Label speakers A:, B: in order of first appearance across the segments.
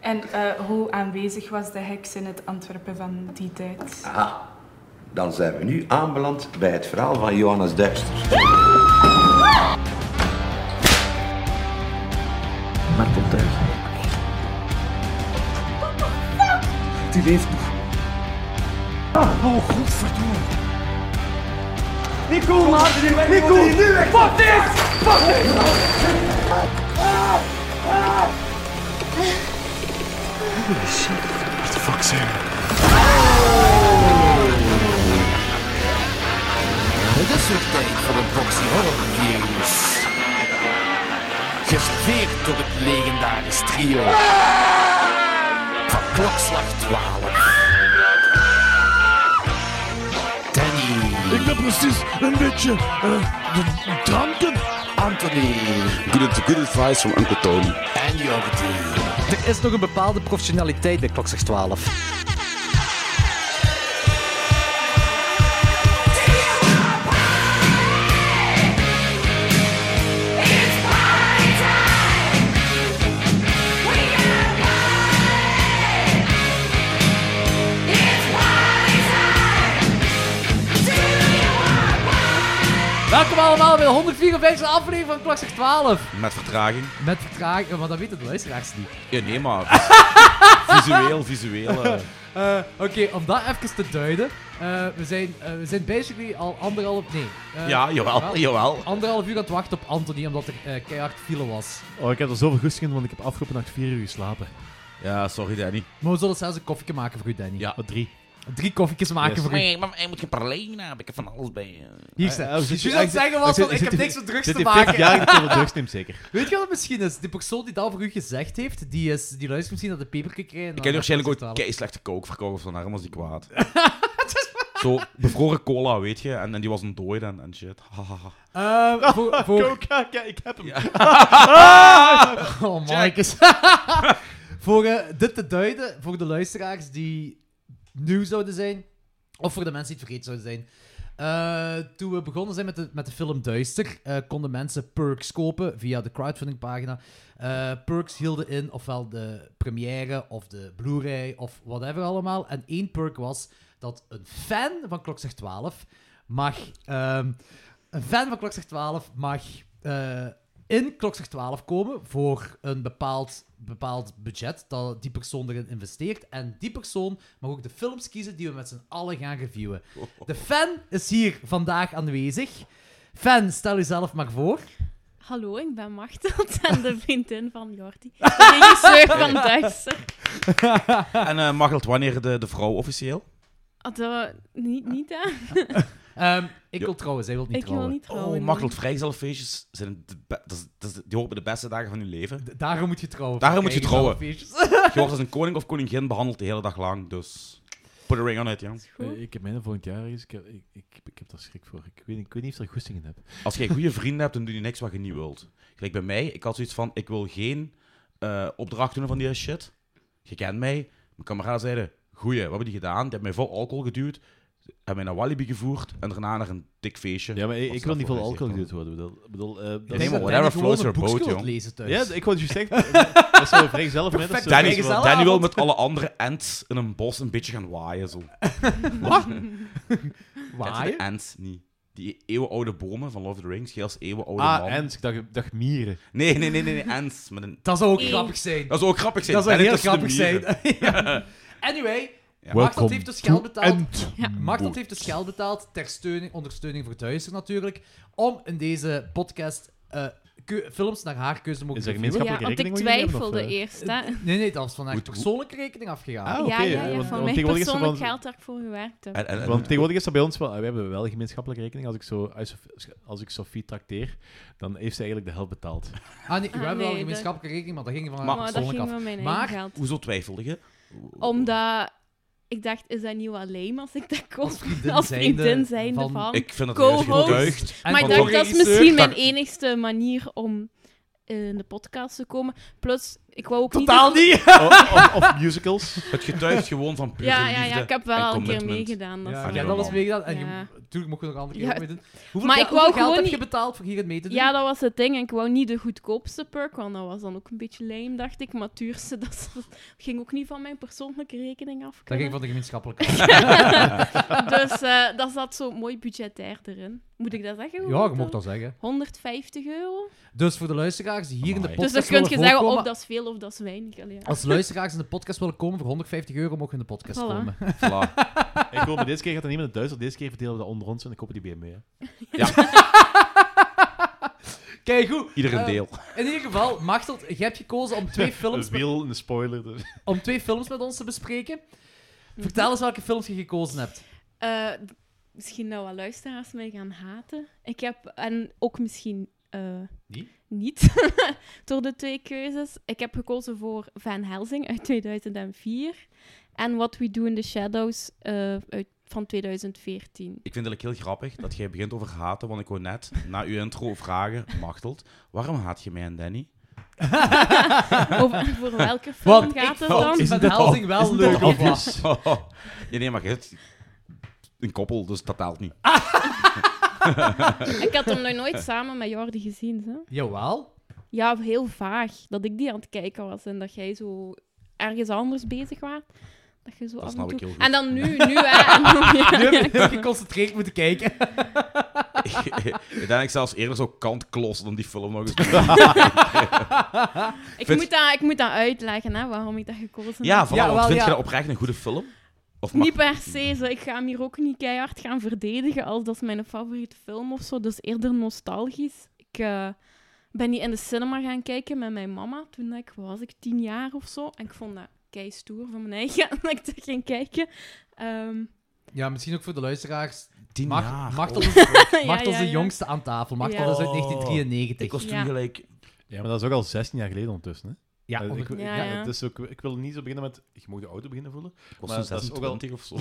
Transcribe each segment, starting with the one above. A: En eh, hoe aanwezig was de heks in het Antwerpen van die tijd?
B: Aha. Dan zijn we nu aanbeland bij het verhaal van Johannes Duister.
C: Martel thuis. Die leeft nog. Ah, oh, godverdomme. Nico, Nico, Oh, fuck dit! Fuck dit!
D: Ah,
C: Holy shit. What the fuck, Sam?
D: Het is weer tijd voor een proxy horror games. Geserveerd door het legendarisch trio van klokslag 12. Danny,
E: Ik ben precies een beetje eh, de dranken.
D: Anthony
F: Good, good advice from Uncle Tony.
D: en Jordi.
C: Er is nog een bepaalde professionaliteit bij Klokzicht 12. Welkom allemaal bij de 154e aflevering van Klokzicht 12.
F: Met vertraging?
C: Met vertraging, maar dat weten de luisteraars niet.
F: Ja, nee, maar visueel, visueel. eh.
C: Eh, Oké, om dat even te duiden. eh, we, zijn, eh, we zijn basically al anderhalf... Nee. eh,
F: Ja, jawel, jawel.
C: Anderhalf uur aan het wachten op Anthony, omdat er eh, keihard file was.
E: Oh, ik heb er zoveel goesting in, want ik heb afgelopen nacht vier uur geslapen.
F: Ja, sorry Danny.
C: Maar we zullen zelfs een koffietje maken voor u, Danny.
F: Ja.
E: Wat Oh, drie.
C: Drie koffietjes maken
E: Yes.
C: voor u.
D: Nee, maar hij moet geen parleen hebben. Ik heb van alles bij je.
C: Hier staat.
E: Eh, eh,
C: je
E: zit-
C: zou
E: eh,
C: het
E: zit-
C: zeggen was
E: zit-
C: van, ik
E: zit-
C: heb niks met drugs
E: Zit
C: te
E: in 40
C: maken.
E: jaar dat hij wel drugs neemt, zeker.
C: Weet je wat het misschien is? Die persoon die dat voor u gezegd heeft, die, is, die luistert misschien naar de peperkikker. krijgen.
F: Ik heb waarschijnlijk ooit kei slechte kook verkocht van arm was die kwaad. Zo, bevroren cola, weet je, en, en die was een dooi en, en shit. Hahaha.
C: Eh, voor, voor,
E: Coca, kijk, ik heb hem.
C: Oh, Marcus. voor eh, dit te duiden, voor de luisteraars die nieuw zouden zijn, of voor de mensen die het vergeten zouden zijn. Eh, toen we begonnen zijn met de, met de film Duister, eh, konden mensen perks kopen via de crowdfundingpagina. Eh perks hielden in ofwel de première of de Blu-ray of whatever allemaal. En één perk was dat een fan van Klokzeg 12 mag... ehm, een fan van Klokzeg 12 mag eh, in Klokzeg 12 komen voor een bepaald, bepaald budget dat die persoon erin investeert. En die persoon mag ook de films kiezen die we met z'n allen gaan reviewen. De fan is hier vandaag aanwezig. Fan, stel jezelf maar voor.
G: Hallo, ik ben Machteld en de vriendin van Jordi. De regisseur van Duister.
F: En eh Margelt, wanneer de, de vrouw officieel?
G: Ah, dat- niet, niet hè?
C: Ehm, ik
F: Ja.
C: wil trouwen, zij wil niet
G: Ik wil
C: trouwen.
G: niet trouwen.
F: Oh,
G: nee.
F: Margelt, vrijgezelfeestjes zijn de, be- dat is, dat is- die horen bij de beste dagen van je leven.
C: D- Daarom moet je trouwen.
F: Daarom moet je
C: Kijk,
F: trouwen.
C: zelffeestjes.
F: Je wordt als een koning of koningin behandeld de hele dag lang, dus put a ring on it, jong.
G: Is goed.
E: Eh, ik heb mijn volgend jaar eens. Ik heb, ik, ik, ik heb daar schrik voor. Ik weet, ik weet niet of ik er goesting in heb.
F: Als jij goede vrienden hebt, dan doe je niks wat je niet wilt. Gelijk bij mij, ik had zoiets van, ik wil geen eh opdracht doen van die shit. Je kent mij. Mijn kameraden zeiden, goeie, wat hebben die gedaan? Die hebben mij vol alcohol geduwd, hebben mij naar Walibi gevoerd en daarna naar een dik feestje.
E: Ja, maar ik,
F: Wat
E: ik wil niet
F: dat
E: veel
F: voor
E: alcohol
F: gezicht
E: geduwd worden. bedoel- bedoel, eh, dat
F: Nee,
E: is-
F: maar
C: Danny
F: whatever
C: gewoon
F: floats
C: een
F: your boat,
C: boekje aan het
F: jong.
C: lezen thuis.
E: Ja, ik wou het juist zeggen. Dat is wel vrij zelf. maar dat is zo-
F: Danny,
E: dat is wel-
C: Vrijgezellenavond.
F: Danny wil met alle andere ants in een bos een beetje gaan waaien. Zo. Kent je
C: Waaien?
F: de ants niet? Die eeuwenoude bomen van Love of the Rings, jij als eeuwenoude man.
E: Ah, en ik dacht, dacht mieren.
F: Nee, nee, nee, nee, nee, ants. Met een...
C: Dat zou ook
G: Eeuw.
C: grappig zijn.
F: Dat zou ook grappig zijn.
C: Dat zou
F: Danny
C: heel
F: tussen de
C: grappig
F: mieren.
C: zijn. Ja. Anyway,
F: Ja.
C: Machteld heeft dus geld betaald.
G: Ja.
C: Machteld heeft dus geld betaald ter steuning, ondersteuning voor Duister natuurlijk, om in deze podcast eh, keu- films naar haar keuze te mogen
E: Is er
C: reviewen.
G: Ja,
E: gemeenschappelijke
G: want ik
E: rekening moet je hebben, of,
G: twijfelde
E: eh?
G: eerst. Hè.
C: Nee, nee, dat was van haar
F: Moet-
C: persoonlijke rekening afgegaan.
E: Ah,
G: ja,
E: oké,
G: ja,
E: eh,
G: ja,
E: want-
G: van
E: want
G: mijn
E: tegenwoordig is er
G: persoonlijk
E: van-
G: geld dat ik voor gewerkt heb.
F: En, en, en-
E: Want tegenwoordig is dat bij ons wel... eh, We hebben wel een gemeenschappelijke rekening. Als ik, zo, als, als ik Sophie trakteer, dan heeft ze eigenlijk de helft betaald.
C: Ah, nee, we
G: Ah,
C: hebben wel
G: nee,
C: een gemeenschappelijke rekening, maar dat ging van haar
F: Maar-
G: maar dat
C: persoonlijk
G: ging
C: af.
G: van mijn eigen
C: Maar-
G: geld.
F: Hoezo twijfelde je?
G: Omdat ik dacht, is dat niet wel lame als ik dat koop?
C: vriendin
G: Als vriendin,
C: zijnde
G: zijnde
C: van-
G: van...
F: Ik vind dat
G: Co-host.
F: juist getuigd.
C: En
G: maar ik
F: van-
G: dacht, dat is
C: co-regisseur.
G: misschien
F: Dat-
G: mijn enigste manier om in de podcast te komen. Plus, Ik wou ook
C: Totaal
G: niet...
C: niet!
E: of, of- of musicals.
F: Het getuigt gewoon van pure
G: Ja, ja,
F: liefde
G: ja, ik heb
F: en
G: wel al een keer
F: commitment.
G: meegedaan. Dat
C: Ja,
G: is
C: ik
G: waar.
C: heb dat eens meegedaan. En
G: Ja.
C: je, natuurlijk mocht je nog een andere keer
G: Ja.
C: ook meedoen. Hoeveel,
G: Maar
C: ga-
G: ik wou
C: hoeveel geld
G: gewoon
C: heb je
G: niet-
C: betaald voor hier het mee te doen?
G: Ja, dat was het ding. En ik wou niet de goedkoopste perk, want dat was dan ook een beetje lame, dacht ik. Maar het duurste, dat is- ging ook niet van mijn persoonlijke rekening af.
C: dat
G: kunnen.
C: ging van de gemeenschappelijke.
G: Dus eh, dat zat zo mooi budgetair erin. Moet ik dat zeggen?
C: ja, je mocht dat zeggen.
G: 150 euro.
C: Dus voor de luisteraars die hier in de
F: Amai.
C: podcast
G: dus dan kun je
C: willen
G: zeggen
C: voorkomen-
G: of dat is veel of dat is weinig. Allee, ja.
C: Als luisteraars in de podcast willen komen, voor 150 euro mogen we in de podcast
G: Voilà.
C: komen.
F: Voilà.
E: Ik hoop dat deze keer gaat er niemand het duizend. Deze keer verdelen we dat onder ons en ik hoop dat die BMW. hè.
C: Kijk, goed.
F: Ieder een
C: Eh,
F: deel.
C: In ieder geval, Machtel, je hebt gekozen om twee films,
E: Een wiel en een spoiler. dus.
C: om twee films met ons te bespreken. Vertel eens welke films je gekozen hebt.
G: Eh, misschien nou wel luisteraars mij gaan haten. Ik heb, en ook misschien eh,
E: Niet?
G: niet, door de twee keuzes. Ik heb gekozen voor Van Helsing uit 2004 en What We Do in the Shadows eh, uit, van 2014.
F: Ik vind het eigenlijk heel grappig dat jij begint over haten, want ik wou net na uw intro vragen, Machtelt, waarom haat je mij en Danny?
G: Over, voor welke film
C: Want ik
G: gaat het
C: vond
G: dan?
E: Is
C: Van
E: dit al-
C: Helsing wel leuk. of wat?
F: nee, nee, maar je hebt een koppel, dus dat telt niet.
G: Ik had hem nog nooit samen met Jordi gezien. Hè?
C: Jawel.
G: Ja, heel vaag. Dat ik die aan het kijken was en dat jij zo ergens anders bezig was. Dat je zo
F: Dat
G: af en
F: snap ik
G: toe...
F: heel goed.
G: En dan nu, nu hè. En dan- ja.
C: Nu heb ik geconcentreerd moeten kijken.
F: Uiteindelijk zelfs eerder zo kantklos dan die film nog eens.
G: Ik,
F: Vind-
G: moet dat, ik moet dat uitleggen, hè, waarom ik dat gekozen
F: Ja,
G: heb.
F: voilà,
C: Ja,
F: want
C: wel,
F: vind
C: ja.
F: je dat oprecht een goede film? Of mag...
G: Niet per se, zo. ik ga hem hier ook niet keihard gaan verdedigen als dat is mijn favoriete film of zo. Dus eerder nostalgisch. Ik eh, ben die in de cinema gaan kijken met mijn mama toen dat ik, wat was ik, tien jaar of zo. En ik vond dat kei stoer van mijn eigen dat ik dat ging kijken. Ehm,
C: Ja, misschien ook voor de luisteraars.
F: Tien
C: Mag,
F: jaar.
C: Machtel is, Machtel is
G: ja,
C: de
G: ja.
C: jongste aan tafel. Machtel
G: Ja.
C: is uit
F: Oh. Ik
C: 1993.
F: was toen
G: Ja.
F: gelijk...
E: Ja, maar dat is ook al 16 jaar geleden ondertussen. Hè?
C: Ja,
E: Eh, ik,
C: onder-
E: ik-
G: Ja,
E: ja,
G: ja.
E: Dus ook, ik wil niet zo beginnen met. Je mag de auto beginnen voelen.
F: Ik was
E: Maar
F: toen
E: dat is ook al-
F: 26 of zo.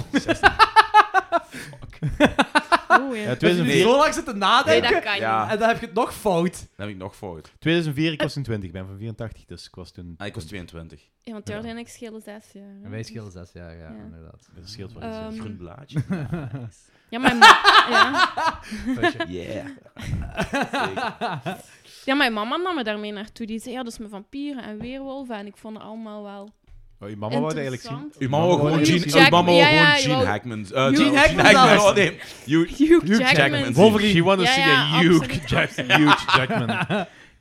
G: oh, ja.
E: Ja,
C: Dat je nu
E: 2004,
C: zo lang zitten
G: Nee,
C: nadenken
G: dat kan
F: Ja.
G: niet.
C: en dan heb je het nog fout.
F: Dan heb ik nog fout.
E: 2004, ik was toen 20, ik ben van 84, dus ik was toen.
F: Ah, ik was 22.
G: Ja, want Jordi en ik schelen zes jaar. hè.
C: En wij schelen zes jaar, ja,
G: Ja.
C: inderdaad.
E: Dat scheelt wel.
G: Ehm,
F: Groen blaadje.
G: Ja, mijn, ma- ja.
F: Yeah.
C: Ah.
G: ja, mijn mama nam me daarmee naartoe. Die zei, ja, dat is met vampieren en weerwolven. En ik vond het allemaal wel
E: oh, je mama wou het eigenlijk zien.
G: interessant.
F: Uw mama wil gewoon
G: Hugh
F: Gene,
G: Jackman.
F: uw mama wil
G: Ja,
F: gewoon
G: ja,
F: Gene
G: je wou-
F: Hackman. Eh,
G: Hugh
F: Gene
C: Jackman zelfs.
F: Oh, nee. Hugh,
G: Hugh
F: Hugh
G: Jackman.
F: Jackman.
E: Wolverine. She wanna
G: Ja,
E: see
G: ja,
E: a huge,
G: absoluut,
E: Jack,
G: absoluut.
E: huge Jackman.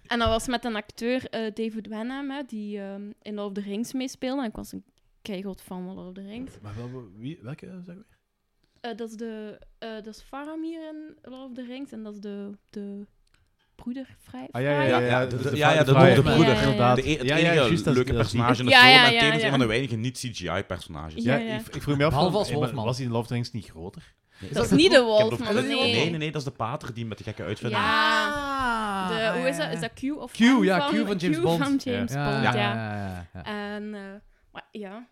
G: En dat was met een acteur, eh, David Wenham, hè, die ehm, in Lord of the Rings meespeelde. En ik was een keihard fan van Lord of the Rings.
E: maar wel, wie, welke eh, zeg maar?
G: Eh, dat, is de, eh dat is Faramir in Lord of the Rings. En dat is de, de broeder vrij.
E: Ah, ja, ja,
F: Ja,
G: Vrij-
F: ja,
E: de-
F: de-
E: de-
F: ja, ja,
E: de
F: de
E: vader.
F: dode
G: Ja,
F: broeder.
G: ja, ja.
F: inderdaad. De e- het
E: Ja, ja,
F: enige
E: juist, dat is-
F: leuke
E: dat is die.
F: personage in de
G: Ja,
F: film
G: ja,
F: en
G: ja,
F: tevens
G: ja.
F: een van de weinige niet-CGI-personages.
G: Ja,
E: Ja,
G: ja.
E: Ik, ik vroeg me af,
C: Behalve als
E: eh, maar
C: Wolfman.
E: was hij in Love of the Rings niet groter?
G: Dat is niet de
E: Ik
G: Wolfman,
E: heb
G: nee.
E: dat-
F: Nee, nee, nee, dat is de pater die met de gekke uitvinding.
G: Ja.
C: Ah,
G: De,
C: ja,
G: hoe is dat?
C: ja.
G: Is dat Q of
C: Q, ja, Q van James Bond.
G: van James
C: Ja,
G: Bond,
C: ja, ja,
G: ja.
C: ja, ja.
G: En eh, maar ja,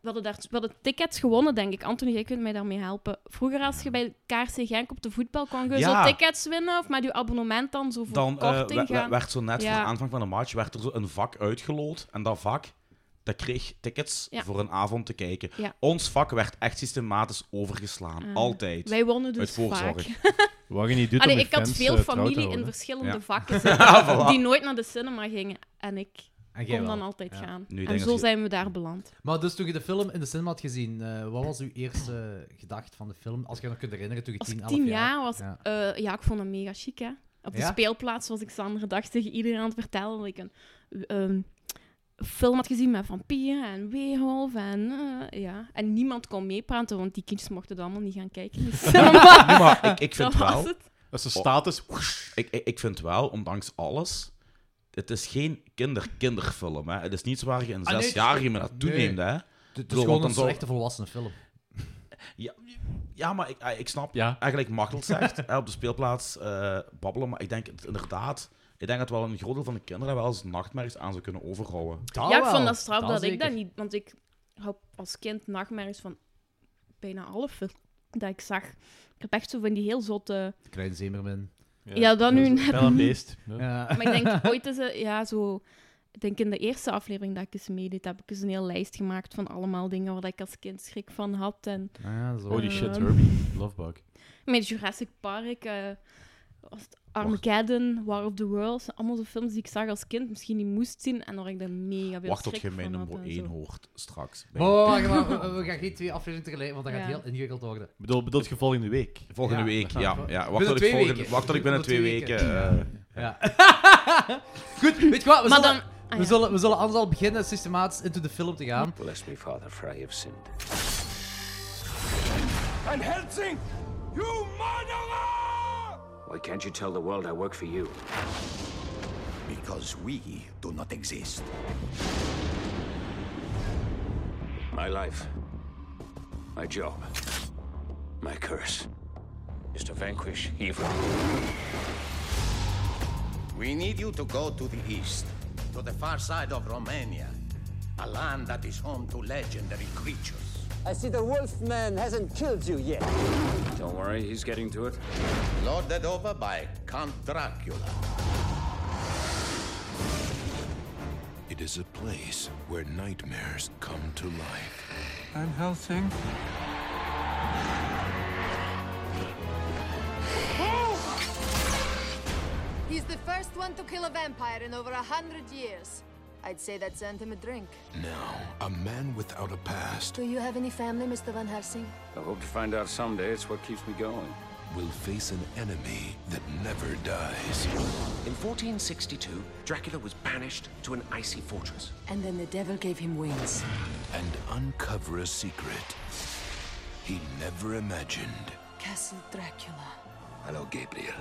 G: we hadden, daar, we hadden tickets gewonnen, denk ik. Anthony, jij kunt mij daarmee helpen. Vroeger, als je bij KRC Genk op de voetbal kon, je
F: Ja.
G: zo tickets winnen of met je abonnement dan zo voor
F: Dan eh,
G: korting
F: we- we-
G: gaan.
F: werd zo net
G: Ja.
F: voor de aanvang van de match werd er zo een vak uitgelood. En dat vak dat kreeg tickets
G: Ja.
F: voor een avond te kijken.
G: Ja.
F: Ons vak werd echt systematisch overgeslaan.
G: Ah.
F: Altijd.
G: Wij wonnen dus
F: Uit voorzorg.
G: vaak.
E: Wat je niet doet
G: Allee,
E: om je
G: ik had
E: fans,
G: veel
E: eh, trouw te
G: familie in
E: houden.
G: verschillende
F: Ja.
G: vakken
F: Ja, voilà.
G: die nooit naar de cinema gingen. En ik
C: En jij
G: kon
C: wel.
G: dan altijd
C: Ja.
G: gaan.
F: Nu
G: en
F: denk
G: zo
F: dat je-
G: zijn we daar beland.
C: Maar dus toen je de film in de cinema had gezien, eh, wat was uw eerste gedacht van de film? Als je je nog kunt herinneren, toen je
G: Als
C: 10,
G: ik
C: 11
G: tien jaar was,
C: Ja.
G: eh, ja, ik vond hem mega chic, hè. Op de
C: Ja?
G: speelplaats was ik de andere dag tegen iedereen aan het vertellen dat ik een ehm, film had gezien met vampieren en weerwolven en eh, ja. En niemand kon meepraten, want die kindjes mochten dat allemaal niet gaan kijken. in de cinema.
F: Nee, maar ik, ik
G: dat
F: vind
G: was
F: wel,
G: het.
E: Dat is de status.
C: Oh.
E: Whoosh.
F: ik, ik, ik vind wel, ondanks alles, het is geen kinder-kinderfilm. hè. Het is niet zo waar je een
C: Ah, nee,
F: zesjarige me naartoe
C: nee.
F: neemt. Hè.
C: Het is
F: Bedoel,
C: Dus gewoon
F: want
C: een
F: dan zou-
C: slechte volwassene film.
F: Ja, ja maar ik, eh, ik snap
E: Ja.
F: eigenlijk Machtel zegt hè, op de speelplaats eh, babbelen. Maar ik denk het inderdaad, ik denk dat wel een groot deel van de kinderen daar wel eens nachtmerries aan zou kunnen overhouden.
G: ja, ik vond dat straf
C: Oh, Dat
G: dat, ik dat
C: zeker.
G: niet... Want ik had als kind nachtmerries van bijna alle films dat ik zag. Ik heb echt zo van die heel zotte...
C: Klein Zemerman.
G: Ja, dan nu
E: dat is
G: net
E: Wel een beest. Ja.
C: Ja.
G: Maar ik denk ooit is het, ja, zo Ik denk in de eerste aflevering dat ik eens meedeed, heb ik eens een hele lijst gemaakt van allemaal dingen waar ik als kind schrik van had. En
C: Ja, zo.
E: Holy shit,
G: Ehm.
E: Herbie. Lovebug.
G: met Jurassic Park, eh, was het Armageddon, War of the Worlds. Allemaal zo films die ik zag als kind, misschien niet moest zien. En waar ik dan mega veel
F: Wacht tot
G: schrik
F: je
G: van
F: mijn
G: had
F: nummer
G: en
F: 1
G: zo.
F: hoort straks. bij-
C: Oh, wacht, wacht, we- we gaan geen twee afleveringen tegelijk, want dat gaat
G: Ja.
C: heel ingewikkeld worden.
E: Ik bedoel, bedoel je volgende week?
F: Volgende
C: Ja,
F: week,
C: dat gaat
F: ja.
C: wel.
F: ja. Wacht
C: Binnen
F: tot ik
C: twee
F: volgende-
C: weken.
F: wacht tot ik binnen twee
C: Binnen twee
F: weken... eh,
C: Ja. Goed, weet je wat? We,
G: Maar
C: zullen,
G: dan- ah,
C: we,
G: ja.
C: zullen, we zullen anders al beginnen systematisch into de film te gaan.
H: Bless me, Father, for I have sinned.
I: Van Helsing, you murderer!
H: Why can't you tell the world I work for you?
I: Because we do not exist.
H: My life, my job, my curse is to vanquish evil.
I: We need you to go to the east, to the far side of Romania, a land that is home to legendary creatures.
J: I see the wolf man hasn't killed you yet.
H: Don't worry, he's getting to it.
I: lorded over by Count Dracula. It is a place where nightmares come to life.
K: I'm Helsing.
J: He's the first one to kill a vampire in over a hundred years. I'd say that's sent him a drink.
I: Now, a
F: eh,
I: man without a past
J: Do you have any family, Mr. Van Helsing?
H: I hope to find out someday. It's what keeps me going.
I: will face an enemy that never dies.
J: In 1462, Dracula was banished to an icy fortress. And then the devil gave him wings.
I: and uncover a secret he never imagined.
J: Castle Dracula.
I: Hello, Gabriel.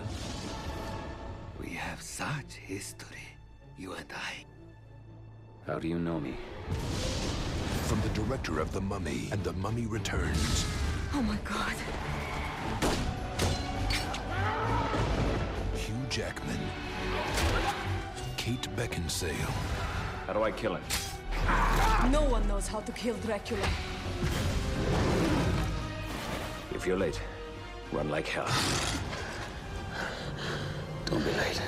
I: We have such history, you and I.
H: How do you know me?
I: From the director of The Mummy and The Mummy Returns
J: Oh my god.
I: Hugh Jackman, Kate Beckinsale,
H: How do I kill it?
J: No one knows how to kill Dracula.
H: If you're late, run like hell. Don't be late.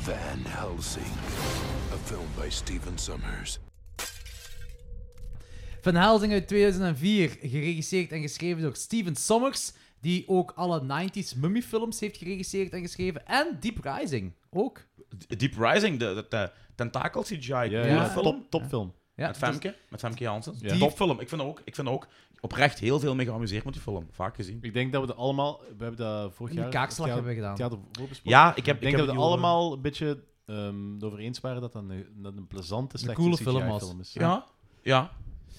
I: Van Helsing. A film by Stephen Summers.
C: Van Helsing uit 2004, geregisseerd en geschreven door Steven Sommers, die ook alle 90s mummyfilms heeft geregisseerd en geschreven. En Deep Rising ook.
F: Deep Rising, de, de, de tentakel CGI, coole
C: ja.
F: film.
E: Top, topfilm.
C: Ja,
F: met Femke, met Femke Janssen.
E: Ja.
F: Topfilm. Ik vind er ook, ik vind er ook oprecht heel veel mee geamuseerd met die film. Vaak gezien.
E: Ik denk dat we dat allemaal... We hebben dat vorig
C: In de
E: jaar...
C: kaakslag
E: het
C: hebben we gedaan.
E: theater voorbesproken.
F: Ja, ik heb...
E: Ik denk
F: heb
E: dat we
F: die
E: het
F: over-
E: allemaal een beetje ehm over eens waren dat dat een, dat een plezante, slechte
C: coole film was.
E: CGI-film is.
F: Ja, ja.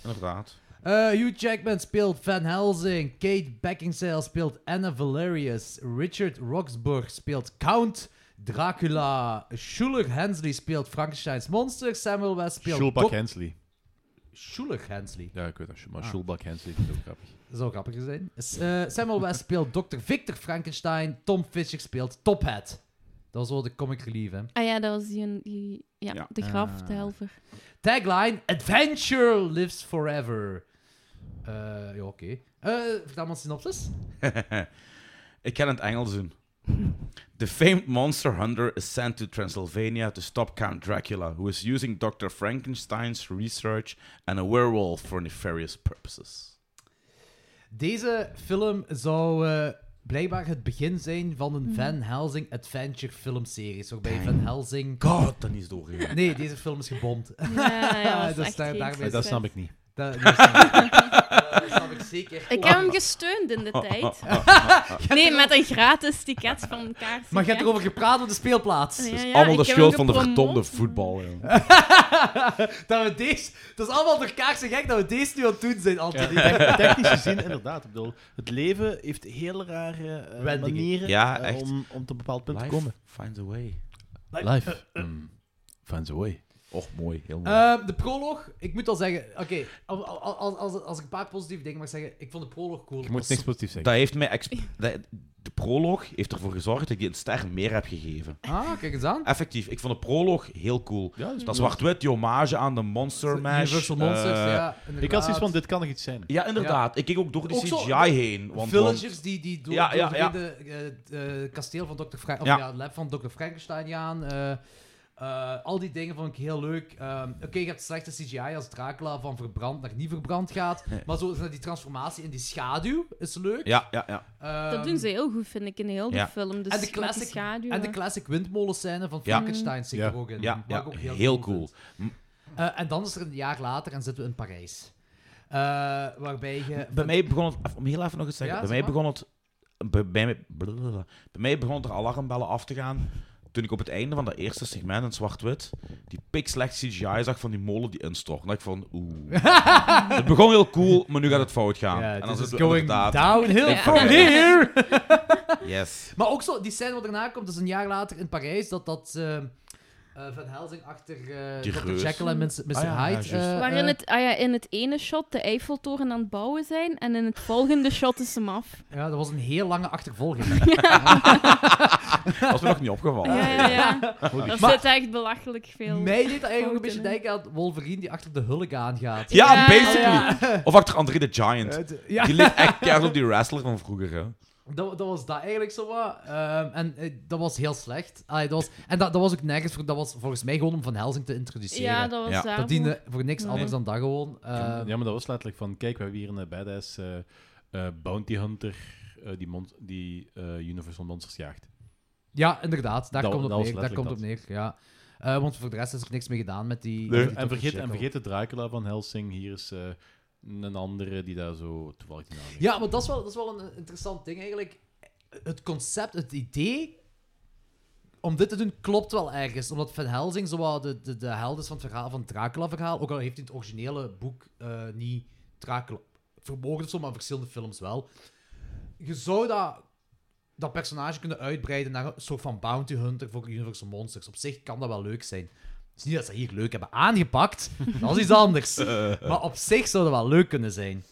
F: Inderdaad.
C: Eh, Hugh Jackman speelt Van Helsing. Kate Beckinsale speelt Anna Valerius. Richard Roxburgh speelt Count Dracula. Schuller Hensley speelt Frankenstein's Monster. Samuel West speelt...
E: Schulbach
C: Doc-
E: Hensley.
C: Schuller Hensley.
E: Ja, ik weet dat.
C: Ah.
E: Maar Schulbach Hensley vind ik ook grappig.
C: Dat zou grappiger zijn. S- eh, Samuel West speelt Dr. Victor Frankenstein. Tom Fisher speelt Top Hat. Dat is wel de comic relief, hè.
G: Ah ja, dat was die, die ja,
F: Ja.
G: de graf,
C: Ah.
G: de helver.
C: Tagline: Adventure lives forever. Eh, ja, oké. Eh, vertel maar een synopsis.
F: Ik kan het Engels doen. The famed monster hunter is sent to Transylvania to stop Count Dracula, who is using Dr. Frankenstein's research and a werewolf for nefarious purposes.
C: Deze film zou eh, blijkbaar het begin zijn van
G: Mhm.
C: een Van Helsing Adventure filmseries. Waarbij Van Helsing.
F: God, dan is doorgegaan.
C: Nee, deze film is gebomd.
G: Ja, ja,
C: Dat
G: dat is
C: staat
G: echt
C: daarmee.
E: Ja,
G: geen
E: dat snap
G: succes.
E: ik niet.
C: dat, dat snap ik. Dat snap ik zeker.
G: Ik heb hem gesteund in de tijd. Nee, met een gratis ticket van kaars.
C: Maar je hebt erover gepraat op de speelplaats.
F: Allemaal de schuld van de verdomde voetbal. joh.
C: dat we deze... Het is allemaal door kaars en gek dat we deze nu aan het doen zijn, Anthony.
E: Tec- Technisch gezien, inderdaad. Ik bedoel, het leven heeft heel rare eh,
C: Wendingen.
E: manieren
F: Ja,
E: eh,
F: echt.
E: om, om tot een bepaald punt te
F: Life
E: komen.
F: finds a way.
E: Life um, finds a way.
F: Och, mooi. Heel mooi.
C: Eh, de proloog, ik moet al zeggen... Oké, al- al- al- als, als, ik een paar positieve dingen mag zeggen, ik vond de proloog cool.
E: Je
C: Het
E: moet
C: was
E: niks positiefs zeggen.
F: dat heeft mij... ex- dat- De prolog heeft ervoor gezorgd dat ik die een ster meer heb gegeven.
C: Ah, kijk eens aan.
F: Effectief, ik vond de prolog heel cool.
E: Ja, dat is
F: dat
E: cool.
F: zwart-wit, die hommage aan de Monster Mash.
C: Universal Monsters,
F: eh,
C: ja.
E: Ik had zoiets van, dit kan nog iets zijn.
F: Ja, inderdaad. Ik keek ook door die
C: Ook zo-
F: CGI heen. Want, want-
C: Villagers die, die door,
F: Ja, ja,
C: door
F: ja.
C: de eh, eh, kasteel van Dr. Frank, of
F: Ja.
C: ja. het lab van Dr. Frankenstein gaan. eh, eh, al die dingen vond ik heel leuk. Ehm, Oké, je hebt slechte CGI als Dracula van verbrand naar niet verbrand gaat. Maar zo is dat die transformatie in die schaduw is leuk.
F: ja, ja, ja.
C: Ehm,
G: dat doen ze heel goed, vind ik, in heel de
F: ja.
G: film. Dus
C: En de
G: met die
C: classic-
G: schaduwen.
C: En de classic windmolenscène van
F: Ja.
C: Frankenstein zit er
E: Ja.
C: ook in.
F: Ja,
C: wat
F: ja,
C: ik ook
F: heel,
C: vind.
F: cool.
C: Eh, en dan is er een jaar later en zitten we in Parijs. Eh, waarbij je...
F: Bij mij begon het, om heel even nog eens te zeggen,
C: Ja,
F: bij mij
C: zeg
F: begon het, bij, bij, mij- blablabla. bij mij begon er alarmbellen af te gaan toen ik op het einde van dat eerste segment in zwart-wit die pikslecht CGI zag van die molen die instort. En dacht ik van, oeh. het begon heel cool, maar nu gaat het fout gaan.
C: Ja,
F: en
C: this is
F: zitten we
C: going
F: inderdaad-
C: downhill
F: Ja.
C: from here!
F: Yes.
C: Maar ook zo, die scène wat erna komt, dat is een jaar later in Parijs, dat dat eh, eh, Van Helsing achter eh
F: Die
C: Dr.
F: reus.
C: Jekyll en Mr. Mr.
F: Ah ja, ja,
C: Hyde...
F: juist.
C: eh,
G: Waarin
C: eh,
G: het, ah ja, in het ene shot de Eiffeltoren aan het bouwen zijn en in het volgende shot is hem af.
C: Ja, dat was een heel lange achtervolging.
F: Dat was me nog niet opgevallen.
G: Ja, ja, ja.
C: Holy
G: Daar
C: shit.
G: zit echt belachelijk veel.
C: Mij deed dat eigenlijk ook een beetje
G: fouten in.
C: denken aan Wolverine die achter de hulk aangaat.
F: Ja,
G: Ja.
F: basically. Of achter André the Giant.
C: Eh, de- ja.
F: Die ligt echt keihard op die wrestler van vroeger. Hè.
C: Dat, dat was dat eigenlijk zo wat. Ehm, en eh, dat was heel slecht. Allee, dat was, en dat, dat was ook nergens voor. Dat was volgens mij gewoon om Van Helsing te introduceren.
G: Ja, dat was
F: Ja.
G: daar.
C: dat diende voor niks
G: Ja.
C: anders dan dat gewoon. Ehm,
E: ja, maar dat was letterlijk van, kijk, we hebben hier een badass eh, eh, bounty hunter eh, die, mon- die eh, Universal Monsters jaagt.
C: ja, inderdaad. Daar
E: Dat-
C: komt
E: dat
C: het
E: was
C: neer. Daar komt het op neer. Ja. Eh, want voor de rest is er niks mee gedaan met die. met die Dr.
E: En, vergeet, en
C: Jekyll.
E: vergeet de Dracula van Helsing. Hier is eh, een andere die daar zo toevallig die naam heeft.
C: Ja, maar dat is wel, dat is wel een interessant ding eigenlijk. Het concept, het idee om dit te doen klopt wel ergens. Omdat Van Helsing zo wat de, de, de held is van het verhaal van het Dracula-verhaal. Ook al heeft hij in het originele boek eh, niet Dracula vermogen of zo, maar in verschillende films wel. Je zou dat, dat personage kunnen uitbreiden naar een soort van bounty hunter voor Universal Monsters. Op zich kan dat wel leuk zijn. Het is niet dat ze hier leuk hebben aangepakt. Dat is iets anders.
F: Eh.
C: Maar op zich zou dat wel leuk kunnen zijn.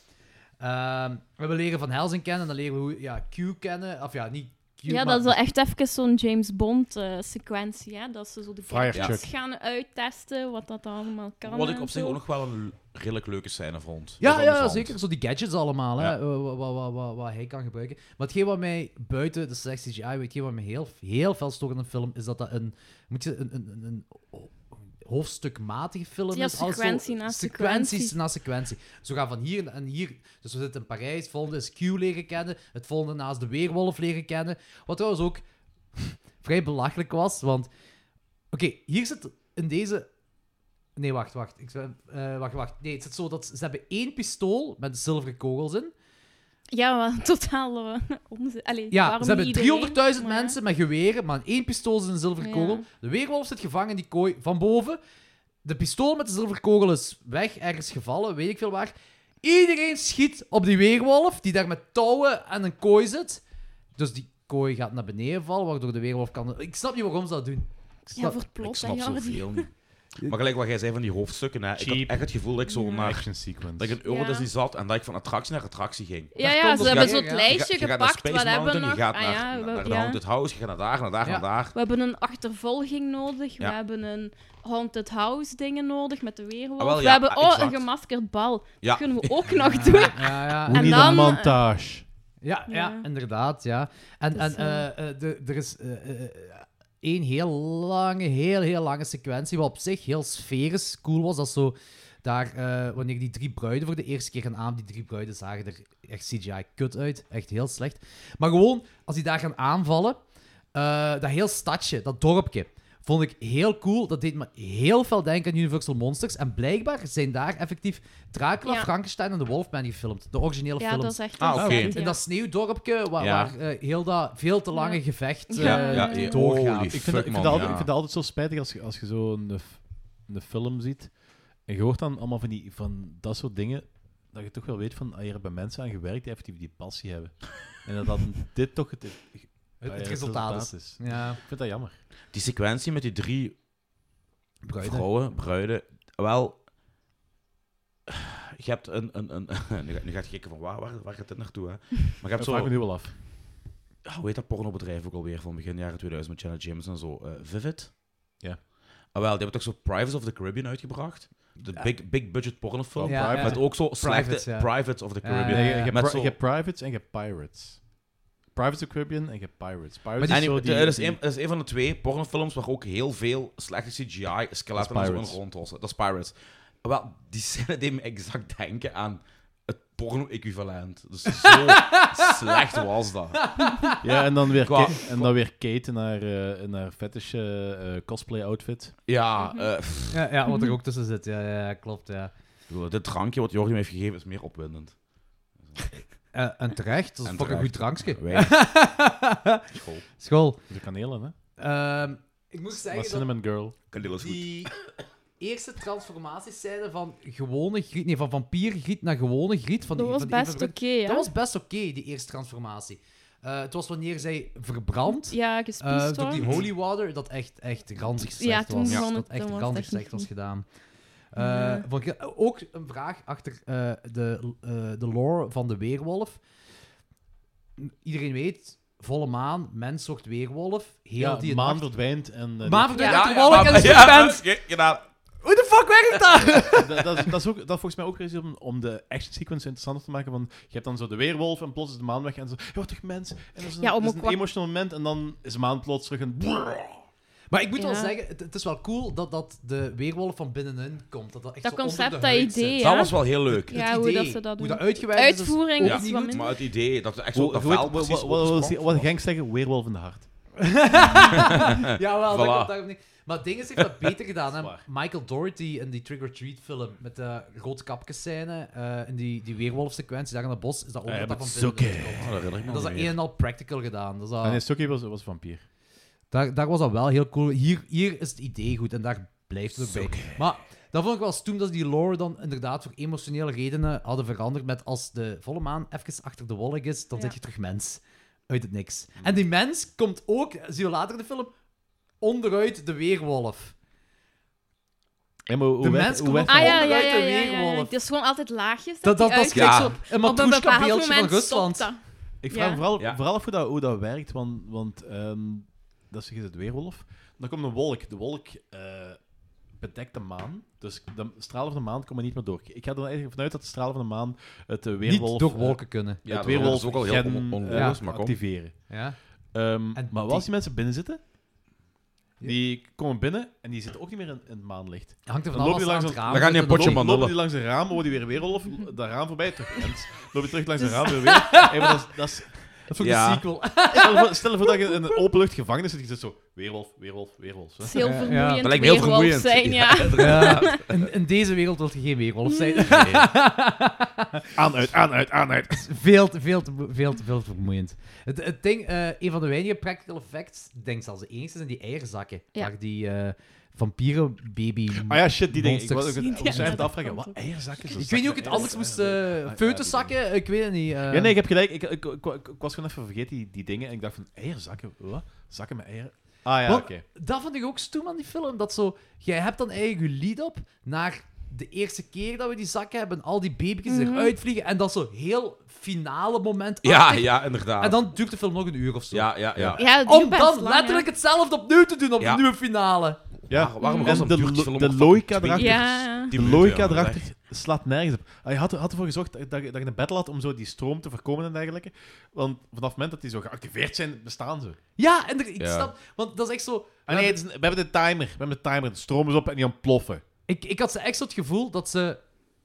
C: Ehm, we leren Van Helsing kennen, dan leren we hoe, ja, Q kennen. Of ja, niet Q,
G: Ja,
C: maar-
G: dat is wel echt even zo'n James Bond-sequentie. hè dat ze zo de
E: Fire
G: gadgets
E: Chuck.
G: gaan uittesten, wat dat allemaal kan.
F: Wat ik
G: en
F: op zich
G: zo.
F: ook nog wel een redelijk leuke scène vond. Dat
C: Ja,
F: was
C: ja,
F: amusant.
C: zeker. Zo die gadgets allemaal, hè,
F: Ja.
C: eh, wat, wat, wat, wat, wat hij kan gebruiken. Maar hetgeen wat mij buiten de slechte CGI, hetgeen wat mij heel, heel veel stoort aan een film, is dat dat een, moet je, een, een, een, een hoofdstukmatige film
G: Ja,
C: is. Alles zo-
G: sequentie na
C: Sequenties
G: sequentie.
C: na sequentie. Zo gaan van hier en hier. Dus we zitten in Parijs, het volgende is Q leren kennen, het volgende naast de Weerwolf leren kennen. Wat trouwens ook vrij belachelijk was, want... Oké, hier zit in deze Nee, wacht, wacht. Ik, ben- eh, wacht, wacht. Nee, het zit zo dat ze, ze hebben één pistool met zilveren kogels in.
G: Ja, wel, totaal eh, onzin. Allee,
C: Ja,
G: waarom
C: ze hebben
G: niet iedereen?
C: 300.000
G: Maar ja.
C: mensen met geweren, maar in één pistool is een zilveren
G: Ja.
C: kogel. De weerwolf zit gevangen in die kooi van boven. De pistool met de zilveren kogel is weg, ergens gevallen, weet ik veel waar. Iedereen schiet op die weerwolf, die daar met touwen aan een kooi zit. Dus die kooi gaat naar beneden vallen, waardoor de weerwolf kan... Ik snap niet waarom ze dat doen. Ik
G: Ja,
C: snap-
G: voor het
F: Ik
G: plot, hè,
F: snap
G: Jordi.
F: zoveel niet. Maar gelijk wat jij zei van die hoofdstukken, hè, ik had
E: Cheap.
F: echt het gevoel dat ik zo naar
E: Action sequence.
F: dat ik een Euro
G: Ja.
F: Disney zat en dat ik van attractie naar attractie ging.
G: Ja,
C: Daar
G: ja,
C: komt
G: ze
C: het
G: hebben
C: neer,
G: zo'n
C: ja.
F: Je,
G: lijstje
F: ga- je gaat naar
G: gepakt.
F: Space
G: Wat hebben we
F: Mountain,
G: nog?
F: je gaat
G: Ah
F: naar,
G: ja,
F: naar,
G: we-
F: naar de
G: ja.
F: Haunted House, je gaat naar daar, naar daar,
C: Ja.
F: naar daar.
G: We hebben een achtervolging nodig.
F: Ja.
G: We hebben een haunted house dingen nodig met de weerwolf.
F: Ah, wel,
G: we
F: ja,
G: hebben
F: ah,
G: oh, een
F: exact.
G: gemaskerd bal.
F: Ja.
G: Dat kunnen we ook nog doen.
C: Ja, ja.
E: Hoe
G: en
E: niet
G: dan,
E: een
G: eh,
E: montage.
C: Ja, ja.
G: Ja.
C: inderdaad, ja. En,
G: Dus,
C: en eh, eh, de- er is eh, eh, eh, één heel lange, heel, heel lange sequentie, wat op zich heel sferisch cool was. Dat zo daar, eh, wanneer die drie bruiden voor de eerste keer gaan aan, die drie bruiden zagen er echt CGI-kut uit. Echt heel slecht. Maar gewoon, als die daar gaan aanvallen, eh, dat heel stadje, dat dorpje, vond ik heel cool. Dat deed me heel veel denken aan Universal Monsters. En blijkbaar zijn daar effectief Dracula,
G: Ja.
C: Frankenstein en de Wolfman gefilmd. De originele
G: ja,
C: films.
G: dat is echt
F: Ah,
G: een
F: oké.
G: set,
C: In
G: ja.
C: dat sneeuwdorpje, waar,
F: Ja.
C: waar eh, heel dat veel te lange
G: Ja.
C: gevecht eh,
G: Ja, ja, ja.
C: doorgaat.
F: Holy
E: Ah, Ik vind, dat- ik,
F: Fuck,
E: vind dat
F: man,
E: altijd,
F: ja.
E: ik vind dat altijd zo spijtig als je, als je zo'n eh, f- een film ziet. En je hoort dan allemaal van, die, van dat soort dingen. Dat je toch wel weet van, ah, hier hebben mensen aan gewerkt die effectief die passie hebben. En dat dan dit toch het,
C: Het,
E: ah,
C: het
E: ja,
C: resultaat is. Ja,
E: Ik vind dat jammer.
F: Die sequentie met die drie
C: bruiden.
F: vrouwen, bruiden, wel... Je hebt een... een, een nu, ga- nu gaat het gekken van, waar, waar, waar gaat dit naartoe? Hè? Maar je hebt
E: Dat vraag
F: zo...
E: me nu wel af.
F: ah, hoe heet dat pornobedrijf ook alweer van begin jaren 2000 met Janet James en zo? eh, Vivid?
E: Ja.
F: Ah wel, die hebben toch zo Pirates of the Caribbean uitgebracht? De big, big budget pornofilm.
C: Ja,
F: Met
C: ja.
F: ook zo slechte
C: Privates,
F: Privates,
C: ja.
F: of the
C: Ja,
F: Caribbean.
C: ja,
E: Nee,
C: ja.
E: je, hebt
F: Met
E: pri-
F: zo-
E: je hebt Privates en je hebt Pirates. Pirates of the Caribbean en je hebt Pirates. Pirates
C: die-
E: is zo
F: Anyway,
E: die...
F: er is
E: die-
F: een, er is een van de twee pornofilms waar ook heel veel slechte CGI skeletten en zo in
E: Pirates.
F: rondhossen. Dat is Pirates. Ah, Wel, die scène deed me exact denken aan het porno-equivalent. Dus zo slecht was dat.
E: Ja, en dan weer,
F: Qua-
E: Ka- en dan weer Kate in haar, eh, in haar fetish eh, eh, cosplay outfit.
F: Ja, eh, pff,
C: Ja, ja, wat er ook tussen zit. Ja, ja, ja, klopt, ja.
F: ik bedoel, dit drankje wat Jordi me heeft gegeven is meer opwindend.
C: Eh, en terecht, dat is
F: En
C: een fucking goed drankje.
F: Wij- School.
C: School.
E: De kanelen, hè?
C: Ehm, ik moest
E: Maar
C: zeggen dat
E: Cinnamon Girl.
F: Kandeel is goed.
C: die eerste transformaties zijn van gewone griet, nee, van vampiergriet naar gewone griet. Van die-
G: Dat was
C: van die
G: best oké,
C: even-
G: ja.
C: Dat was best oké, die eerste transformatie. Eh, het was wanneer zij verbrand,
G: Ja,
C: eh,
G: gespiesd
C: door die
G: wordt.
C: holy water, dat echt, echt ranzig slecht
G: Ja, toen
C: was.
G: begon
C: Dat
G: het-
C: echt
G: toen was het
C: ranzig
G: echt niet
C: slecht was
G: goed.
C: gedaan.
G: Ja.
C: Eh, vond ik- ook een vraag achter eh, de, eh, de lore van de weerwolf. Iedereen weet, volle maan, mens zocht weerwolf. Heel
E: Ja,
C: die
E: maan
C: nacht-
E: verdwijnt en... eh,
C: Maan
E: die-
C: verdwijnt uit de wolk en de serpent.
F: nou,
C: Hoe de fuck werkt dat?
E: dat, dat, is- dat is ook, dat is volgens mij ook iets om, om de action sequence interessanter te maken. Want je hebt dan zo de weerwolf en plots is de maan weg en zo. Ja, wat toch mens? En dat is een,
G: Ja,
E: dat
G: om
E: is
G: ook
E: een
G: wat-
E: emotional moment en dan is de maan plots terug een.
C: Maar ik moet wel
G: Ja.
C: zeggen, het, het is wel cool dat, dat de weerwolf van binnenin komt. Dat, dat, echt
G: Dat
C: zo
G: concept,
C: onder de
G: dat
C: huid
G: idee,
C: zit.
G: Ja.
F: Dat was wel heel leuk.
G: Ja,
C: Het
G: hoe
C: idee,
G: dat ze dat
C: Hoe
G: doen.
C: dat uitgewerkt is,
G: Uitvoering
C: is, ook
G: is
C: niet
G: wat
C: goed.
G: minder.
F: Maar het idee dat ze echt zo
E: Hoe-
F: op dat
E: hoe-
F: veld
E: wat-
F: precies Oh, op
E: wat- Wat
F: de
E: wil
F: sprong
E: wat
F: was.
E: Genk zeggen? Weerwolf in de hart.
C: Jawel,
F: Voilà.
C: dat komt daarop neer. Maar Dinges heeft dat beter gedaan. Hè?
E: Dat is
C: Michael Doherty in die Trick or Treat film met de rood kapkescène eh in die, die weerwolfsequentie daar in het bos, is dat ook
E: Ja,
C: dat
E: Eh, maar
C: dat van
E: het is
C: binnen
E: oké.
C: komt.
F: Oh, dat herinner ik me
C: Dat is dat
F: niet
C: een
F: meer.
C: en al practical gedaan. Dat is dat-
E: En nee, Sokkie was, was vampier.
C: daar, daar was dat wel heel cool. Hier, hier is het idee goed en daar blijft het ook bij. Maar dat vond ik wel stoem dat ze die lore dan inderdaad voor emotionele redenen hadden veranderd. Met als de volle maan even achter de wolk is, dan
G: Ja.
C: zit je terug mens. Uit het niks.
E: Hmm.
C: En die mens komt ook, zie je later in de film, onderuit de weerwolf.
E: Ja, maar hoe
C: De
E: werd-
C: mens
E: hoe
C: komt
E: werd-
C: ook
G: Ah ja, ja,
C: onderuit
G: ja,
C: de
G: ja, ja, ja.
C: weerwolf.
G: Het is gewoon altijd laagjes.
C: Dat, dat,
G: die
C: dat is
G: uitkomt.
C: gelijk
F: Ja.
C: zo een
G: Op een
C: matroeska
G: bepaald
C: beeldje van
G: moment
C: Rusland.
G: stopt dat.
E: Ik vraag
G: Ja.
E: vooral,
F: Ja.
E: vooral af hoe dat, hoe dat werkt, want, want ehm, dat is het weerwolf. Dan komt een wolk. De wolk eh, bedekt de maan, dus de stralen van de maan komen niet meer door. Ik ga er eigenlijk vanuit dat de stralen van de maan het eh, weerwolf...
C: Niet door
E: eh,
C: wolken kunnen.
F: Ja,
E: het
F: dat
E: weerwolf
F: is ook al heel
E: gen,
F: on-
E: eh,
F: onlogisch, maar kom.
E: activeren.
C: Ja.
E: Ehm,
C: En
E: maar
C: die-
E: wat als die mensen binnen zitten?
C: Ja.
E: Die komen binnen en die zitten ook niet meer in, in het maanlicht.
C: Hangt er
E: Dan
C: van
E: loop
C: alles
E: je
C: aan het
E: langs-
C: raam.
F: dan gaan die
C: uit,
F: een potje
C: dan-
F: man-
E: Lopen
F: Mandela.
E: die langs een raam, wordt die weer weerwolf, dat raam voorbij, terug mens. Loop je terug langs een raam, weer weer. Hey, maar dat is- dat is
C: Dat is ook
F: Ja.
C: de sequel.
E: Stel je voor, stel je voor dat je in een openlucht gevangenis zit, je zit zo, weerwolf, weerwolf, weerwolf.
G: Het
E: hè.
G: is heel
C: Ja, ja.
G: vermoeiend.
F: Dat lijkt me heel vermoeiend.
G: weerwolf zijn, ja.
C: Ja, in, in deze wereld wil je geen weerwolf zijn.
E: Aan, uit, aan, uit, aan, uit.
C: veel, te, veel, te, veel, te, veel te vermoeiend. Het, het ding, eh, een van de weinige practical effects, ik denk zelfs de enige, zijn die eierzakken.
G: Ja.
C: Waar die eh, vampieren-baby...
E: Ah ja, shit, die ding. Ik
C: Monsters.
E: was ook het- ik moest
G: Ja,
E: even
G: dat
E: afvragen,
G: kan
E: wat
G: ook.
E: eierzakken? Zo
C: Ik weet
E: zakken Ah,
C: niet hoe ik het anders
E: eieren.
C: moest... eh feutuszakken? Ik weet het niet. eh.
E: Ja, nee, ik heb gelijk. Ik, ik, ik, ik- ik was gewoon even vergeten die, die dingen en ik dacht van, eierzakken? Wat? Zakken met eieren? Ah ja,
C: Want
E: oké.
C: Dat vond ik ook stoem aan die film. Dat zo, jij hebt dan eigenlijk je lead op naar de eerste keer dat we die zakken hebben, al die baby's
G: Mhm.
C: die eruit vliegen en dat zo heel finale moment.
F: Ja, ja, inderdaad.
C: En dan duurt de film nog een uur of zo.
F: Ja, ja, ja.
G: Ja, dat duurt
C: Om
G: best
C: dan
G: lang, hè.
C: Oh, letterlijk hetzelfde opnieuw te doen op
F: Ja.
C: de nieuwe finale.
E: Ja,
F: waarom
E: en
F: was
E: de, lo- de logica erachter,
G: Ja.
E: de logica erachter slaat nergens op. Hij had, had ervoor gezorgd dat, dat je dat je een battle had om zo die stroom te voorkomen en dergelijke. Want vanaf het moment dat die zo geactiveerd zijn, bestaan ze.
C: Ja, en er- ik
F: Ja.
C: snap, want dat is echt zo.
E: Ah, nee, het is een- we hebben de timer. We hebben de timer. De stroom is op en die ontploffen.
C: Ik, ik had ze echt zo het gevoel dat ze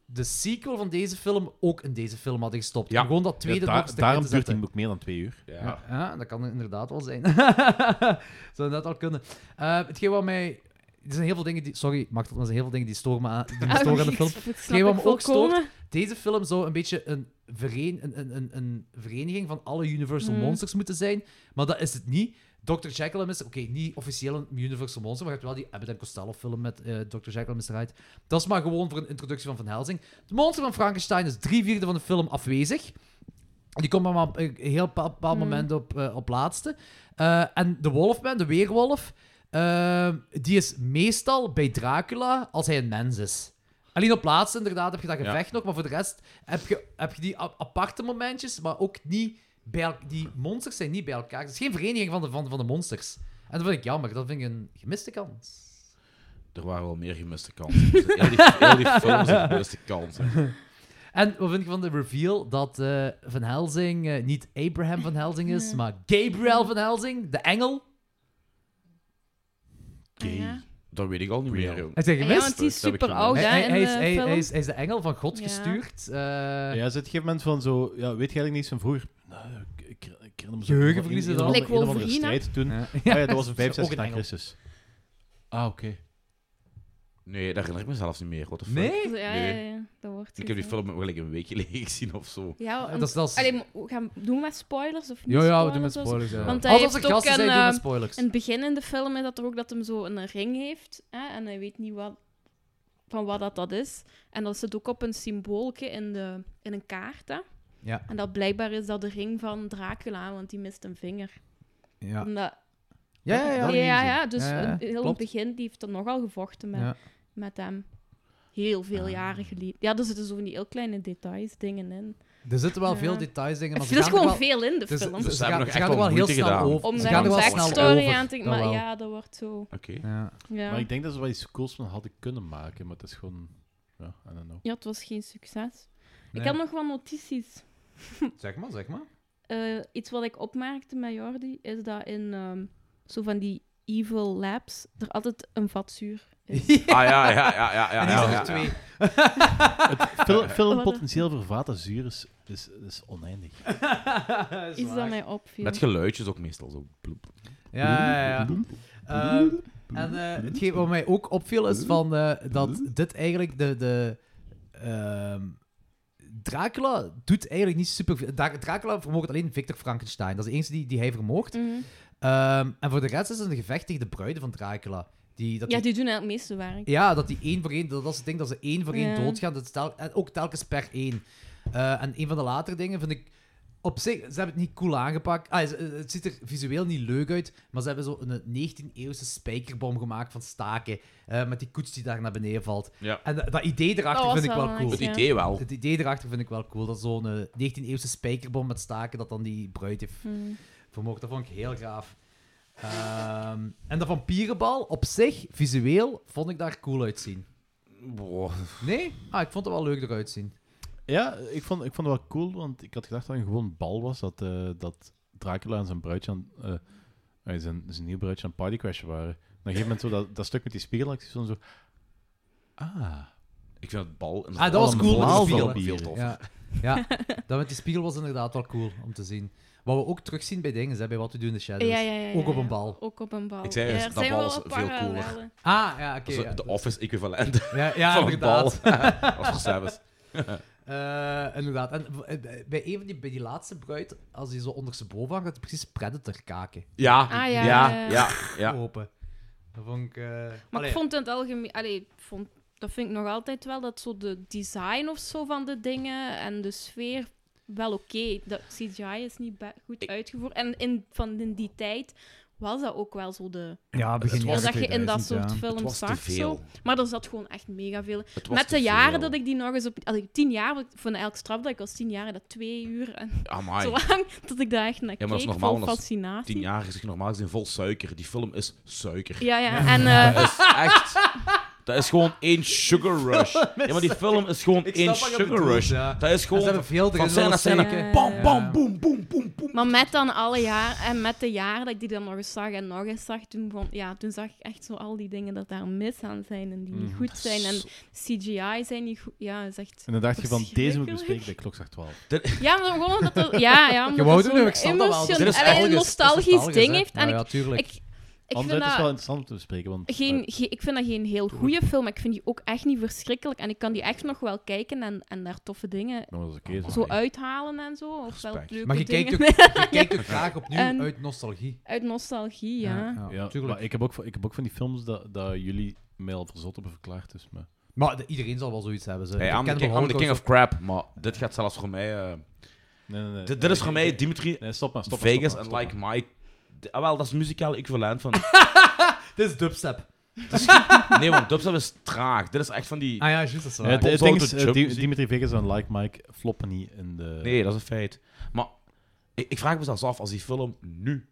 C: de sequel van deze film ook in deze film hadden gestopt.
F: Ja.
C: Om gewoon dat tweede
E: Ja, da-
C: nog eens erin
E: daarom
C: te
E: duurt
C: zetten.
E: die ook meer dan twee uur.
F: Ja.
C: Ja. dat kan inderdaad wel zijn. Zou dat al kunnen. Eh, hetgeen wat mij... Er zijn heel veel dingen die... Sorry, mag dat, maar er zijn heel veel dingen die storen me aan, die me
G: Ah,
C: storen aan de
G: ik
C: film.
G: snap het
C: Hetgeen wat me ook
G: volkomen.
C: stoort, deze film zou een beetje een, vereen, een, een, een, een vereniging van alle Universal
G: Mm.
C: Monsters moeten zijn. Maar dat is het niet. Dr. Jekyll en Mr. Oké, niet officieel een Universal Monster, maar je hebt wel die Abbott en Costello film met eh, Dr. Jekyll en Mr. Hyde. Dat is maar gewoon voor een introductie van Van Helsing. Het monster van Frankenstein is drie vierde van de film afwezig. Die komt maar op een heel pa- bepaald
G: Hmm.
C: moment op, eh, op laatste. Eh, en de Wolfman, de Weerwolf, eh, die is meestal bij Dracula als hij een mens is. Alleen op laatste inderdaad heb je dat gevecht nog, maar voor de rest heb je, heb je die a- aparte momentjes, maar ook niet bij el- die monsters zijn niet bij elkaar. Het is geen vereniging van de, van, van de monsters. En dat vind ik jammer. Dat vind ik een gemiste kans.
F: Er waren wel meer gemiste kansen. Dus Heel die, heel die films zijn gemiste kansen.
C: En wat vind ik van de reveal dat eh, Van Helsing eh, niet Abraham Van Helsing is, maar Gabriel Van Helsing, de engel?
G: Ah, ja.
F: Dat weet ik al niet meer, joh.
C: Heb je
G: Ah, ja,
C: gemist?
G: want die is
F: Dat heb ik
G: super oud,
C: Hij,
G: hè,
C: hij-
G: in
C: hij
G: de
C: is, hij,
G: film.
C: hij is, hij is de engel van God
G: Ja.
C: gestuurd. eh,
E: ja, is het gegeven moment van zo... Ja, weet je eigenlijk niets van vroeger? Nou, ik, ik, ik herinner me zo...
C: Geheugenverlies is
E: een- een-
C: al.
E: een-
G: Like
E: een of andere
G: Wolverine.
E: strijd toen.
C: Ja.
E: Ah ja, dat was een 5,
C: Ook
E: 6
C: een
E: na
C: engel.
E: Christus. Ah, oké.
F: Nee, dat herinner ik me zelfs niet meer. What the fuck?
C: Nee?
G: Ja, ja, ja, ja, dat wordt
F: Ik heb die
G: gezegd.
F: film gelijk een week geleden gezien of zo.
G: Ja,
C: Dat is, dat is...
G: Allee, maar hoe gaan doen we met spoilers? Of niet
C: ja, ja, we doen met
G: of zo?
C: spoilers. Ja.
G: Want hij
C: Als onze
G: heeft ook
C: gasten zijn,
G: een,
C: doen we met
G: eh,
C: spoilers.
G: In het begin in de film is dat er ook dat hem zo een ring heeft. Hè, en hij weet niet wat, van wat dat, dat is. En dat zit ook op een symboolke in, de, in een kaart. Hè.
C: Ja.
G: En dat blijkbaar is dat de ring van Dracula, want die mist een vinger.
C: Ja,
G: Omdat,
C: ja, ja.
G: ja,
C: ja.
G: ja, dus
C: Ja, ja,
G: een- heel in het
C: klopt.
G: begin, die heeft er nogal gevochten met,
C: Ja.
G: met hem. Heel
C: Ah.
G: veel jaren geleden. Ja, er zitten zo van die heel kleine details, dingen in.
C: Er zitten wel veel
G: Ja.
C: details dingen.
G: Er
C: maar ze
G: is
C: gaan er
G: gewoon
C: wel-
G: veel in de
C: Dus,
G: film.
F: Dus
C: ze
F: ze hebben
C: gaan,
F: nog
C: ze
F: echt
C: gaan er
F: wel
C: wel heel
F: moeite
C: snel
F: gedaan.
C: over.
G: om
C: ze
G: daar
C: gaan er
G: een
C: wel snel
G: backstory
C: over.
G: aan te
C: dat
G: Maar
C: wel.
G: ja, dat wordt zo...
F: Oké.
C: Ja.
G: Ja.
E: Maar ik denk dat ze wel iets cools van hadden kunnen maken, maar het is gewoon... Ja, I don't know.
G: ja, het was geen succes.
C: Nee.
G: Ik had nog wat notities.
C: Zeg maar, zeg maar.
G: Eh, iets wat ik opmerkte met Jordi is dat in ehm, zo van die evil labs er altijd een vat zuur is.
F: Ah ja, ja, ja, ja. ja,
C: en die
F: ja,
C: zijn
F: ja,
C: er twee.
E: Film, filmpotentieel voor vatenzuur is, is, is oneindig.
C: Dat is
G: Iets dat
C: waar.
G: mij
F: ja.
G: opviel.
F: Met geluidjes ook meestal zo. Bloep.
C: Ja, ja, ja. Ehm, en eh, hetgeen wat mij ook opviel is van, eh, dat dit eigenlijk de... de ehm, Dracula doet eigenlijk niet super... Dra- Dracula vermoogt alleen Victor Frankenstein. Dat is de enige die, die hij vermoogt.
G: Mhm.
C: Ehm, en voor de rest is het een gevecht tegen de bruiden van Dracula. Die, dat
G: Ja,
C: die-
G: die doen eigenlijk het meeste werk.
C: ja, dat die één voor één... Dat dat is het ding, dat ze één voor één
G: Ja.
C: doodgaan. Dat is tel- en ook telkens per één. Eh, en een van de latere dingen vind ik... Op zich, ze hebben het niet cool aangepakt. Ah, ze- het ziet er visueel niet leuk uit, maar ze hebben zo een 19e-eeuwse spijkerbom gemaakt van staken. eh, met die koets die daar naar beneden valt.
F: Ja.
C: En dat, dat idee erachter
G: Dat was
C: vind ik
G: wel
C: wel cool.
G: nice,
F: Het
G: Ja.
F: idee wel.
C: Het idee erachter vind ik wel cool. Dat zo'n eh, 19e-eeuwse spijkerbom met staken dat dan die bruid heeft
G: Mhm.
C: vermoord. Dat vond ik heel gaaf. Ehm, en de vampierenbal op zich, visueel, vond ik daar cool uitzien.
F: Boah.
C: Nee? Ah, ik vond het wel leuk eruit zien.
E: Ja, ik vond, ik vond het wel cool, want ik had gedacht dat het een gewoon bal was. Dat, eh, dat Dracula en zijn bruidje aan, eh, eh, zijn, zijn nieuw bruidje aan het partycrashen waren. En op een gegeven moment zo dat, dat stuk met die spiegelacties en zo. Ah.
F: Ik vind het bal...
C: Ah, dat was cool met die
E: Allemaal
C: spiegel. hè.
E: vampieren.
F: Veel tof.
C: Ja. ja, dat met die spiegel was inderdaad wel cool om te zien. Wat we ook terugzien bij dingen, hè, bij Wat We Doen in de Shadows.
G: Ja, ja, ja, ja,
C: Ook op
G: ja.
C: een bal.
G: Ook op een bal.
F: Ik zei
G: ja,
F: juist,
G: er
F: dat
G: zijn
F: bal
G: wel
F: is
G: wat
F: veel cooler.
G: parallellen.
C: Ah, ja, oké.
F: Dat is
C: ja.
F: de Office-equivalent
C: ja, ja,
F: van een bal.
C: inderdaad.
F: of voor Sebas.
C: Eh, inderdaad. En v- eh, bij, een van die, bij die laatste bruid, als die zo ondersteboven hangt, had hij precies Predator kaken
F: Ja,
G: Ah, ja, ja,
F: ja,
G: ja.
F: ja, ja.
C: open. Dat vond ik... eh,
G: Maar
C: allee,
G: ik vond in het algemeen... Allee, ik vond, dat vind ik nog altijd wel, dat zo de design of zo van de dingen en de sfeer wel oké. dat CGI is niet be- goed
F: Ik-
G: uitgevoerd. En in, van in die tijd was dat ook wel zo de...
C: ja, begin
G: Heel
C: jaren
G: dat je in dat
C: 2000,
G: soort
C: ja.
F: Het
G: films
F: was te
G: zag.
F: veel.
G: Zo. Maar er zat gewoon echt mega veel.
F: Het was
G: Met
F: te
G: de jaren
F: veel.
G: dat ik die nog eens op. Als ik tien jaar, want van elk strafdag, ik was tien jaar, dat twee uur en
F: Amai.
G: zo lang. Dat ik daar echt naar
F: Ja, maar
G: keek.
F: dat is normaal,
G: vol
F: dat is
G: fascinatie.
F: Tien jaar is normaal gezien vol suiker. Die film is suiker.
G: Ja, ja. En eh,
F: Dat is echt... Dat is gewoon één sugar rush. Ja, maar die film is gewoon
C: Ik snap
F: één
C: wat je
F: sugar
C: bedoelt,
F: rush.
C: ja.
F: Dat is
C: En ze
F: gewoon
C: hebben veel
F: van
C: erin
F: scène naar scène.
C: willen
G: steken.
F: Bam, bam,
C: Ja.
F: boom, boom, boom, boom.
G: maar met dan alle jaar en met de jaren dat ik die dan nog eens zag en nog eens zag, toen, begon, ja, toen zag ik echt zo al die dingen dat daar mis aan zijn en die
C: Mm,
G: niet goed zijn. En CGI zijn niet goed. Ja, dat is echt.
E: En dan dacht je van, deze moet ik
G: Verschrikkelijk.
E: bespreken bij Klokslag 12.
G: Ja, maar gewoon omdat dat. Ja, ja. omdat
C: Je wou
G: dat
C: het nu,
G: zo'n
C: ik snap dat wel.
G: emotion-
F: Dit is
G: Allee, een
F: nostalgisch,
G: nostalgisch, ding heeft. En
C: Nou ja,
G: ik,
C: tuurlijk.
G: ik, ik vind
E: Anderzijds is het wel
G: dat
E: interessant om te bespreken, want...
G: geen,
E: eh,
G: ge- ik vind dat geen heel goede film, maar ik vind die ook echt niet verschrikkelijk. En ik kan die echt nog wel kijken en, en daar toffe dingen
E: maar dat is oké.
G: zo uithalen en zo. Of wel
F: Respect.
G: leuke
C: maar je
G: dingen.
C: kijkt, ook, je kijkt ook graag opnieuw
G: En-
C: uit nostalgie.
G: Uit nostalgie, ja.
E: Ja,
C: tuurlijk.
E: maar ik heb, ook, van- ik heb ook van die films dat, dat jullie mij al verzot hebben verklaard, dus... Maar...
C: Maar de- iedereen zal wel zoiets hebben. Ze.
F: Hey,
C: Ik
F: I'm, the
C: ken
F: king,
C: wel
F: I'm the king
C: Holocaust-
F: of crap, maar dit gaat zelfs voor mij... eh,
E: Nee, nee, nee.
F: dit, dit is voor mij Dimitri,
C: Ah,
E: Nee, stop maar, stop maar,
F: Vegas
E: stop
F: en
E: maar,
F: Like
E: stop
F: Mike. D- Ah, wel, dat is het muzikale equivalent van...
C: Dit is dubstep.
F: Nee, want dubstep is traag. Dit is echt van die...
C: Ah ja, juist, dat is
E: maar.
C: waar.
E: Eh, het- het
F: Pop
E: ding
F: Auto
E: is, eh,
F: Jump
E: Di-
F: muziek.
E: Dimitri Vegas en Like Mike floppen niet in de...
F: Nee, dat is een feit. Maar Ik, ik vraag me zelfs af, als die film nu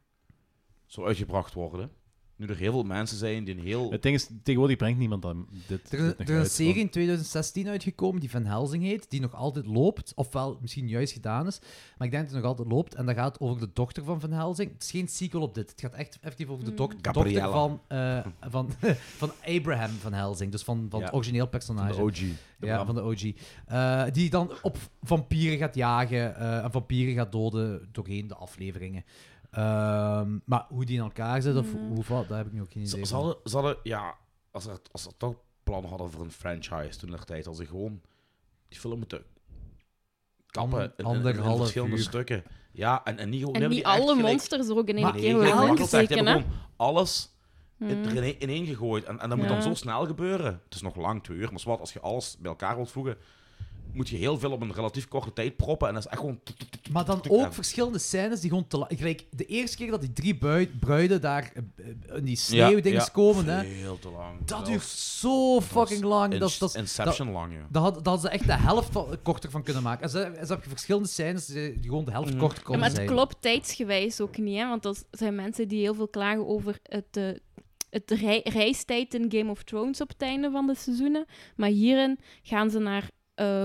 F: zou uitgebracht worden, nu er heel veel mensen zijn die een heel...
E: Het ding is, tegenwoordig brengt niemand dan dit.
C: Er,
E: dit
C: is-
E: nog
C: er is
E: uit,
C: een
E: want-
C: serie in 2016 uitgekomen die Van Helsing heet, die nog altijd loopt, ofwel misschien juist gedaan is, maar ik denk dat het nog altijd loopt. En dat gaat over de dochter van Van Helsing. Het is geen sequel op dit. Het gaat echt effectief over de dok- dochter
B: Gabriella.
C: van, eh, van, van Abraham Van Helsing, dus van, van het
E: Ja.
C: origineel personage.
E: De OG.
C: ja, van de OG. Eh, die dan op vampieren gaat jagen eh, en vampieren gaat doden doorheen de afleveringen. Ehm, maar hoe die in elkaar zit of
G: Mm.
C: hoe wat, daar heb ik nu ook geen idee
F: Ze, ze,
C: van.
F: hadden, ze hadden- ja, als ze, als ze toch plannen hadden voor een franchise toen der tijd, als ze gewoon die film moeten kappen in- in, in
C: anderhalf
F: verschillende
C: uur.
F: stukken. Ja, en, en niet gewoon...
G: En
F: nee, maar
G: niet
F: echt
G: alle
F: gelijk-
G: monsters er ook in één
F: Maar-
G: keer
F: gelijk
G: worden
F: Marcel zegt, die
G: ingekeken, hè?
F: hebben gewoon alles in-
G: Mm.
F: er ineen, ineen gegooid. En, en dat moet
G: Ja.
F: dan zo snel gebeuren. Het is nog lang, twee uur. Maar wat, als je alles bij elkaar wilt voegen, moet je heel veel op een relatief korte tijd proppen. En dat is echt gewoon... tuk, tuk, tuk, tuk,
C: Maar dan
F: tuk, tuk.
C: ook
F: En-
C: verschillende scènes die gewoon te la- Gelijk, de eerste keer dat die drie bui- bruiden daar eh, eh, in die sneeuwdings
F: ja,
C: komen, hè.
F: Veel te lang.
C: Dat duurt
F: is
C: zo fucking lang. Dat, dat,
F: Inception lang, joh.
C: dat, dat, had, dat hadden ze echt de helft van- korter van kunnen maken. En ze, en ze heb je verschillende scènes die die gewoon de helft korter
G: Mhm. Ja,
C: konden
G: maar het
C: zijn.
G: klopt tijdsgewijs ook niet, hè? want dat zijn mensen die heel veel klagen over het, eh, het rei- reistijd in Game of Thrones op het einde van de seizoenen. Maar hierin gaan ze naar eh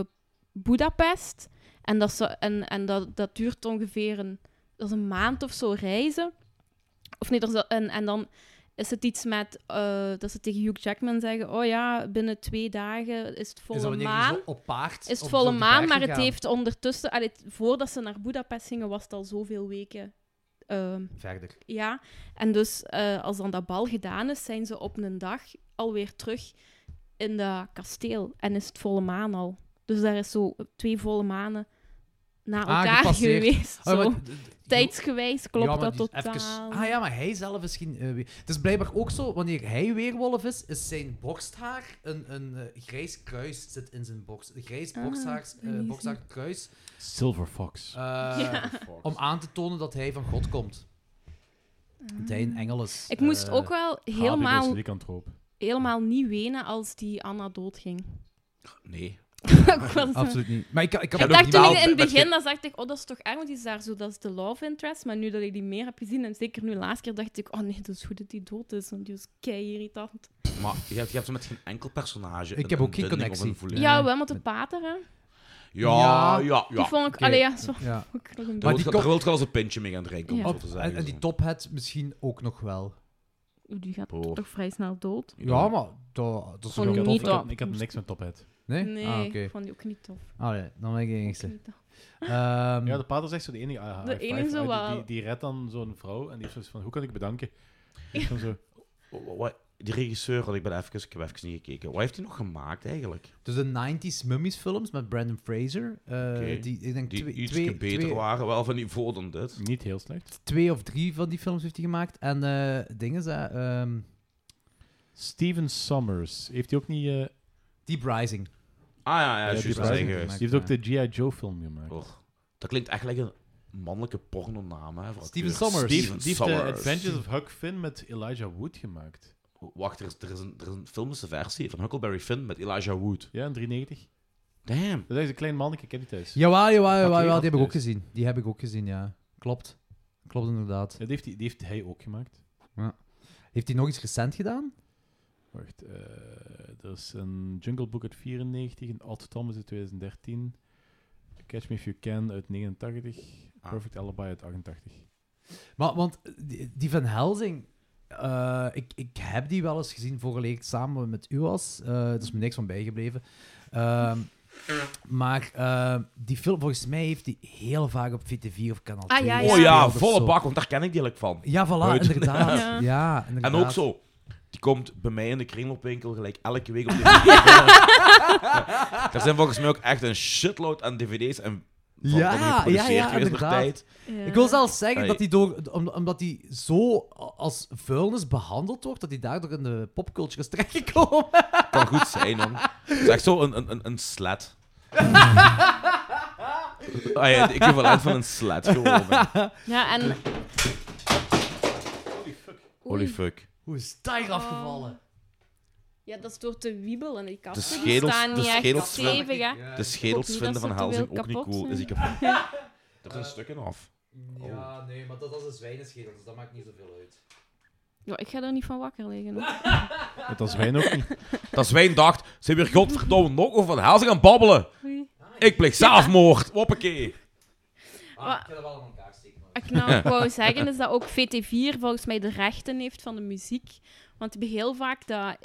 G: Budapest en, dat, ze, en, en dat, dat duurt ongeveer een, dat is een maand of zo reizen. Of nee, dat is dat- en, en dan is het iets met eh, dat ze tegen Hugh Jackman zeggen: Oh ja, binnen twee dagen is het
C: Is dat
G: volle
C: wanneer je
G: maan.
C: zo op paard...
G: Is
C: op
G: het volle
C: zo'n
G: maan,
C: berg
G: maar het
C: gegaan?
G: heeft ondertussen... allee, t- voordat ze naar Boedapest gingen, was het al zoveel weken. ehm,
C: Verder.
G: ja, en dus eh, als dan dat bal gedaan is, zijn ze op een dag alweer terug in dat kasteel. En is het volle maan al. Dus daar is zo twee volle manen na
C: Ah,
G: elkaar
C: gepasseerd.
G: geweest.
C: Oh,
G: Zo.
C: maar- d- d-
G: Tijdsgewijs klopt
C: Ja, maar
G: dat
C: die is
G: totaal.
C: even- Ah ja, maar hij zelf is geen... eh, weer- het is blijkbaar ook zo, wanneer hij weerwolf is, is zijn borsthaar een, een eh, grijs kruis zit in zijn borst. Een grijs
G: Ah,
C: borsthaar, eh,
G: amazing.
C: borsthaar kruis.
E: Silver Fox.
C: eh,
G: Ja.
C: Om aan te tonen dat hij van God komt. Dat hij een engel is.
G: Ah. Ik moest
C: Eh,
G: ook wel helemaal,
E: Die kant op.
G: helemaal niet wenen als die Anna doodging.
F: Nee.
G: Ik was zo-
C: Absoluut niet. Maar ik, ik, had
G: Ik
C: ook
G: dacht
C: niet-
G: toen
F: wel
G: in het
F: met- met
G: begin, dan dacht ik, oh, dat is toch erg, want die is daar zo, dat is de love interest. Maar nu dat ik die meer heb gezien, en zeker nu de laatste keer, dacht ik, oh nee, dat is goed dat die dood is, want die is kei irritant.
F: Maar je hebt, je hebt zo met geen enkel personage.
C: Ik
F: een-
C: heb
F: een
C: ook geen
F: binding of een
C: connectie.
F: voeling.
G: Ja,
C: Ja,
G: wel, want de pater, hè.
F: Ja, ja, ja.
G: Die vond ik,
C: oké.
G: allee, ja, zo.
C: Ja.
G: Ook nog een
F: Daar
C: Maar
G: beetje.
C: die
F: wil ik
C: kom-
F: daar wil ik wel eens een pintje mee gaan drinken, om
G: Ja.
F: het zo te
C: En,
F: zeggen.
C: en die tophead misschien ook nog wel.
G: Oeh, Die gaat
F: Boah.
G: toch vrij snel dood.
C: Ja, maar dat, dat is
G: Gewoon
C: wel
E: ik, had,
G: niet
E: ik, had,
G: op.
E: ik had niks met Tophead.
C: Nee?
G: Nee,
C: Ah, oké.
G: ik vond die ook niet tof.
C: Allee, dan ben ik de
G: Ook
C: enigste.
G: niet tof.
C: Ehm,
E: Ja, de pater is echt zo de enige. ah,
G: De
E: high five.
G: enige
E: Ah, die-
G: wel.
E: Die, die redt dan zo'n vrouw en die is zo van, hoe kan ik bedanken? Die is dan zo,
F: Wa- wa- wa- Die regisseur, want ik, ben even, ik heb even niet gekeken. Wat heeft hij nog gemaakt eigenlijk?
C: Dus de 90s mummies films met Brandon Fraser. eh, die, ik denk
F: Die
C: twee,
F: iets
C: twee,
F: beter
C: twee,
F: waren, wel van niveau dan dit. Ah,
E: niet heel slecht.
C: twee of drie van die films heeft hij gemaakt. En eh dingen zijn. ehm,
E: Steven Sommers. Heeft hij ook niet... eh,
C: Deep Rising.
F: Ah ja, ja,
E: Ja,
F: juist
E: die
F: dat is hij
E: Rising
F: geweest.
E: die heeft ook de G.I. Joe film gemaakt.
F: Oh, dat klinkt echt lekker een mannelijke pornonaam. Hè, voor
C: Steven
F: acteurs.
C: Sommers. eh,
E: Die heeft,
F: Steven
E: die heeft de
F: Sommers.
E: Adventures of Huck Finn met Elijah Wood gemaakt.
F: Wacht, er is, er, is een, er is een filmische versie van Huckleberry Finn met Elijah Wood.
E: Ja, in 93.
F: Damn.
E: Dat is een klein mannetje, ik ken die thuis.
C: Jawel, jawel, jawel,
E: Oké,
C: jawel,
E: dat
C: Die heb ik ook
E: is.
C: gezien. Die heb ik ook gezien, ja. Klopt. Klopt inderdaad.
E: Ja, die, heeft, die die heeft hij ook gemaakt.
C: Heeft hij nog iets recent gedaan?
E: Wacht, eh er is een Jungle Book uit 94, een Odd Thomas uit 2013, Catch Me If You Can uit 89,
F: Ah.
E: Perfect Alibi uit 88.
C: Maar, want eh, die, die Van Helsing, eh, ik, ik heb die wel eens gezien voorgeleerd samen met u was. Eh er is me niks van bijgebleven. Ehm, maar eh, die film, volgens mij heeft die heel vaak op VT4 of Kanaal 2.
G: Ah, ja,
F: Oh
G: ja.
F: ja,
C: gespeeld of
F: volle
C: zo.
F: bak, want daar ken ik die eigenlijk van.
C: Ja, voilà,
F: Uit.
C: inderdaad. Ja.
G: Ja.
C: inderdaad.
F: En ook zo. Die komt bij mij in de kringloopwinkel gelijk elke week op DVD. ja. Er zijn volgens mij ook echt een shitload aan DVD's en van,
C: Ja,
F: van die
C: ja,
F: geproduceerd
C: ja,
F: geweest door
C: inderdaad.
F: tijd.
G: Ja.
C: Ik wil zelfs zeggen
F: Hey.
C: dat die door, om- omdat die zo als vuilnis behandeld wordt, dat die daardoor in de popculture is terechtgekomen.
F: Kan goed zijn, man. Het is echt zo een, een, een, een slat. Ah ja, de equivalent van een slat gewoon. hè.
G: Ja, en...
F: Holy
G: Oei.
F: fuck.
C: Hoe is dat hier afgevallen?
G: Ja, dat is door te wiebelen. Die kasten die
F: schedels-
G: staan
F: de
G: niet echt
F: schedels-
G: stevig, hè.
F: De
G: Ik hoop niet
F: schedels
G: dat
F: vinden
G: ze
F: van
G: te
F: Helsing
G: veel
F: ook niet
G: kapot
F: cool. Is
G: zijn.
F: ik er zijn stukken af.
C: Ja, nee, maar dat was een zwijnenschedel, dus dat maakt niet zoveel uit.
G: Ja, ik ga er niet van wakker liggen. hoor.
E: Want dat is wijn ook niet.
F: Dat Zwijn dacht, ze weer godverdomme nog over van hazen gaan babbelen.
G: Oei.
F: Ik pleeg zelfmoord. Hoppakee.
G: Wa-
C: Ah, ik ga dat wel aan elkaar steken.
G: Wat ik nou wou zeggen is dat ook VT4 volgens mij de rechten heeft van de muziek. Want die hebben heel vaak dat...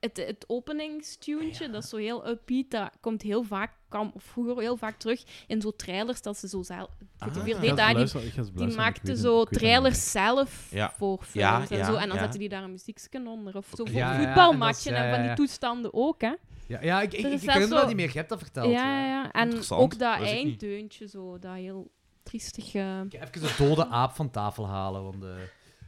G: Het, het openingstuntje, dat is zo heel upbeat, dat komt heel vaak, kwam vroeger heel vaak terug in zo'n trailers dat ze zo zelf... VT4
E: Ik ga
G: deed
E: eens
G: dat, die,
E: luisteren, ik ga eens
G: die
E: luisteren, ik
G: maakte
E: weet
G: zo
E: het- ik weet het niet.
G: trailers zelf
F: Ja.
G: voor
F: Ja,
G: films en
F: ja,
G: zo. En dan
F: ja.
G: zetten die daar een muziekje onder. Of zo
F: Oké.
G: voor
C: Ja, ja,
G: een
C: ja,
G: voetbalmatje
C: en dat is-
G: en
C: ja,
G: van
C: ja.
G: die toestanden ook, hè.
C: Ja, ja ik, ik,
G: Er
C: ik ken
G: is zelfs
C: hem wel
G: zo-
C: niet meer, je hebt dat verteld.
G: Ja, ja, ja. En
F: Interessant.
G: ook dat
F: Wist ik niet.
G: eindeuntje zo, dat heel triestige...
C: Ik ga even de dode aap van tafel halen, want... eh,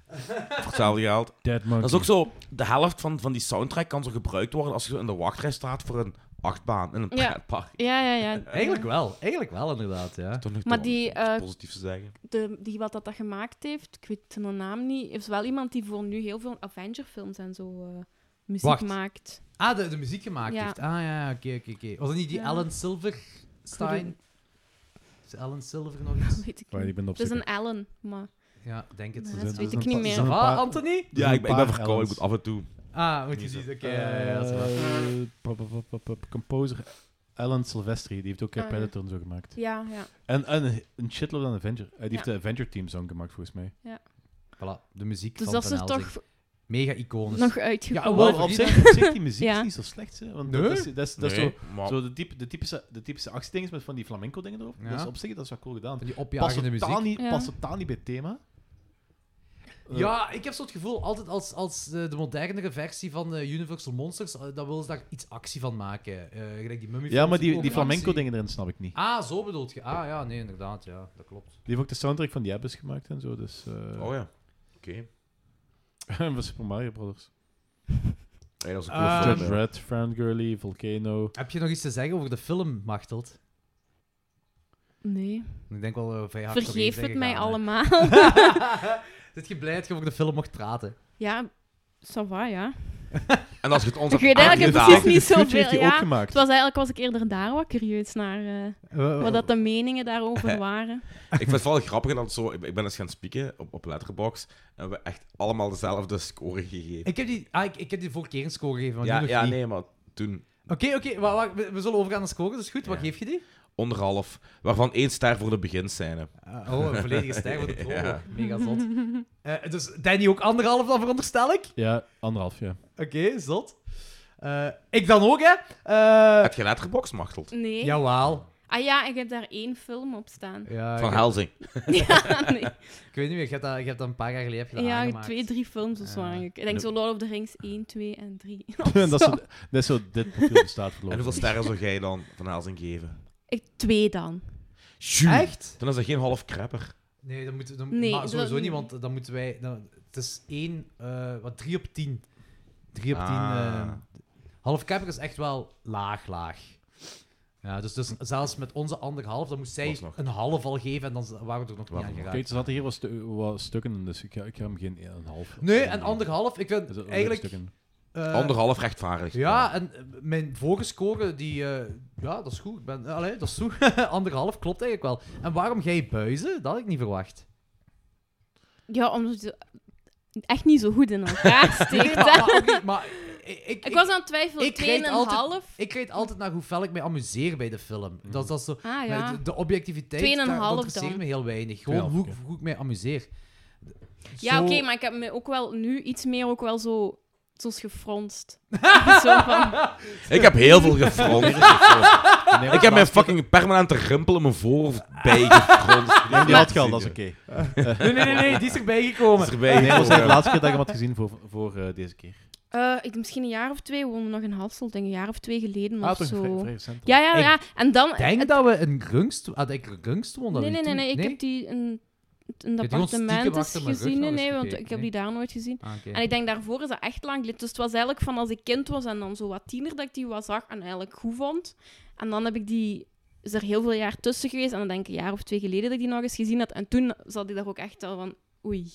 F: Voor hetzelfde geld.
E: Dead Monkey.
F: Dat is ook zo, de helft van, van die soundtrack kan zo gebruikt worden als je zo in de wachtrij staat voor een achtbaan in een
G: Ja.
F: pretpark.
G: Ja, ja, ja.
C: Eigenlijk wel, eigenlijk wel inderdaad, ja.
F: Toch nog
G: Maar
F: toch
G: die,
F: iets
G: eh,
F: positiefs te zeggen.
G: de, die wat dat, dat gemaakt heeft, ik weet zijn naam niet, is wel iemand die voor nu heel veel Avenger-films en zo eh, muziek
C: Wacht.
G: maakt.
C: Ah, de, de muziek gemaakt
G: Ja.
C: heeft. Ah ja, oké, oké, oké. Was dat niet die
G: Ja.
C: Alan Silverstein? Is Alan Silver nog iets?
G: Weet ik
E: Waar
G: niet.
E: ik ben op
G: Het is een Allen, maar
C: Ja, denk het.
G: Nee,
C: Is
G: dat
C: het-
G: weet
C: is
G: ik
C: het-
G: niet
C: is
G: meer.
C: het-
E: Een
C: Wat,
E: paar-
C: Anthony?
F: Ja, ik, ben- ik ben
E: Een paar
F: verkouden, ik moet
E: Ellens.
F: af en toe.
C: Ah, moet je zien. Oké, ja, ja, dat is waar.
E: Eh, pop, pop, pop, pop, pop. Composer Alan Silvestri, die heeft ook eh,
G: Ah, ja.
E: Predator en zo gemaakt.
G: ja, ja.
E: En, en een shitload aan Avenger. Eh, die heeft
G: Ja.
E: de Avenger Team song gemaakt, volgens mij.
C: Voilà, de muziek
G: Dus
C: van
G: dat is
C: Van
G: er
C: Helsing.
G: toch
C: Mega iconisch.
G: nog
E: Ja,
G: uitgekomen.
E: wel,
C: wel,
E: op
C: verdienen.
E: zich, op zich, die muziek
G: Ja.
E: is niet zo slecht. Hè, want
C: Nee?
E: dat is, dat is, dat is
F: Nee,
E: zo,
F: maar-
E: zo de, type, de typische, de typische actiedingen met van die flamenco-dingen erop.
C: Ja.
E: Dat is op zich dat is wel cool gedaan.
C: Van die
E: Past
C: opjagende muziek.
E: totaal, niet,
G: Ja.
E: past totaal niet bij het thema. Eh,
C: Ja, ik heb zo het gevoel, altijd als, als eh, de modernere versie van eh, Universal Monsters, eh, dan willen ze daar iets actie van maken. Eh, gelijk die mummy
E: ja, maar
C: films
E: die,
C: ook actie.
E: die flamenco-dingen erin snap ik niet.
C: Ah, zo bedoelt je. Ah ja, nee, inderdaad, ja, dat klopt.
E: Die heeft ook de soundtrack van die Abbas gemaakt en zo. Dus, eh,
F: Oh ja. Oké.
E: van Super Mario Brothers.
F: Hey, dat is een coole
C: Ah.
F: film.
E: Eh, Judge Red, Fran Gurley, Volcano.
C: Heb je nog iets te zeggen over de film, Machteld?
G: Nee.
C: Ik denk wel uh, vrij hard
G: Vergeef het mij allemaal.
C: allemaal. Zit je blij dat je over de film mocht praten?
G: ja, ça va, ja.
F: En als je het ons
G: Ik
F: hebt
G: weet eigenlijk
F: aangedaan-
G: precies
E: De
G: niet
E: Future
G: zoveel.
E: heeft hij ook
G: Ja,
E: gemaakt.
G: het was eigenlijk was ik eerder daar wat curieus naar eh, wat dat de meningen daarover waren.
F: Ik vind het wel grappig dat zo. Ik ik ben eens gaan spieken op, op Letterboxd. En we hebben echt allemaal dezelfde score gegeven.
C: Ik heb die, ah, ik, ik heb die vorige keer een score gegeven, maar
F: ja,
C: nu nog
F: ja
C: niet.
F: nee, maar toen
C: Oké, oké, wa- wa- we, we zullen overgaan naar score, dat is goed. Wat
F: Ja.
C: geef je die?
F: onderhalf. Waarvan één ster voor de beginscène.
C: Ah, oh, een volledige stijl voor de proloog.
F: Ja.
C: Mega zot. Eh, dus Danny ook anderhalf, dan veronderstel ik.
E: Ja, anderhalf, ja.
C: Oké, zot. Eh, ik dan ook, hè. Eh
F: Heb je Letterboxd, Machtelt?
G: Nee.
C: jawel.
G: Ah ja, ik heb daar één film op staan.
C: Ja,
F: Van
C: ik,
F: Helsing.
G: ja, nee.
C: ik weet niet meer, je hebt dat, je hebt dat een paar jaar geleden heb je dat
G: Ja,
C: aangemaakt.
G: twee, drie films of zo.
C: Ja.
G: eigenlijk. Ik denk zo Lord of the Rings 1, 2 en 3.
E: Eh, dat, is zo, dat is zo dit profiel bestaat
F: En
E: verloren.
F: hoeveel sterren zou jij dan Van Helsing geven?
G: Ik twee dan.
C: Echt?
F: Dan is dat geen half crapper.
C: Nee, dat moet, dan,
G: Nee,
C: maar sowieso
G: dat-
C: niet, want dan moeten wij... Dan, het is één... eh, wat, drie op tien. Drie op
F: Ah.
C: tien. eh, half Kuiper is echt wel laag, laag. Ja, dus, dus zelfs met onze anderhalf, dan moest zij
F: Was nog.
C: een half al geven en dan waren we er nog niet
F: Waarom
C: aan
F: nog?
C: geraakt.
E: Kijk, er zaten hier wat, stu- wat stukken in, dus ik ga, ik ga hem geen 1,5.
C: Nee, en anderhalf, ik
E: Er
C: vind
E: zaten wel
C: eigenlijk...
E: stukken.
C: eh,
F: Anderhalf rechtvaardig.
C: Ja, en eh, mijn vorige score, die, eh, ja, dat is goed. Ik ben, eh, allee, dat is goed. Anderhalf klopt eigenlijk wel. En waarom jij buizen? Dat had ik niet verwacht.
G: Ja, omdat ze echt niet zo goed in elkaar
C: Nee,
G: steekt.
C: maar,
G: hè.
C: maar, oké, maar eh, ik, ik,
G: ik was aan het twijfelen.
C: ik rijd
G: 2,5.
C: altijd-
G: half
C: ik reed altijd naar hoe fel ik mij amuseer bij de film. Dat, dat is zo,
G: Ah ja.
C: de, de objectiviteit,
G: Tweeënhalf
C: dat interesseert
G: dan.
C: me heel weinig. Gewoon hoe,
E: Tweeënhalf, oké.
C: hoe ik mij amuseer.
G: ja,
C: Zo-
G: oké, maar ik heb me ook wel nu iets meer ook wel zo... Zoals gefronst. zo van...
F: Ik heb heel veel gefronst.
E: Nee,
F: ik heb mijn fucking permanente rimpel in mijn voorhoofd bijgefronst.
E: Die had geld, dat is oké.
C: Nee, nee, nee, nee, die is erbij gekomen.
F: Is erbij.
E: Nee, dat was
F: gekomen.
E: de laatste keer dat ik hem had gezien voor, voor eh, deze keer.
G: Eh, ik, misschien een jaar of twee woonde we nog in Hasselt. Ik denk een jaar of twee geleden
E: Ah,
G: of
E: toch vrij,
G: zo.
E: vrij recent.
G: Ja, ja,
C: Ik
G: ja. En dan...
C: Ik denk dat we een grungst... Had ik een grungst won? dat
G: nee,
C: we
G: nee, nee,
C: toen-
G: nee. Ik heb die in, in
C: hebt
G: de
C: gewoon stiekem
G: appartementen
C: achter mijn rug
G: gezien.
C: nog eens
G: Nee, nee, want
C: gekeken,
G: ik heb
C: nee?
G: die daar nooit gezien.
C: Ah, oké.
G: En ik denk daarvoor is dat echt lang geleden. Dus het was eigenlijk van als ik kind was en dan zo wat tiener dat ik die wat zag en eigenlijk goed vond. En dan heb ik die, is er heel veel jaar tussen geweest. En dan denk ik een jaar of twee geleden dat ik die nog eens gezien had. En toen zat ik daar ook echt al van, oei.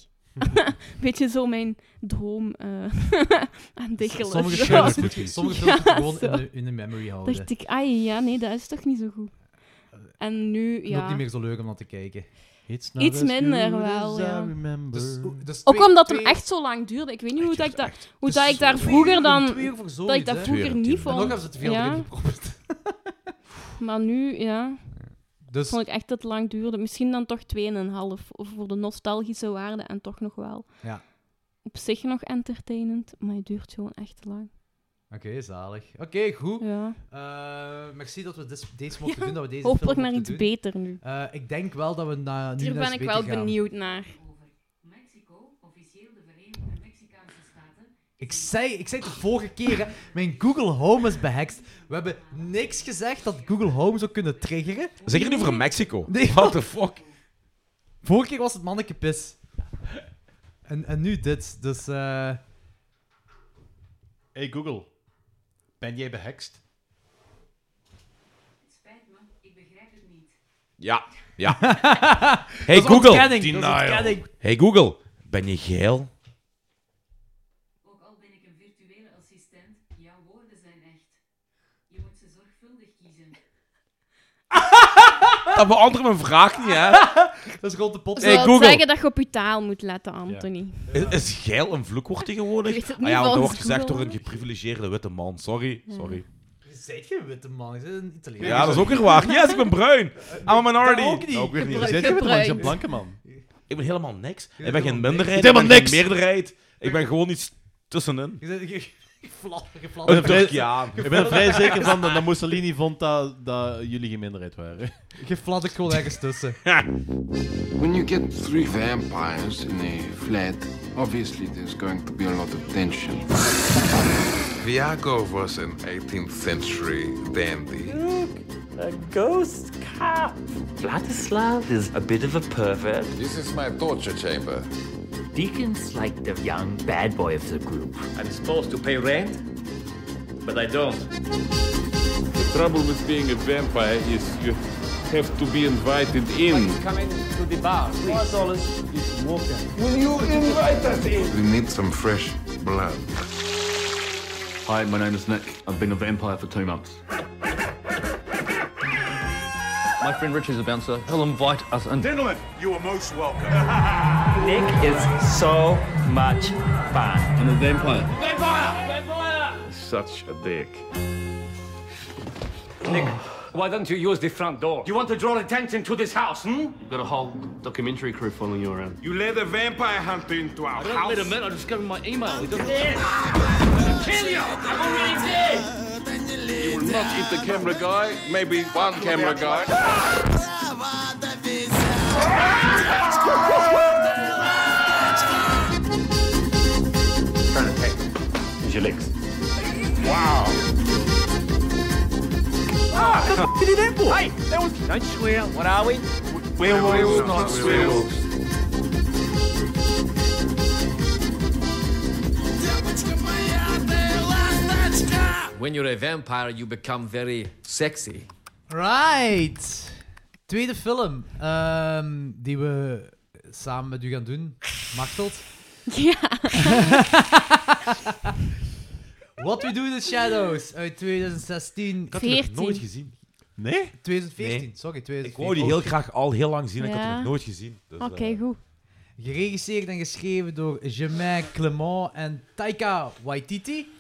G: Beetje zo mijn droom eh aan diggelen.
C: Sommige
G: Zo.
C: films moet je, sommige films
G: Ja,
C: moet je gewoon
G: zo.
C: in de, in de memory houden.
G: dacht ik, ai, ja, nee, dat is toch niet zo goed. En nu,
C: Ook niet
G: ja.
C: meer zo leuk om naar te kijken.
E: It's not
G: Iets
E: as
G: minder
E: good
G: wel,
E: as
G: ja.
E: I remember.
C: Dus, dus
G: Ook
C: twee-
G: omdat hem
C: twee- Ah,
G: echt zo lang duurde. Ik weet niet hoe dat ik, dat,
F: echt.
G: hoe
C: het
G: dat
C: is
G: ik daar
C: zo-
G: vroeger
C: twee
G: dan...
C: uur voor
G: Dat
C: zoiets,
G: ik dat
C: hè.
F: Twee
G: vroeger
F: uur
G: niet
F: tien
C: En nog
G: vond.
C: hebben ze te veel
G: Ja.
C: erin gepropt.
G: Maar nu, ja,
C: Dus
G: vond ik echt dat het lang duurde. Misschien dan toch 2,5. Of voor de nostalgische waarde en toch nog wel.
C: Ja.
G: Op zich nog entertainend, maar het duurt gewoon echt te lang.
C: Oké, zalig. Oké, goed.
G: Ja.
C: Eh, merci dat we dit, deze mochten doen, dat we deze
G: Hopelijk
C: film
G: naar iets
C: mochten doen.
G: beter nu.
C: Eh, ik denk wel dat we na, nu
G: Hier
C: naar
G: ben
C: iets
G: ik
C: beter
G: wel
C: gaan.
G: benieuwd naar.
C: Ik zei, ik zei het de vorige keer, hè, mijn Google Home is behekst. We hebben niks gezegd dat Google Home zou kunnen triggeren.
F: Zeker nu voor Mexico.
C: Nee.
F: What the fuck?
C: Vorige keer was het manneke pis. En, en nu dit, dus... eh,
E: Hey Google, ben jij behext?
F: Ja, ja. Hey
C: dat is
F: Google.
C: ontkenning, dat is
E: Denial.
C: ontkenning.
F: Hey Google, ben je geil?
K: Ook al ben ik een virtuele assistent, jouw woorden zijn echt. Je moet ze zorgvuldig kiezen.
F: Dat beantwoordt mijn vraag niet, hè?
C: Dat is rond de pot.
G: Zou
F: Hey,
G: het
F: Google.
G: zeggen dat je op je taal moet letten, Anthony.
F: Is, is geil een vloekwoord tegenwoordig?
G: Ik weet het
F: Ah
G: niet,
F: ja, want dat
G: volgens
F: wordt gezegd
G: Google.
F: door een geprivilegeerde witte man. Sorry, sorry.
C: Je bent geen witte man, je bent een Italiaan.
F: Ja, dat is ook weer waar. Yes, ik ben bruin. I'm a minority.
C: Dat ook niet.
F: weer
E: Je
F: niet.
E: zit hier met
G: gebruik.
E: een blanke man.
F: Ik ben helemaal niks. Ik ben
C: helemaal
F: geen
C: niks.
F: minderheid. Ik
E: Helemaal
F: ben geen
E: niks.
F: meerderheid. Ik ben gewoon iets tussenin.
C: Je bent je- je flat- je flat-
E: Een vrij-
F: Turkiaan.
E: Ik ben er vrij zeker van dat dat Mussolini vond dat, dat jullie geen minderheid waren.
C: Je fladdert gewoon ergens tussen.
D: When you get three vampires in a flat, obviously there's going to be a lot of tension. Viago was an 18th century dandy.
K: Vladislav is a bit of a pervert.
D: This is my torture chamber.
K: Deacon's like the young bad boy of the group.
H: I'm supposed to pay rent, but I don't. The trouble with being a vampire is you have to be invited in. Come in to the bar, please.
D: We need some fresh blood.
H: Hi, my name is Nick. I've been a vampire for two months. My friend Richie's a bouncer. He'll invite us in.
I: Gentlemen, you are most welcome.
K: Nick is so much fun.
H: I'm a vampire. Vampire! Vampire! Such a dick.
K: Nick, why don't you use the front door? You want to draw attention to this house, hmm?
H: You've got a whole documentary crew following you around.
I: You led a vampire hunter into our
H: Don't let him in. I just gave him my email. He doesn't-
D: Not eat the camera guy, maybe one camera guy.
H: Trying to take Here's your legs.
J: When you're a vampire, you become very sexy.
C: Right. Tweede film ehm, die we samen met u gaan doen. Machteld.
G: Ja.
C: What We Do in the Shadows uit 2016.
F: Ik had die nog
G: 14.
F: nooit gezien.
E: Nee?
C: 2014,
F: Nee.
C: sorry,
F: Ik
C: 2014.
F: wou die heel graag al heel lang zien. en Ik had die
G: Ja.
F: nog nooit gezien. Dus, eh,
G: Oké, goed.
C: Oh. Geregisseerd en geschreven door Germain Clement en Taika Waititi.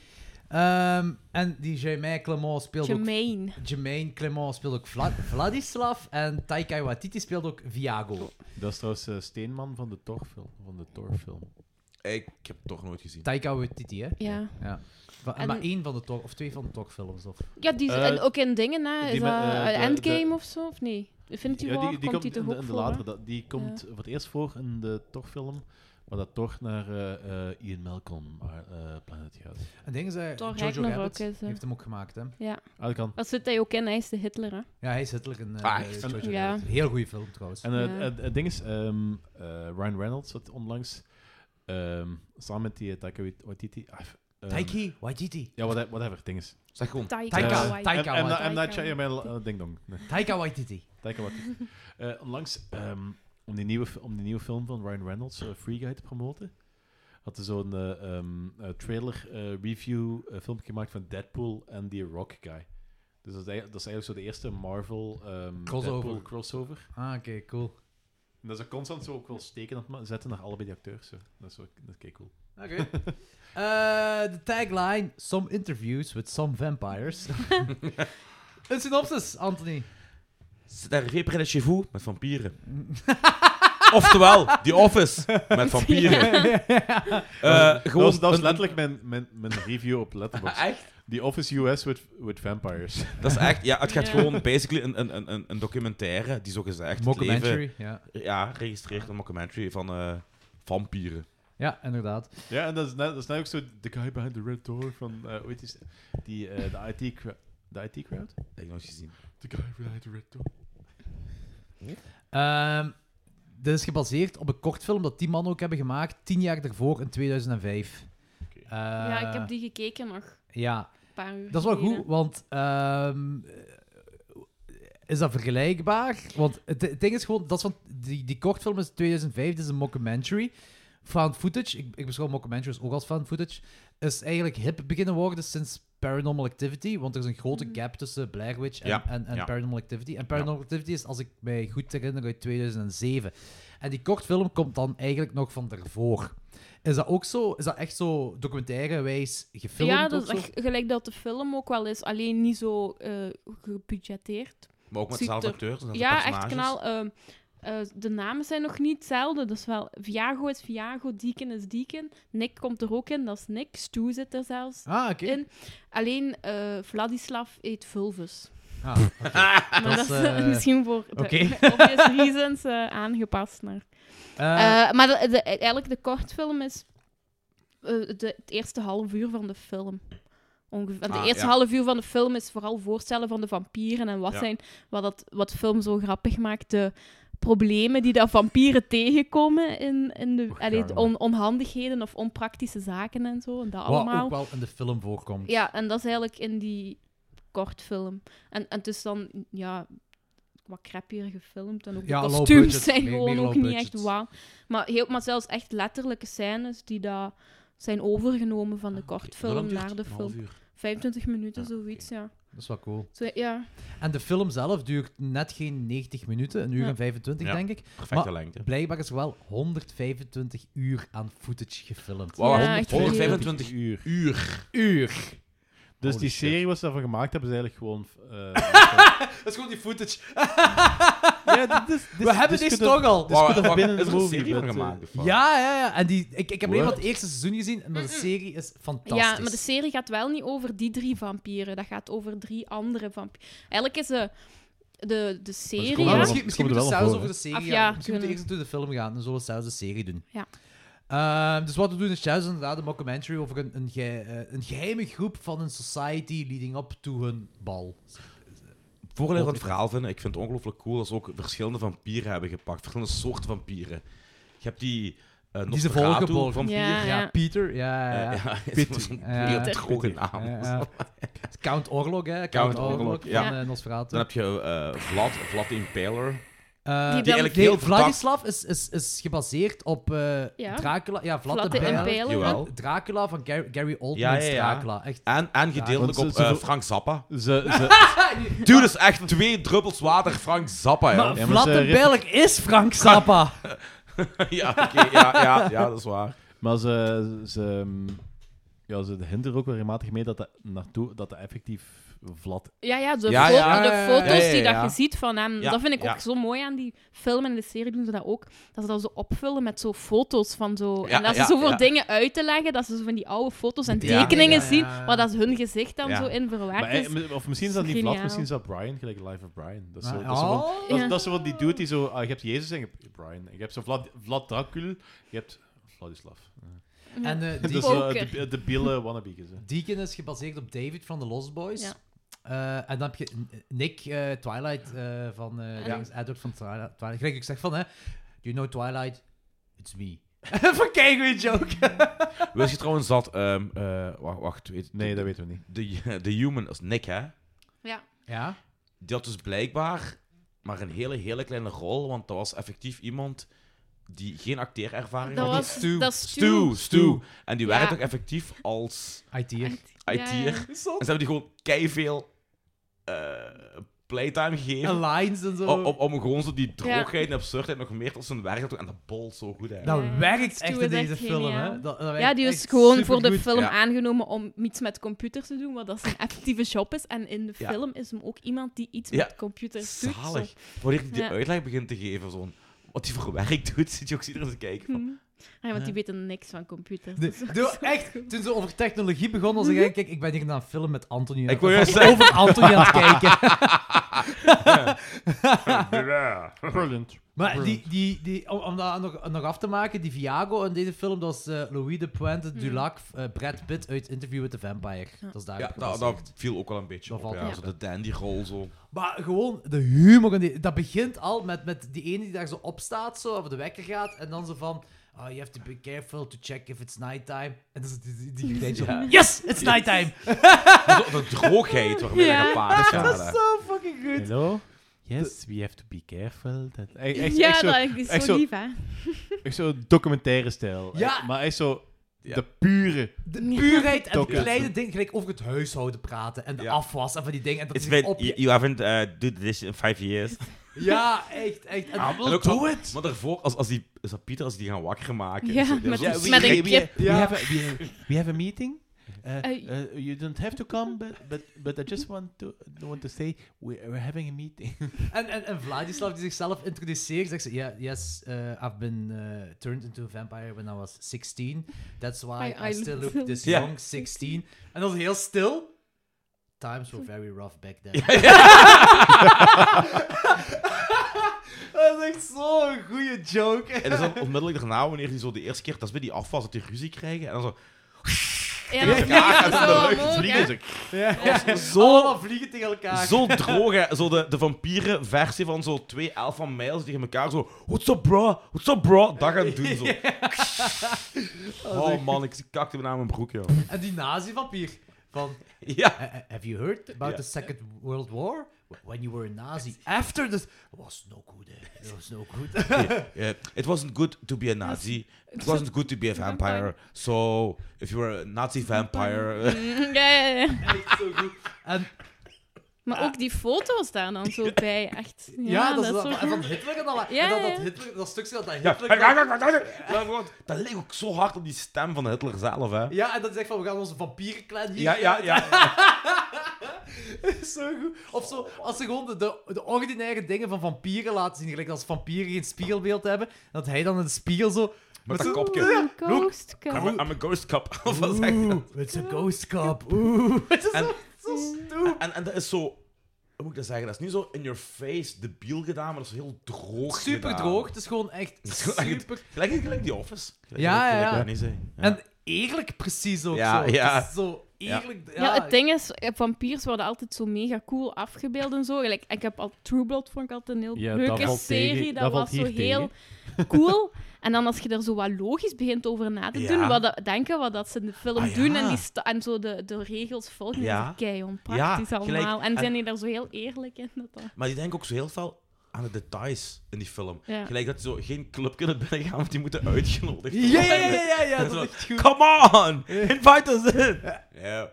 C: Ehm, en die Germain Clement speelt ook
G: Gemeen.
C: Jermaine Clement speelt ook Vla- Vladislav en Taika Waititi speelt ook Viago.
E: Dat is trouwens eh, Steenman van de Torfilm. Van de Torfilm.
F: eh, Ik heb het toch nooit gezien.
C: Taika Waititi, hè?
G: Ja.
C: Ja. Va-
G: En-
C: Maar één van de Tor- of twee van de Torfilms. Of...
G: Ja, die is
E: Eh,
G: en ook in dingen, hè? Is
E: die
G: dat
E: met, eh,
G: eh,
E: de-
G: Endgame of zo? Of nee? Infinity War komt, die toch
E: in,
G: ook
E: de- in de
G: voor, hè?
E: latere. dat- Die komt voor het eerst voor in de Torfilm. Maar dat Thor naar eh, eh, Ian Malcolm eh, eh, planeet gaat.
C: En dingen zijn
G: Thor
C: Jojo
G: Ragnarok
C: Rabbit
G: is, eh.
C: heeft hem ook gemaakt, hè?
G: Ja.
E: Ah, dat kan.
G: Wat zit hij ook in? Hij is de Hitler, hè?
C: Ja, hij is Hitler in eh,
F: Ah,
C: eh,
E: echt?
C: Jojo
G: Ja.
C: Rabbit. Heel goede film, trouwens.
E: En eh,
G: Ja.
E: het, het ding is, ehm, eh, Ryan Reynolds had onlangs ehm, samen met die uh, Taika Wait- Waititi. ah, ehm,
C: Taiki Waititi.
E: ja, whatever, whatever, het ding is.
F: Zeg gewoon.
C: Taika,
E: Eh,
C: Taika
E: M- M-
C: Waititi.
E: M. Night Shyamalan, eh, Ding Dong. Nee,
C: Taika Waititi.
E: Taika Waititi. Eh, Onlangs, ehm, om, die nieuwe, fi- om die nieuwe film van Ryan Reynolds, eh, Free Guy, te promoten, had hij zo'n eh, ehm, eh, trailer eh, review eh, filmpje gemaakt van Deadpool en die Rock Guy. Dus dat is eigenlijk, dat is eigenlijk zo de eerste Marvel ehm,
C: Crossover.
E: Deadpool crossover.
C: Ah, oké, cool.
E: En dat is constant zo ook wel steken aan het ma- zetten naar allebei die acteurs. Zo. Dat is wel dat is kei cool.
C: Oké. Eh, De tagline: Some interviews with some vampires. Een synopsis, Anthony.
F: Zit daar Reper de Chevaux met vampieren. Oftewel, The Office met vampieren. Eh,
E: dat,
F: gewoon
E: was, dat was
F: een-
E: letterlijk mijn, mijn, mijn review op Letterboxd.
F: Echt?
E: The Office US with, with Vampires.
F: Dat is echt, ja, het gaat
G: Ja.
F: gewoon basically een, een, een- een, een documentaire die zo gezegd
C: Mockumentary, ja.
F: ja, registreert een mockumentary van eh, vampieren.
C: Ja, inderdaad.
E: Ja, en dat is net, dat is net ook zo de guy behind the red door van, eh hoe heet die, die eh, de IT, cra- de IT crowd?
F: Dat heb ik nog eens gezien.
E: The guy behind the red door.
C: Ehm, dit is gebaseerd op een kortfilm dat die mannen ook hebben gemaakt, tien jaar daarvoor in 2005.
E: Oké.
C: Eh,
G: ja, ik heb die gekeken nog
C: Ja,
G: een paar uur
C: dat is wel goed,
G: geleden.
C: want ehm, is dat vergelijkbaar? Want het, het ding is gewoon, dat is van, die, die kortfilm is 2005, dit is een mockumentary. Found footage, ik, ik beschouw mockumentaries ook als found footage, is eigenlijk hip beginnen worden sinds Paranormal Activity, want er is een grote
G: Mhm.
C: gap tussen Blair Witch en,
F: Ja,
C: en, en
F: ja.
C: Paranormal Activity. En Paranormal Activity is, als ik mij goed herinner, uit 2007. En die kortfilm komt dan eigenlijk nog van daarvoor. Is dat ook zo? Is dat echt zo documentairewijs gefilmd?
G: ja,
C: of
G: dat is
C: zo?
G: echt gelijk dat de film ook wel is, alleen niet zo eh gebudgeteerd.
F: Maar ook met
G: Ziet
F: dezelfde
G: er-
F: acteurs. dezelfde
G: Ja, echt
F: personages.
G: kanaal. ehm, eh, de namen zijn nog niet hetzelfde. Dat is wel Viago is Viago, Deacon is Deacon. Nick komt er ook in, dat is Nick. Stu zit er zelfs.
C: Ah, oké.
G: in. Alleen eh, Vladislav eet Vulvus.
C: Ah,
G: Maar dat,
C: Dat is,
G: is eh,
C: eh,
G: misschien voor de
C: oké.
G: obvious reasons eh, aangepast naar.
C: eh,
G: Eh, maar de, de- eigenlijk de kortfilm is eh, de, het eerste half uur van de film. Ongeveer. En de
F: Ah,
G: eerste
F: ja.
G: half uur van de film is vooral voorstellen van de vampieren en wat,
F: Ja.
G: zijn, wat, dat, wat de film zo grappig maakt. De problemen die dat vampieren tegenkomen in, in de, allee, de on- onhandigheden of onpraktische zaken en zo. En dat
C: Wat
G: allemaal.
C: ook wel in de film voorkomt.
G: Ja, en dat is eigenlijk in die kortfilm. En, en het is dan, ja, wat crappier gefilmd. En ook
C: Ja,
G: de
C: low
G: kostuums
C: budget.
G: zijn
C: Meer-
G: gewoon
C: meer
G: ook
C: low
G: niet
C: budget.
G: echt wauw. Maar, heel, maar zelfs echt letterlijke scènes die daar zijn overgenomen van de
F: Hoe lang
G: kortfilm
F: duurt
G: naar
F: het?
G: de
F: Een half
G: film.
F: uur.
G: 25 minuten,
F: Ja,
G: zoiets, ja.
C: Dat is wel cool.
G: Zo, ja.
C: En de film zelf duurt net geen 90 minuten, een uur
G: Ja.
C: en 25,
F: Ja.
C: denk ik.
F: Perfecte
C: Maar-
F: lengte.
C: Blijkbaar is er wel 125 uur aan footage gefilmd.
F: Wauw,
G: Ja, echt
F: 125
E: uur.
F: uur.
C: Uur!
E: Dus
C: Holy
E: die
C: shit.
E: serie wat ze daarvan gemaakt hebben, is eigenlijk gewoon... eh,
C: Dat is gewoon die footage.
E: ja, dit is-
F: Dus
E: dit-
C: We hebben
E: dit
C: deze
E: kunnen-
C: toch al. Dus
E: is goed
F: Wacht, wacht,
E: binnen
F: is er
E: de
F: een
E: movie,
F: serie van
E: dat, eh,
F: gemaakt? of wat?
C: Ja, ja, ja. En die, ik, ik heb alleen maar
E: What?
C: het eerste seizoen gezien, maar de serie is fantastisch.
G: Ja, maar de serie gaat wel niet over die drie vampieren. Dat gaat over drie andere vampieren. Eigenlijk is de, de, de
E: komen
G: serie...
E: wel
C: Maar
E: Ja. op-
G: ja.
C: misschien misschien
E: Komt
C: moeten
E: er
C: we
E: wel
C: zelfs
E: voor,
C: over de
E: hè?
C: serie
G: Af,
C: gaan.
G: ja,
C: Misschien moeten we
G: kunnen.
C: eerst naartoe de film gaan en zullen we zelfs de serie doen.
G: Ja.
C: Ehm, dus wat we doen is juist inderdaad een documentary over een, een, ge- eh, een geheime groep van een society leading up to hun bal.
F: Voordat we het verhaal vinden, ik vind het ongelooflijk cool dat ze ook verschillende vampieren hebben gepakt. Verschillende soorten vampieren. Je hebt die eh
C: Die ze
F: Nosferatu
C: volgen,
F: vampier.
G: Ja, Ah, ja.
C: Pieter, ja, ja,
F: Eh,
C: ja.
F: ja, het is
E: Pieter.
F: zo'n
C: Ja.
F: heel droge naam.
C: Ja, ja. Count Orlog, hè? Count,
F: Count
C: Orlog,
F: Orlok,
C: van
F: ja.
C: eh, Nosferatu.
F: Dan heb je eh, Vlad, Vlad de Impaler.
C: Eh,
G: Die
C: nee,
F: eigenlijk heel verdacht-
C: Vladislav is, is, is gebaseerd op eh,
G: Ja.
C: Dracula. Ja, Vlad,
G: Vlad
C: de
G: de
C: Bijl.
G: Impaler.
F: Jawel.
C: Dracula van Gary, Gary Oldman's
F: Ja, ja, ja.
C: Dracula. Echt
F: En, en gedeeltelijk
E: Ja,
F: op
E: want ze- ze-
F: eh, Frank Zappa.
E: Ze, ze,
F: Dude, dat is echt twee druppels water Frank Zappa, joh.
C: Maar
E: maar
C: Vlad
E: ze
C: de
E: rippen-
C: Belg is Frank Zappa.
F: Ja, oké, ja, ja, ja, dat is waar.
E: maar ze, ze, ehm, ja, ze hinderen ook wel regelmatig mee dat dat, naartoe, dat dat effectief vlat...
G: Ja, ja, de,
F: Ja,
G: fo-
F: ja.
G: de
F: Ja,
G: foto's
F: ja, ja,
G: die
F: ja.
G: dat je ziet van hem.
F: Ja,
G: dat vind ik
F: ja.
G: ook zo mooi aan die film en de serie doen ze dat ook. Dat ze dat zo opvullen met zo foto's van zo.
F: Ja,
G: en dat ze
F: ja,
G: zoveel
F: ja.
G: dingen uit te leggen, dat ze zo van die oude foto's en
F: Ja,
G: tekeningen
C: ja, ja.
G: zien, waar dat ze hun gezicht dan
F: Ja.
G: zo in verwerkt
E: Maar,
G: is.
E: eh, of misschien is
G: dat
E: dat
G: is
E: niet Vlad,
G: geniaal.
E: misschien is dat Brian, gelijk Life of Brian. Dat is zo, dat is zo van-
C: Oh.
E: Dat, is-
G: Ja.
E: dat is zo wat die dude die zo... ah, je hebt Jezus en je hebt Brian. En Je hebt zo Vlad, Vlad Dracul. Je hebt Vladislav.
C: En eh,
E: Dus
C: die,
E: eh,
G: Poker.
E: de, de biele wannabeekers. hè.
C: Deacon is gebaseerd op David van The Lost Boys.
G: Ja.
C: Eh, en dan heb je N- Nick eh, Twilight eh, van eh,
G: En-
C: dingen, Edward van Twi- Twilight. Gelijk, ik zeg van, hè, you know Twilight, it's me. Van kei goeie joke.
F: Wist je trouwens dat... ehm, eh, wacht, wacht. Weet,
E: Nee, dat weten we niet.
F: De, de human, dat is Nick, hè?
G: Ja.
C: ja.
F: Die had dus blijkbaar maar een hele, hele kleine rol, want dat was effectief iemand die geen acteerervaring
G: Dat
F: had.
G: was
C: Stu.
G: Dat is
F: Stu, Stu. En die
G: Ja.
F: werkte ook effectief als
C: IT.
G: Ja,
F: IT'er.
G: ja.
F: En ze hebben die gewoon keiveel eh eh, playtime gegeven.
C: En lines en zo.
F: Om, om, om gewoon zo die
C: Ja.
F: droogheid en absurdheid nog meer tot zijn werk te doen. En dat bol zo goed uit.
C: Dat werkt
G: Stu
C: echt in
G: is
C: deze film,
G: geniaal.
C: hè? Dat- dat
G: ja,
C: werkt
G: die is
C: echt
G: gewoon voor de
C: supergoed.
G: film
F: Ja.
G: aangenomen om iets met computers te doen, wat dat zijn effectieve job is. En in de
F: Ja.
G: film is hem ook iemand die iets
F: Ja.
G: met computers doet. zo.
F: Zalig. Wanneer hij die
G: Ja.
F: uitleg begint te geven, zo'n, wat hij voor werk doet, zit je ook iedereen te kijken. Van,
G: Hm. Ah, want die
F: Ja.
G: weten niks van computers.
C: De-
G: dus dat
C: de-
G: is ook
C: echt,
G: goed.
C: toen ze over technologie begonnen,
G: Mhm.
C: zei ik, kijk, ik ben hier naar een film met Anthony. aan
F: Ik
C: het-
F: wil juist
C: van- over
F: zeggen.
C: Anthony aan het kijken.
F: Ja.
E: Brilliant.
C: Maar die, die, die, om, om dat nog, nog af te maken, die Viago in deze film, dat is eh, Louis de Puente Dulac, eh, Brad Pitt uit Interview with the Vampire. Dat is daar
F: Mm. Ja, dat, dat viel ook wel een beetje
C: Dat
F: op.
C: valt
F: Ja.
C: wel
F: Zo
C: op.
F: de dandy-rol, zo.
C: Maar gewoon de humor. in die- dat begint al met, met die ene die daar zo op staat, zo, of de wekker gaat. En dan zo van. Oh, you have to be careful to check if it's nighttime. En dan is het die, die, die kleintje zo,
F: Ja.
C: Yes, it's nighttime!
F: Zo de droogheid waarmee
G: Ja.
F: dat gepaard gaat.
C: Dat is zo fucking goed.
E: Hello? Yes, we have to be careful. Dat... E- Echt, echt,
G: ja,
E: zo,
G: dat is zo
E: echt zo-
G: lief, hè?
E: echt zo documentaire stijl.
C: Ja.
E: Echt, maar echt zo
F: Ja.
E: de pure.
C: De puurheid en de
E: Dokken.
C: kleine dingen. Gelijk over het huishouden praten en de
F: Ja.
C: afwas en van die dingen. En dat
L: It's
C: is
L: been,
C: op...
L: you, you haven't uh, did this in five years.
C: Ja, echt, echt. En-
E: I
F: En
E: will
F: ook
E: do
F: van-
E: it.
F: Maar daarvoor, als, als die, is dat Pieter, als die gaan wakker maken.
G: Ja,
F: zo, die
G: met-
F: hebben
G: Ja,
F: zo'n
G: met een
F: schrik-
G: we- kip.
E: We, have a, we, we have a meeting. Uh,
G: Eh,
E: uh, you don't have to come, but but, but I just want to want to say we, we're having a meeting.
C: En, en, en Vladislav die zichzelf introduceert, zegt ze, yeah, yes, uh, I've been uh, turned into a vampire when I was 16. That's why
G: I-
C: I,
G: I
C: still
G: look
C: look this
F: Ja.
C: young, 16. En dat is heel stil. Times were very rough back then. dat is echt zo'n goede joke.
F: En dan zo onmiddellijk daarna, wanneer die zo de eerste keer, dat is bij die afwas, dat die ruzie krijgen. En dan zo,
G: Ja, dat
F: ja, en
G: is
F: dan
G: zo
F: de lucht
G: omhoog,
F: vliegen. Zo,
G: hè.
C: Zo... Allemaal vliegen tegen elkaar.
F: Zo droog, hè. Zo de, de vampieren versie van zo twee elf van mijls tegen elkaar zo... What's up, bro? What's up, bro? Dat gaan doen, zo. Oh, man, ik kakte me naar mijn broek, joh.
C: En die nazi-vampier van...
F: Ja.
C: Uh, uh, have you heard about
F: Yeah.
C: the Second World War? Wh- When you were a Nazi. After this, it was no good. eh. It was no good.
F: Yeah. eh, It wasn't good to be a Nazi. It wasn't good to be a vampire. So, if you were a Nazi vampire...
G: Mm, Ja, ja, ja.
C: Echt zo goed. En
G: Maar ook die foto's daar dan zo bij, echt. Ja,
C: ja, dat, is wel-
G: zo
C: en
G: goed.
C: van Hitler en al.
G: Ja,
C: en dan
G: ja.
C: dat, Hitler, dat stukje dat dat
F: Ja,
C: Hitler. Ja,
F: dat leek ook zo hard op die stem van Hitler zelf, hè.
C: en dat is echt van we gaan onze vampierenclan hier.
F: Ja, ja, ja.
C: zo goed. Of zo, als ze gewoon de, de, de ordinaire dingen van vampieren laten zien. Gelijk als vampieren geen spiegelbeeld hebben. Dat hij dan in de spiegel zo.
F: Met dat
C: zo-
F: kopje.
G: Een ghost
F: I'm a,
G: cat.
F: I'm a ghost cop. Of wat zeg je
C: Oeh,
F: dat?
C: it's a ghost cop. Oeh. Het is
F: En-
C: zo, zo stoer.
F: En, en dat is zo... Hoe moet ik dat zeggen? Dat is niet zo in your face debiel gedaan, maar dat is heel droog
C: Super
F: gedaan.
C: droog. Het is gewoon echt
F: is gewoon echt-
C: super
F: Gelijk, gelijk die Office. Gelijk,
C: Ja,
F: gelijk-
C: ja,
F: gelijk
C: ja.
F: dat niet zijn. Ja.
C: En eerlijk precies ook
F: Ja,
C: zo. Het
F: ja.
C: is zo eerlijk. Ja,
G: Ja, het ding is, eh, vampiers worden altijd zo mega cool afgebeeld en zo. Gelijk, ik heb al True Blood vond ik altijd een heel
E: Ja, dat
G: leuke
E: valt
G: serie.
E: tegen.
G: Dat,
E: Dat
G: was
E: valt
G: zo
E: hier
G: heel cool. En dan als je er zo wat logisch begint over na te
F: Ja.
G: doen, wat dat, denken wat dat ze in de film
F: Ah,
G: doen
F: ja.
G: en, die sta- en zo de, de regels volgen,
F: Ja.
G: ja. is kei onpraktisch
F: Ja, gelijk.
G: allemaal. En
F: En-
G: zijn die daar zo heel eerlijk in? Dat dat...
F: Maar die denken ook zo heel veel aan de details in die film.
G: Ja.
F: Gelijk dat ze zo geen club kunnen binnengaan, want die moeten uitgenodigd worden.
C: Ja, ja, ja, ja, ja,
F: En
C: dat
F: zo,
C: is echt goed.
F: Come on! Invite us in! Ja.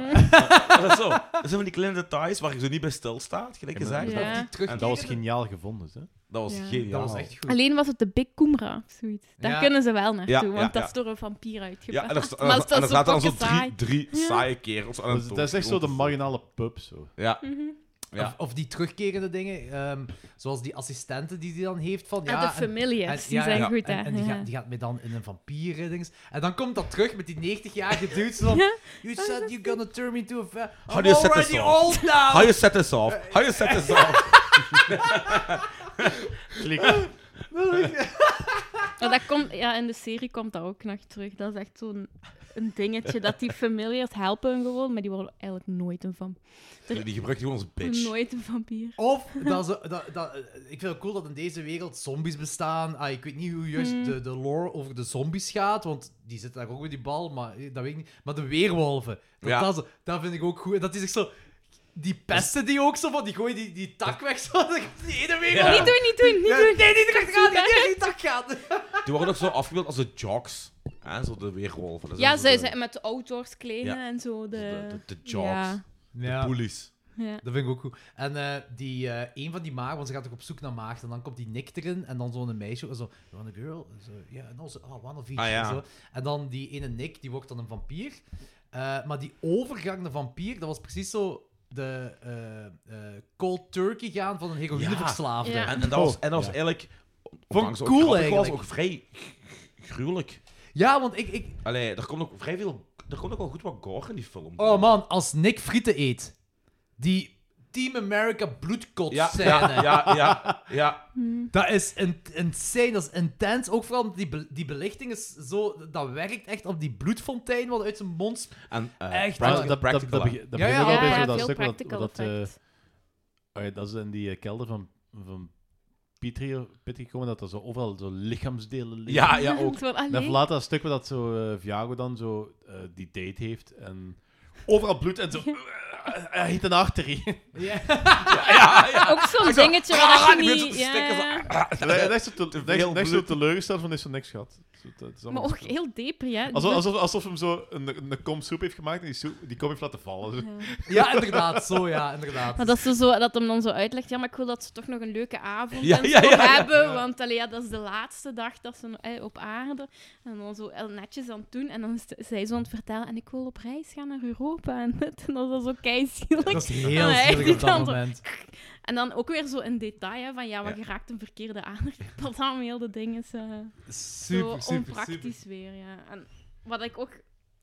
F: dat is zo. Dat zijn van die kleine details waar je zo niet bij stilstaat, gelijk
E: Ja, maar-
F: gezegd.
C: Die
G: Ja.
C: terugkerende-
E: En dat was geniaal gevonden, hè?
F: Dat was
G: Ja.
F: geniaal.
C: Dat was echt goed.
G: Alleen was het de Big Kumra of zoiets. Daar
C: Ja.
G: kunnen ze wel naartoe,
F: Ja,
G: want
F: ja,
G: dat
F: ja.
G: is door een vampier uitgebracht.
F: Ja, en er, en
G: Maar
F: er-
G: dat
F: en er
G: is
F: zaten dan zo
G: fucking
F: drie,
G: saai.
F: drie
G: Ja.
F: saaie kerels aan het
E: Dus Dat is echt zo de
F: doodgronden.
E: marginale pub, zo.
F: Ja.
G: Mhm.
F: Ja.
C: Of, of die terugkerende dingen, ehm, zoals die assistenten die die dan heeft. Van, ja,
G: Ah, de
C: en-
G: familiars,
C: en-
G: die
C: ja,
G: zijn
C: ja,
G: goed, hè.
C: En, en die,
G: Ja.
C: gaat, die gaat mij dan in een vampier dings. En dan komt dat terug met die 90-jarige dude. zo van,
G: Ja.
C: You said you're gonna turn me to a va-
F: How
C: I'm
F: do you set
C: already
F: this off?
C: old now!
F: How you set this off? How you set this off?
E: Klik.
G: Maar dat komt, ja, in de serie komt dat ook nog terug. Dat is echt zo'n een dingetje dat die familiars helpen hun gewoon, maar die worden eigenlijk nooit een, vamp
F: Die gebruikt gewoon als bitch.
G: nooit een vampier.
C: Of, dat ze, dat, dat, ik vind het cool dat in deze wereld zombies bestaan. Ah, ik weet niet hoe juist
G: Hmm.
C: de, de lore over de zombies gaat, want die zitten daar ook met die bal, maar eh, dat weet ik niet. Maar de weerwolven, dat,
F: Ja.
C: dat, ze- dat vind ik ook goed. En Dat is echt zo... Die pesten die ook zo van, die gooien die, die tak weg zo. dat Die ene weerwolf...
G: Oh, Niet doen, niet doen, niet
C: Ja,
G: doen.
C: Nee, niet erachteraan,
G: Zoek, hè.
C: die tegen die tak gaat.
F: Die worden ook zo afgebeeld als de jocks. Hè? Zo de weerwolven. Dat
G: Ja,
F: zo
G: zij
F: de-
G: zijn met de outdoors kleden
F: Ja.
G: en zo. De,
F: de- de- de jobs.
G: Ja.
F: De bullies.
G: Ja.
C: Dat vind ik ook goed. En eh, die, eh, een van die maagden, want ze gaat toch op zoek naar maagd. En dan komt die Nick erin en dan zo'n meisje. en Zo, you want a girl? En Zo, yeah, no, zo, oh, one of each.
L: Ah, ja.
C: en, zo. en dan die ene Nick, die wordt dan een vampier. Eh, maar die overgang naar vampier, dat was precies zo de eh, eh, cold turkey gaan van een heroïneverslaafde.
F: Ja. En, en dat was, en dat was eigenlijk... ondanks dat het
C: cool
F: grappig was
C: eigenlijk.
F: ook vrij gr- gruwelijk.
C: Ja, want ik... ik...
F: Allee, er komt ook vrij veel... Er komt ook wel goed wat gore in die film.
C: Oh man, als Nick frieten eet, die Team America bloedkot
F: Ja,
C: scène.
F: ja, ja, ja, ja.
G: Hmm.
C: Dat is in- insane, dat is intens. Ook vooral omdat die, be- die belichting is zo... Dat werkt echt op die bloedfontein wat uit zijn mond... sp-
F: En, eh,
C: echt.
E: Maar
C: waar.
E: dat, dat, dat, dat, begint
C: Ja, ja,
E: ook al
C: ja,
E: bij
C: ja,
E: zo dat
G: veel
E: stuk wat,
G: practical
E: dat, eh,
G: effect.
E: ah ja, dat ze in die eh, kelder van, van Pietri, Pietri komen, dat er zo overal zo lichaamsdelen liggen.
F: Ja, ja, ook.
G: Het wordt alleen-
E: En even later dat stuk waar dat zo eh, Viago dan zo eh, die date heeft en overal bloed en zo... eh, Hij heet een arterie.
C: Ja.
G: Ook zo'n dingetje wat
F: Ah,
G: je
F: die mensen
G: niet...
F: te
G: ja,
F: stikken,
G: ja.
E: En hij- en hij is zo te-
F: Te
E: hij is-
F: veel
E: hij is zo
F: bloed.
E: teleurgesteld van, is zo niks gehad. Zo, dat is
G: Maar
E: allemaal
G: ook
E: zo-
G: heel Dus- deper, ja. Die
E: Alsof,
G: mensen-
E: alsof, alsof hem zo een, een kom soep heeft gemaakt en die, soep, die kom heeft laten vallen. Zo.
C: Ja, inderdaad. Zo, ja, inderdaad.
G: Maar dat, ze zo, dat hem dan zo uitlegt, ja, maar ik wil dat ze toch nog een leuke avond
F: Ja,
G: en
F: ja,
G: zo
F: ja, ja.
G: hebben, want allee, ja, dat is de laatste dag dat ze eh, op aarde. En dan zo heel netjes aan het doen. En dan is t- zij zo aan het vertellen, en ik wil op reis gaan naar Europa. En, dit, en dat is zo keizielig.
C: Dat is
G: En
C: heel
G: hij
C: zielig
G: die
C: op dat
G: dan zo-
C: moment.
G: En dan ook weer zo in detail, hè, van ja, wat
F: Ja.
G: je raakt een verkeerde aandacht. Dat allemaal heel de ding is... eh,
C: Super,
G: zo
C: super,
G: onpraktisch
C: super.
G: weer, ja. En wat ik ook...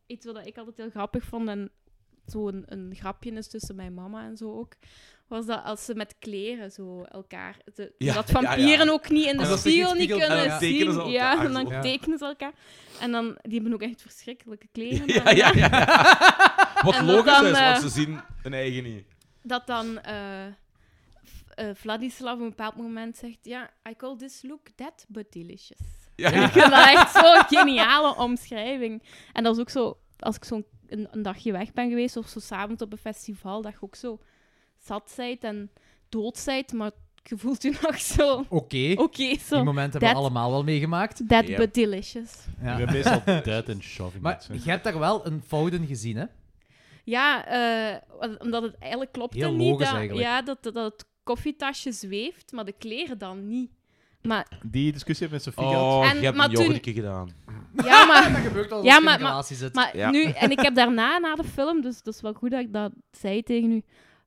G: Iets wat ik altijd heel grappig vond, en zo'n een grapje is tussen mijn mama en zo ook, was dat als ze met kleren zo elkaar... ze-
F: Ja,
G: dat
F: ja, ja.
G: vampieren ook niet in de
C: En dat ze
G: spiegel niet
C: gespiegeld
G: kunnen
C: worden,
F: ja.
G: zien.
F: Tekenen ze
G: ja,
F: elkaar
G: en dan
F: zo.
C: Ja.
G: tekenen ze elkaar. En dan, die hebben ook echt verschrikkelijke kleren.
F: Ja,
G: aan.
F: ja, ja. Wat
G: En dat
F: logisch
G: dan,
F: is,
G: eh,
F: want ze zien hun eigen niet.
G: dat dan eh, F- eh, Vladislav op een bepaald moment zegt: Ja, I call this look dead but delicious.
F: Ja,
G: Ik vind dat echt zo'n geniale omschrijving. En dat is ook zo, als ik zo'n een, een dagje weg ben geweest of zo s'avonds op een festival, dat je ook zo zat zijt en dood zijt, maar je voelt je nog zo oké,
C: Oké, die
G: zo.
C: momenten hebben we
G: dat-
C: allemaal wel meegemaakt.
G: Dead
F: Ja.
G: but delicious.
E: Ik
C: Ja.
E: ben meestal dead and shoving.
C: Maar
E: mensen.
C: je hebt daar wel een fout in gezien, hè?
G: Ja, eh, omdat het eigenlijk klopt
C: Heel
G: niet
C: logisch
G: dat,
C: eigenlijk.
G: Ja, dat, dat het koffietasje zweeft, maar de kleren dan niet. Maar
E: Die discussie heeft met Sofie gehad.
F: Oh,
G: En-
F: je hebt
G: maar
F: een
G: toen-
F: yoghurtje gedaan.
G: ja, maar
C: Dat gebeurt wel als
G: Ah. Ja,
C: je in
G: maar-
C: een relatie zit.
G: Maar
F: Ja.
G: nu, en ik heb daarna, na de film, dus dat is wel goed dat ik dat zei tegen u,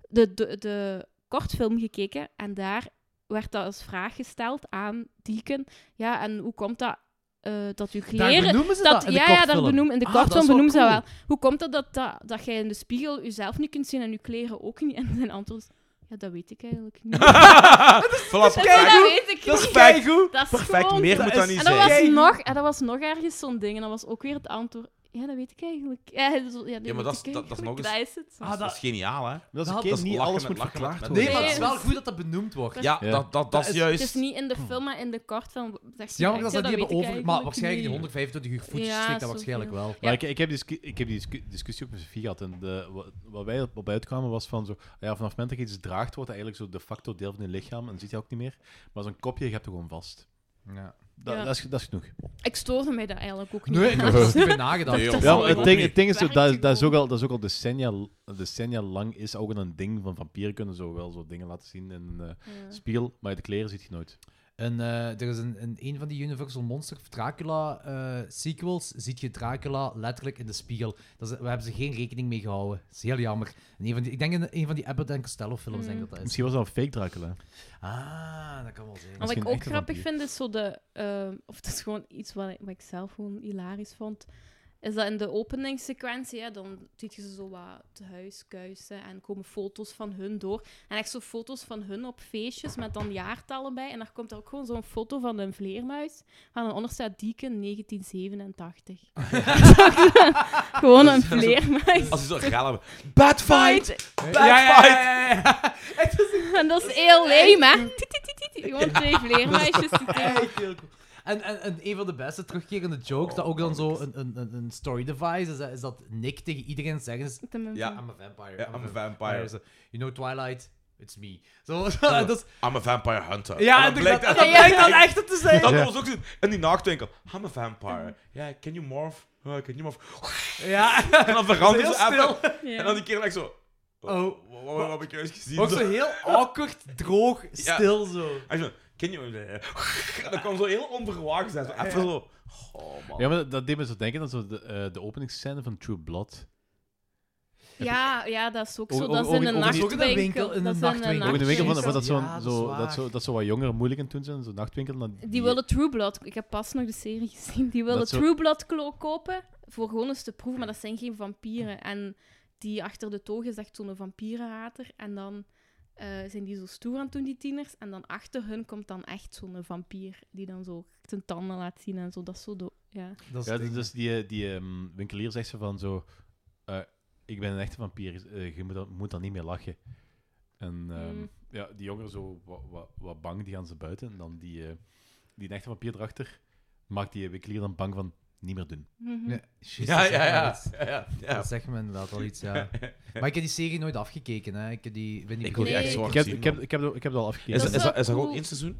G: de, de, de kortfilm gekeken. En daar werd dat als vraag gesteld aan Dieken. Ja, en hoe komt dat eh, dat uw
C: daar
G: kleren...
C: benoemen ze dat,
G: Dat,
C: in de
G: ja, ja,
C: kortfilm.
G: dat benoem, in de
C: Ah, dat
G: kortfilm
C: is wel
G: benoemen ze dat
C: cool.
G: wel. Hoe komt het dat, dat, dat jij in de spiegel jezelf niet kunt zien en je kleren ook niet? En zijn antwoord is, ja, dat weet ik eigenlijk niet.
F: Voilà,
G: Dat weet ik
C: Dat is
G: niet.
C: keigoed.
G: Dat is
F: Perfect,
G: gewoon
F: meer
G: zo.
F: moet
C: dat
F: dat
C: is-
F: niet
G: En dat,
F: zijn.
G: was
C: Kijk.
G: nog, en dat was nog ergens zo'n ding. En dat was ook weer het antwoord. Ja, dat weet ik eigenlijk. Ja, dat, ja, dat weet
F: maar dat is-
G: ik
F: dat- dat is
G: eigenlijk.
F: nog eens-
G: Daar is het.
C: Ah,
F: Dat is geniaal, hè?
E: Dat is
C: Dat
E: een keer
F: dat is
E: niet
F: lachen
E: alles
F: met
E: goed
F: lachen met
E: verklaard.
F: mensen.
C: Nee, maar het is
G: Nee,
C: wel goed dat dat benoemd wordt.
F: Ja,
E: Ja.
F: dat, dat, dat is Hm.
C: is-
F: juist.
G: Het is niet in de film, maar in de kortfilm. Zegt
C: Het
G: ze
C: is jammer dat ze
G: direct,
C: dat
G: ja,
C: niet hebben
G: weet ik
C: over... Maar
G: eigenlijk
C: waarschijnlijk die
G: niet.
C: 125 uur voetjes
G: Ja,
C: steekt dat waarschijnlijk
G: zoveel.
C: wel.
E: Maar ik, ik, heb die, discu- ik heb die discu- discussie ook met Sofie gehad. En de, wa- wat wij op uitkwamen was van zo... Ja, vanaf het moment dat je iets draagt, wordt dat eigenlijk zo de facto deel van je lichaam. En dat ziet je ook niet meer. Maar zo'n kopje, je hebt er gewoon vast.
C: Ja.
E: Dat,
G: Ja.
E: dat, is, dat is genoeg.
G: Ik stoorde mij daar eigenlijk ook niet
C: Nee, ik
G: aan.
C: heb er niet bij nagedacht.
F: Nee, joh.
G: Dat
E: Ja,
G: zal
E: maar
G: Oh, ik
E: het
G: ook
E: ding,
G: niet.
E: het ding is, zo,
G: Werkt
E: dat, dat, is ook
G: gewoon.
E: al, dat is ook al decennia, decennia lang is ook al een ding van vampieren kunnen zo wel zo dingen laten zien in een
G: Ja.
E: spiegel, maar de kleren ziet je nooit.
C: En, eh, er is een, een, een van die Universal Monster of Dracula eh, sequels. Ziet je Dracula letterlijk in de spiegel. Dat is, we hebben ze geen rekening mee gehouden. Dat is heel jammer. En een van die, ik denk in een van die Abbott en Costello films denk ik dat dat is.
E: Misschien was dat een fake Dracula.
C: Ah, dat kan wel zijn.
G: Maar wat ik
E: Misschien
G: ook
E: echte
G: grappig
E: vampier.
G: vind, is zo de... eh, of dat is gewoon iets wat ik, wat ik zelf gewoon hilarisch vond. Is dat in de openingssequentie, hè, dan ziet je ze zo wat te huis kuisen en komen foto's van hun door. En echt zo foto's van hun op feestjes met dan jaartallen bij. En daar komt er ook gewoon zo'n foto van een vleermuis. Waar dan onder staat Dieken 1987. gewoon een vleermuis.
F: Als je zo geil hebben. Bad fight!
C: Ja, ja, ja,
F: fight! Eh,
C: ja, ja.
G: En dat is heel lame, hè? Tiet, tiet, tiet, tiet. Gewoon twee vleermuisjes. die tegen-
C: Echt heel cool. En, en, en een van de beste terugkerende jokes, dat ook dan zo een, een, een- een story device is, dat- is dat Nick tegen iedereen zegt: is,
G: te mijn-
F: Ja.
C: I'm a vampire.
F: Ja, I'm a vampire.
C: Zo, You know Twilight? It's me. Zo, zo, en dat is-
F: I'm a vampire hunter. En
C: ja,
F: dan
C: en dat
F: blijkt-
C: dat
F: en dan
C: blijkt dan
F: blijkt-
C: echt het te zijn.
F: Dat was ook zo. En die nachtwinkel. I'm a vampire. Ja, can you morph? Ja, can you morph?
C: Ja,
F: En dan
C: dat is
F: veranderen
C: heel
F: ze even.
C: stil.
G: Ja.
F: En dan die kerel echt zo...
C: Oh.
L: Wat- wat- wat heb ik juist gezien?
C: Ook zo heel awkward, droog,
L: Ja.
C: stil zo.
L: En zo, ken je... eh, Dat kwam zo heel onverwacht. Zo, even zo... Oh, man.
E: Ja, maar dat- dat deed me zo denken aan zo de, eh, de openingsscène van True Blood.
G: Ja, ja, dat is ook zo.
E: Ook-
G: Dat is
E: ook-
G: in
E: ook-
G: een
E: ook- ook in een
G: nachtwinkel.
C: winkel, in
G: Dat
C: een
G: is in
C: nachtwinkel.
E: Ook in de winkel van,
G: nachtwinkel.
E: van dat, zo'n-
C: Ah, Ja, dat is
E: zo,
C: waar.
E: dat, zo, dat zo wat jongeren moeilijk aan het doen zijn, zo'n nachtwinkel. dan
G: Die willen True Blood. Ik heb pas nog de serie gezien. Die willen
E: Dat zo-
G: True Blood klo- kopen voor gewoon eens te proeven, maar dat zijn geen vampieren. En die achter de toog is echt zo'n vampierenhater. En dan eh, zijn die zo stoer aan het doen, die tieners. En dan achter hun komt dan echt zo'n vampier die dan zo zijn tanden laat zien en zo. Dat is zo... do- ja.
C: Dat is
E: ja,
C: het
E: dus,
C: ding.
E: dus die, eh, die ehm, winkelier zegt ze van zo... eh, ik ben een echte vampier, eh, je moet dan, moet dan niet meer lachen. En ehm,
G: Mm.
E: ja, die jongeren zo wat, wat, wat bang, die gaan ze buiten. En dan die, eh, die echte vampier erachter maakt die winkelier dan bang van niet meer doen.
G: Mhm.
C: Ja, shit,
F: Ja,
C: dat
F: ja,
C: zegt me
F: ja.
C: wel iets.
F: Ja, ja, ja.
C: Dat zegt me inderdaad wel iets, ja. Maar ik heb die serie nooit afgekeken, hè. Ik heb die... Ben die
F: Ik wil die
G: Nee.
F: echt zo
E: Ik
F: hard
E: heb,
F: zien,
E: ik, heb,
F: man.
E: ik, heb, ik heb dat al afgekeken.
F: Is,
G: Dat
F: is,
G: is
F: is,
G: wel
F: dat- is dat ook
G: cool.
F: één seizoen?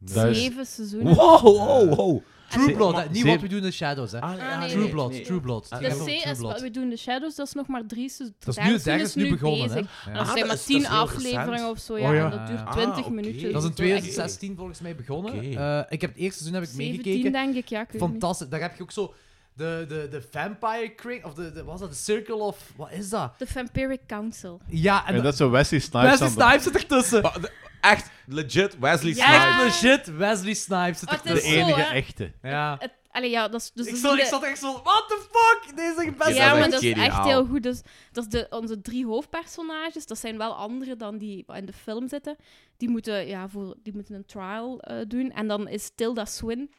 E: Dat is-
G: Zeven seizoenen.
F: Wow, wow, wow.
C: True Blood, hè. niet wat
E: zeven-
C: we doen in Shadows, hè.
F: Ah,
G: Ah, nee,
C: True
G: nee.
C: Blood,
G: nee.
C: True Blood.
G: De
C: Ik heb ook
G: C
C: True
G: is
C: Blood.
G: wat we doen, de Shadows, dat is nog maar drie seizoenen.
C: Dat is nu, het derde
G: seizoen
C: is nu begonnen, hè.
G: bezig.
C: Ja.
G: Dat
F: Ah,
G: zijn
F: dat
G: maar
F: is- dat is
G: tien
F: heel
G: afleveringen
F: recent.
G: of zo,
E: Oh,
G: ja.
E: ja.
G: En dat duurt
F: Ah,
G: 20
F: oké.
G: minuten.
C: Dat is in
G: Zo echt
C: 2016 volgens mij begonnen.
F: Oké.
C: Eh, ik heb het eerste seizoen heb ik
G: 17,
C: meegekeken.
G: denk ik, ja. Ik weet het niet.
C: Fantastisch. Daar heb je ook zo de, de, de vampire cring, of de, de, was dat de circle of, wat is dat?
G: De Vampiric Council.
C: Ja, en,
E: En dat is zo Wesley Snipes.
C: Wesley
E: aan de-
C: Snipes zit ertussen.
F: Maar de- Echt, legit, Wesley
G: Ja.
F: Snipes.
C: Echt legit, Wesley Snipes zit
G: Oh, het
E: De
G: is
C: ertussen.
G: zo,
E: enige
G: hè.
E: echte.
C: Ja.
G: Het, allee, ja, dat is dus...
C: Ik
G: dus
C: zat,
G: de-
C: ik zat echt zo, what the fuck? Deze is best
F: dat
G: ja,
F: is
G: maar
F: echt
G: dat is echt
F: geniaal.
G: heel goed. Dus, dat is de, onze drie hoofdpersonages. Dat zijn wel anderen dan die in de film zitten. Die moeten, ja, voor, die moeten een trial eh, doen. En dan is Tilda Swinton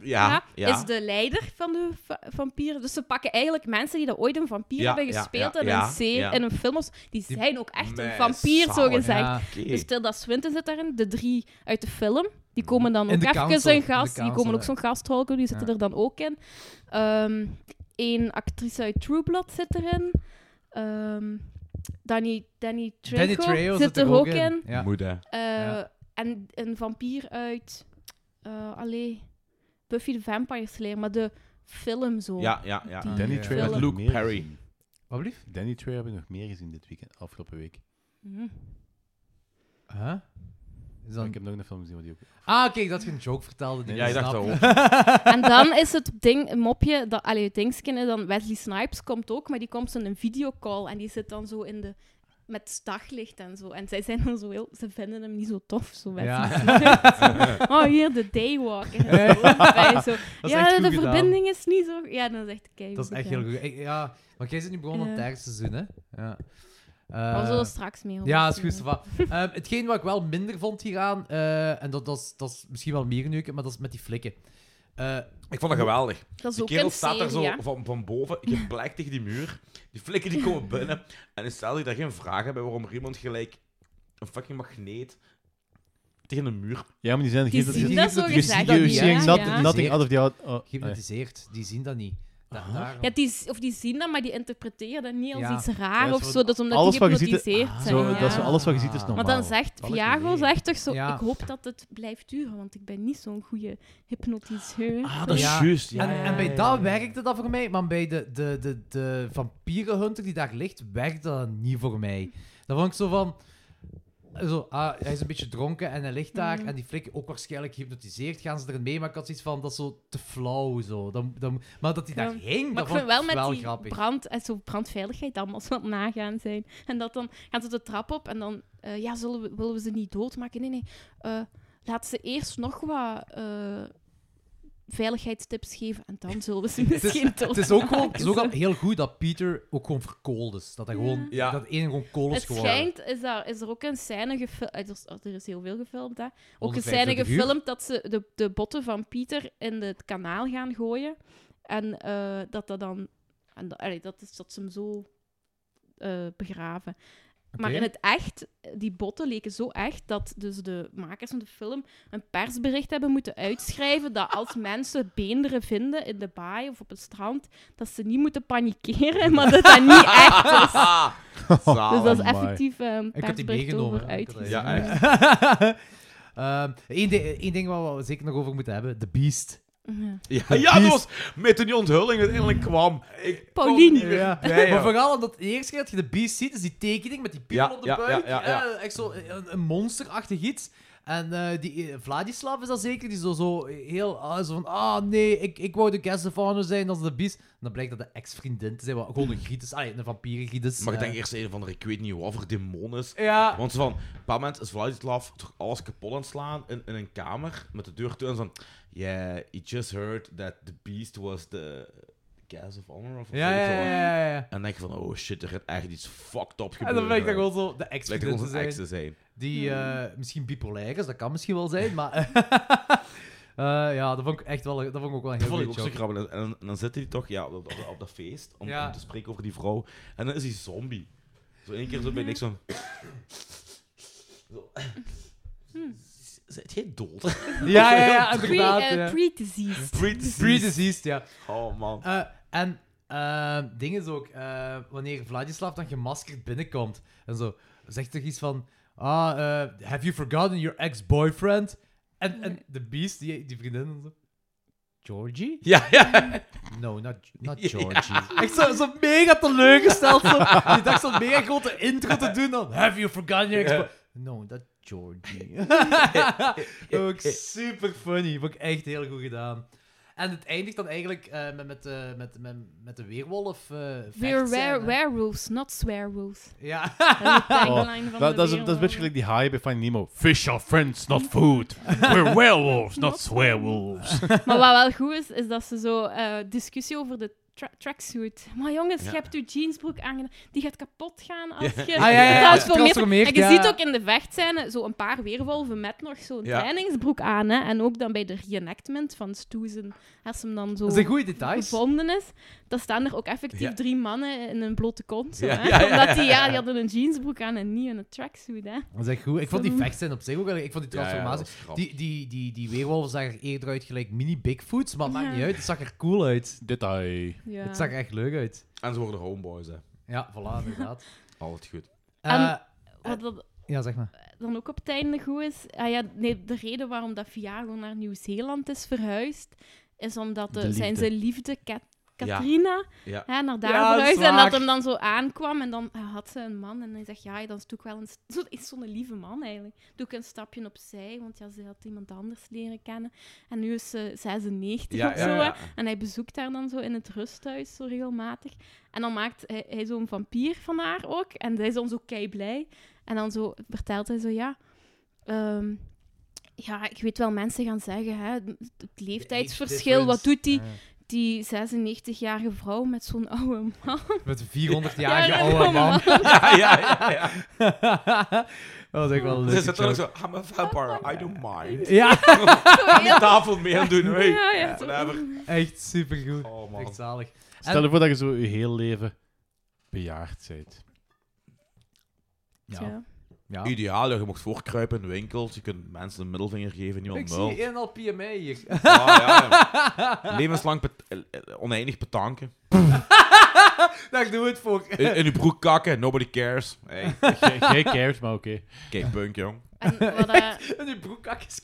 F: Ja, ja.
G: is de leider van de va- vampieren. Dus ze pakken eigenlijk mensen die dat ooit een vampier
F: Ja,
G: hebben
F: ja,
G: gespeeld
F: ja,
G: in,
F: ja,
G: een serie,
F: ja.
G: in een film. of zo. Die
C: Die-
G: zijn ook echt een
F: Mijn
G: vampier, zo
F: zalig.
G: gezegd.
C: Ja.
F: Oké.
G: Dus Tilda Swinton zit daarin, de drie uit de film. Die komen dan
C: In
G: ook
C: de
G: even
C: council,
G: een
C: in de
G: gast. Die
C: council,
G: komen ook
C: ja.
G: zo'n gastrol, die zitten
C: Ja.
G: er dan ook in. Eén actrice uit True Blood zit erin. Ehm, Danny, Danny Trejo,
C: Danny Trejo
G: zit er ook in.
C: Ja.
F: Moet, hè.
G: Eh,
C: Ja.
G: En een vampier uit... eh allee, Buffy the Vampire Slayer, maar de film zo.
F: Ja, ja, ja.
G: Die-
E: Danny
C: Ah, Ja.
E: Trejo heb ik
G: Met
E: nog
F: Luke
E: meer
F: Perry.
E: gezien.
C: Wat blieft?
E: Danny Trejo heb ik nog meer gezien dit weekend, afgelopen week.
G: Mhm.
C: Huh? Is
E: Maar
C: dat...
E: ik heb nog een film gezien wat die ook...
C: Ah, kijk, dat je een joke vertelde. die
F: Ja, ik
C: ik
F: dacht
C: snapte.
F: dat
G: En dan is het ding, een mopje, dat, allee, het dingsken is dan Wesley Snipes komt ook, maar die komt in een videocall en die zit dan zo in de met daglicht en zo. En zij zijn dan zo heel, ze vinden hem niet zo tof, zo Wesley
C: Ja.
G: Snipes. Oh, hier de daywalker. En zo. Bij zo.
C: Dat is
G: ja,
C: echt
G: de
C: goed gedaan.
G: verbinding is niet zo. Ja, dan zegt ik.
C: Dat is echt heel goed. Ik- ja, want jij zit nu begonnen aan
G: Ja.
C: het derde seizoen, hè? Ja.
G: Maar we
C: Eh,
G: zullen straks mee.
C: Ja, is
G: horen.
C: goed. Stefan. Ehm, hetgeen wat ik wel minder vond hieraan, eh en dat, dat, is, dat is misschien wel meer neuken, maar dat is met die flikken. Eh,
F: Ik vond dat geweldig.
G: Dat is
F: Die
G: ook
F: kerel
G: een
F: staat
G: serie.
F: daar zo
G: ja.
F: van, van boven, geblekt tegen die muur. Die flikken die komen binnen. En stel je daar geen vragen bij waarom er iemand gelijk een fucking magneet tegen een muur...
E: Ja, maar die zijn...
G: Die
E: geen-
G: zien
C: die-
G: dat
C: die-
G: zo
E: You,
C: die-
G: gezegd.
E: you
G: ook
C: die-
G: niet,
E: seeing
G: hè?
E: not-
G: Ja.
E: nothing out of the... out- oh, nee.
C: gehypnotiseerd, die zien dat niet. Da daarom.
G: Ja, die, z- of die zien dat, maar die interpreteren dat niet als
C: Ja.
G: iets raar
C: Ja,
G: of
C: zo-
G: zo. Dat is omdat
E: alles
G: die
E: wat je ziet,
G: gehypnotiseerd
C: ah,
G: zijn.
E: Zo,
G: ja.
E: Dat is alles wat je ziet is normaal.
G: Want dan zegt
C: Wat ik
G: Viago
C: weet.
G: zegt toch zo,
C: Ja.
G: ik hoop dat het blijft duren, want ik ben niet zo'n goede hypnotiseur.
C: Ah, Ja.
F: Ah, juist.
C: en,
F: ja,
C: en bij
F: ja,
C: dat
F: ja.
C: werkte dat voor mij, maar bij de, de, de, de vampierenhunter die daar ligt, werkte dat niet voor mij. Dan vond ik zo van... Zo, ah, hij is een beetje dronken en hij ligt daar.
G: Mm.
C: En die flik ook waarschijnlijk gehypnotiseerd. Gaan ze erin mee? Maar ik had zoiets van, dat is zo te flauw. Zo. Dan, dan, maar dat hij daar
G: Ja.
C: hing,
G: Maar
C: dat vond
G: ik vind
C: ik
G: wel met die
C: grappig.
G: brand en zo brandveiligheid allemaal zo aan het nagaan zijn. En dat dan gaan ze de trap op en dan, eh, ja, zullen we, willen we ze niet doodmaken? Nee, nee. eh, laat ze eerst nog wat eh, veiligheidstips geven en dan zullen we ze
C: Het is,
G: misschien
C: het
G: doodmaken.
C: is ook, gewoon, het is ook al heel goed dat Peter ook gewoon verkoold is. Dat hij gewoon,
F: Ja.
C: dat één gewoon kool is
G: Het
C: geworden.
G: schijnt, is, daar, is er ook een scène gefilmd... Er, is- oh, er is heel veel gefilmd, hè. Ook een
C: 125
G: scène
C: uur.
G: gefilmd dat ze de, de botten van Pieter in het kanaal gaan gooien. En eh, dat dat dan... En, dat- allee, dat is dat ze hem zo eh, begraven.
C: Oké.
G: Maar in het echt, die botten leken zo echt dat dus de makers van de film een persbericht hebben moeten uitschrijven dat als mensen beenderen vinden in de baai of op het strand, dat ze niet moeten panikeren, maar dat dat niet echt is.
C: Ah,
G: Dus dat is
E: Amai.
G: effectief eh, een
C: Ik heb die
G: persbericht
C: meegenomen.
G: over
C: hè. Ik had
G: uit.
C: dat
F: Ja,
C: gezien. Ehm, één, di- één ding waar we zeker nog over moeten hebben: The Beast.
G: Ja.
F: Ja, ja dat was met die onthulling uiteindelijk kwam. Ik kon
G: Paulien.
F: niet meer
C: Ja.
F: bij,
C: maar
F: joh.
C: vooral omdat de eerste keer dat je de beast ziet, is die tekening met die piemel
F: Ja,
C: op de
F: ja,
C: buik.
F: ja, ja, ja.
C: eh, echt zo een, een monsterachtig iets. En eh, die eh, Vladislav is dat zeker, die zo, zo heel ah, zo van, ah nee, ik, ik wou de guest of honor zijn, dat is de beast. En dan blijkt dat de ex-vriendin te zijn, wat gewoon een griet is, allee, een vampierengiet is.
F: Maar ik
C: eh.
F: denk eerst een of andere, ik weet niet wat voor demon is.
C: Ja.
F: Want ze van, op een bepaald moment is Vladislav toch alles kapot aan het slaan in, in een kamer met de deur toe. En zo van, yeah, he just heard that the beast was the gas of honor. Of
C: Ja,
F: weet ik
C: ja,
F: veel wat.
C: ja, ja, ja.
F: En dan denk je van, oh shit, er gaat echt iets fucked up gebeuren. eh,
C: En dan blijkt dat gewoon zo de
F: Blijkt dat
C: ex-vriendin
F: gewoon
C: te
F: zijn
C: zijn.
F: ex te zijn.
C: Die
G: Hmm.
C: eh, misschien bipolair is, dat kan misschien wel zijn, maar... eh, ja, dat vond ik echt wel, dat vond ik ook wel een
F: Dat
C: heel
F: vond ik
C: goede
F: ook zo
C: joke.
F: grappig. En, dan- en dan zit hij toch ja, op, op, op dat feest om,
C: Ja.
F: om te spreken over die vrouw. En dan is hij zombie. Zo één keer zo ben ik zo... zo. Hmm. Zit jij dood?
C: Ja, ja, ja,
G: Pre-
C: inderdaad.
G: eh,
C: ja.
G: pre-diseased.
F: Pre-diseased.
C: Pre-diseased, ja.
F: Oh, man.
C: Eh, en eh ding is ook, eh, wanneer Vladislav dan gemaskerd binnenkomt en zo, zegt er iets van, ah, eh, have you forgotten your ex-boyfriend? En, en de beast, die, die vriendin, en zo, Georgie?
F: Ja, ja.
C: No, not, not
F: Ja.
C: Georgie. Echt zo, zo mega teleurgesteld. Zo. Die dacht zo'n mega grote intro te doen dan, have you forgotten your ex-boyfriend? No, not Georgie. ook super funny. Vond ik echt heel goed gedaan. En het eindigt dan eigenlijk eh, met, met, eh, met, met, met de weerwolf. eh
G: We're
C: vechtscène.
G: were- werewolves, not swearwolves.
C: Ja.
G: Dat is de
E: Oh,
G: tagline van de
E: dat, dat, is, dat is een
G: wereld.
E: beetje gelijk die haai bij Finding Nemo. Fish are friends, not food. We're werewolves, not swearwolves.
G: Maar wat wel goed is, is dat ze zo eh, discussie over de tra- tracksuit. Maar jongens,
E: Ja.
G: je hebt je jeansbroek aangedaan. Die gaat kapot gaan als je
C: Ah, ja, ja, ja.
G: transformeert.
C: Transformeert,
G: En je
C: ja.
G: ziet ook in de vechtscène zo een paar weerwolven met nog zo'n
C: Ja.
G: trainingsbroek aan. Hè. En ook dan bij de reenactment van Stoezen, als hem dan zo
C: Dat zijn goeie details.
G: gevonden is, dan staan er ook effectief
C: Ja.
G: drie mannen in een blote kont. zo,
C: Ja,
G: hè.
C: ja, ja,
G: Omdat die, ja,
C: ja.
G: die hadden een jeansbroek aan en niet een tracksuit. Hè.
C: Dat is echt goed. Ik vond die
G: Zo.
C: vecht zijn op zich ook wel. Ik vond die
F: Ja, ja,
C: transformatie.
F: dat is grappig.
C: die, die, die, die weerwolven zag er eerder uit gelijk mini Bigfoots, maar het
G: Ja.
C: maakt niet uit. Het zag er cool uit.
E: Detail.
G: Ja.
C: Het zag er echt leuk uit.
F: En ze worden homeboys, hè.
C: Ja, voilà, inderdaad.
F: Altijd goed.
C: Eh,
G: Wat dat
C: ja, zeg maar.
G: dan ook op het einde goed is. Ah ja, nee, de reden waarom dat Viago naar Nieuw-Zeeland is verhuisd, is omdat de-
E: De liefde.
G: zijn zijn liefde Kat-
E: Ja.
G: Katrina
E: Ja.
G: hè, naar daar
E: Ja, dat is
G: verhuisd. En dat
E: waar.
G: hem dan zo aankwam en dan had ze een man. En hij zegt, ja, dan doe ik wel een... st- Zo, is zo'n lieve man eigenlijk. Doe ik een stapje opzij, want ja, ze had iemand anders leren kennen. En nu is ze 96
K: Ja,
G: of
K: ja,
G: zo.
K: ja.
G: hè. En hij bezoekt haar dan zo in het rusthuis, zo regelmatig. En dan maakt hij, hij zo'n vampier van haar ook. En zij is dan zo kei blij. En dan zo vertelt hij zo, ja... ehm, ja, ik weet wel, mensen gaan zeggen, hè, het- het leeftijdsverschil, wat
C: difference.
G: doet die,
C: Ja.
G: die 96-jarige vrouw met zo'n oude man?
C: Met een 400-jarige
G: Ja, ja,
C: oude
G: ja,
C: man.
G: ja, ja,
F: ja.
C: dat was echt wel een
F: Dus Ze
C: leuke
F: zitten ook
C: joke.
F: zo, I'm a vampire, I don't mind.
C: Ja.
F: Aan die tafel mee aan doen, hey.
G: Ja, ja, zo.
F: Whatever.
C: Echt
F: Oh,
C: supergoed. Echt zalig.
E: Stel je voor dat je zo je heel leven bejaard bent.
G: Tja.
C: Ja.
F: Ideaal, ja, je mocht voorkruipen in winkels, je kunt mensen een middelvinger geven,
C: Ik
F: niemand
C: zie
F: nul.
C: een en al PMA hier.
F: Ah, ja, ja. Levenslang pet- eh, eh, oneindig betanken.
C: Daar doen we het voor.
F: In, in je broek kakken, nobody cares. Hey.
E: Jij- jij cares, maar oké.
F: Kijk, punk, jong.
G: eh,
C: En die broekkak is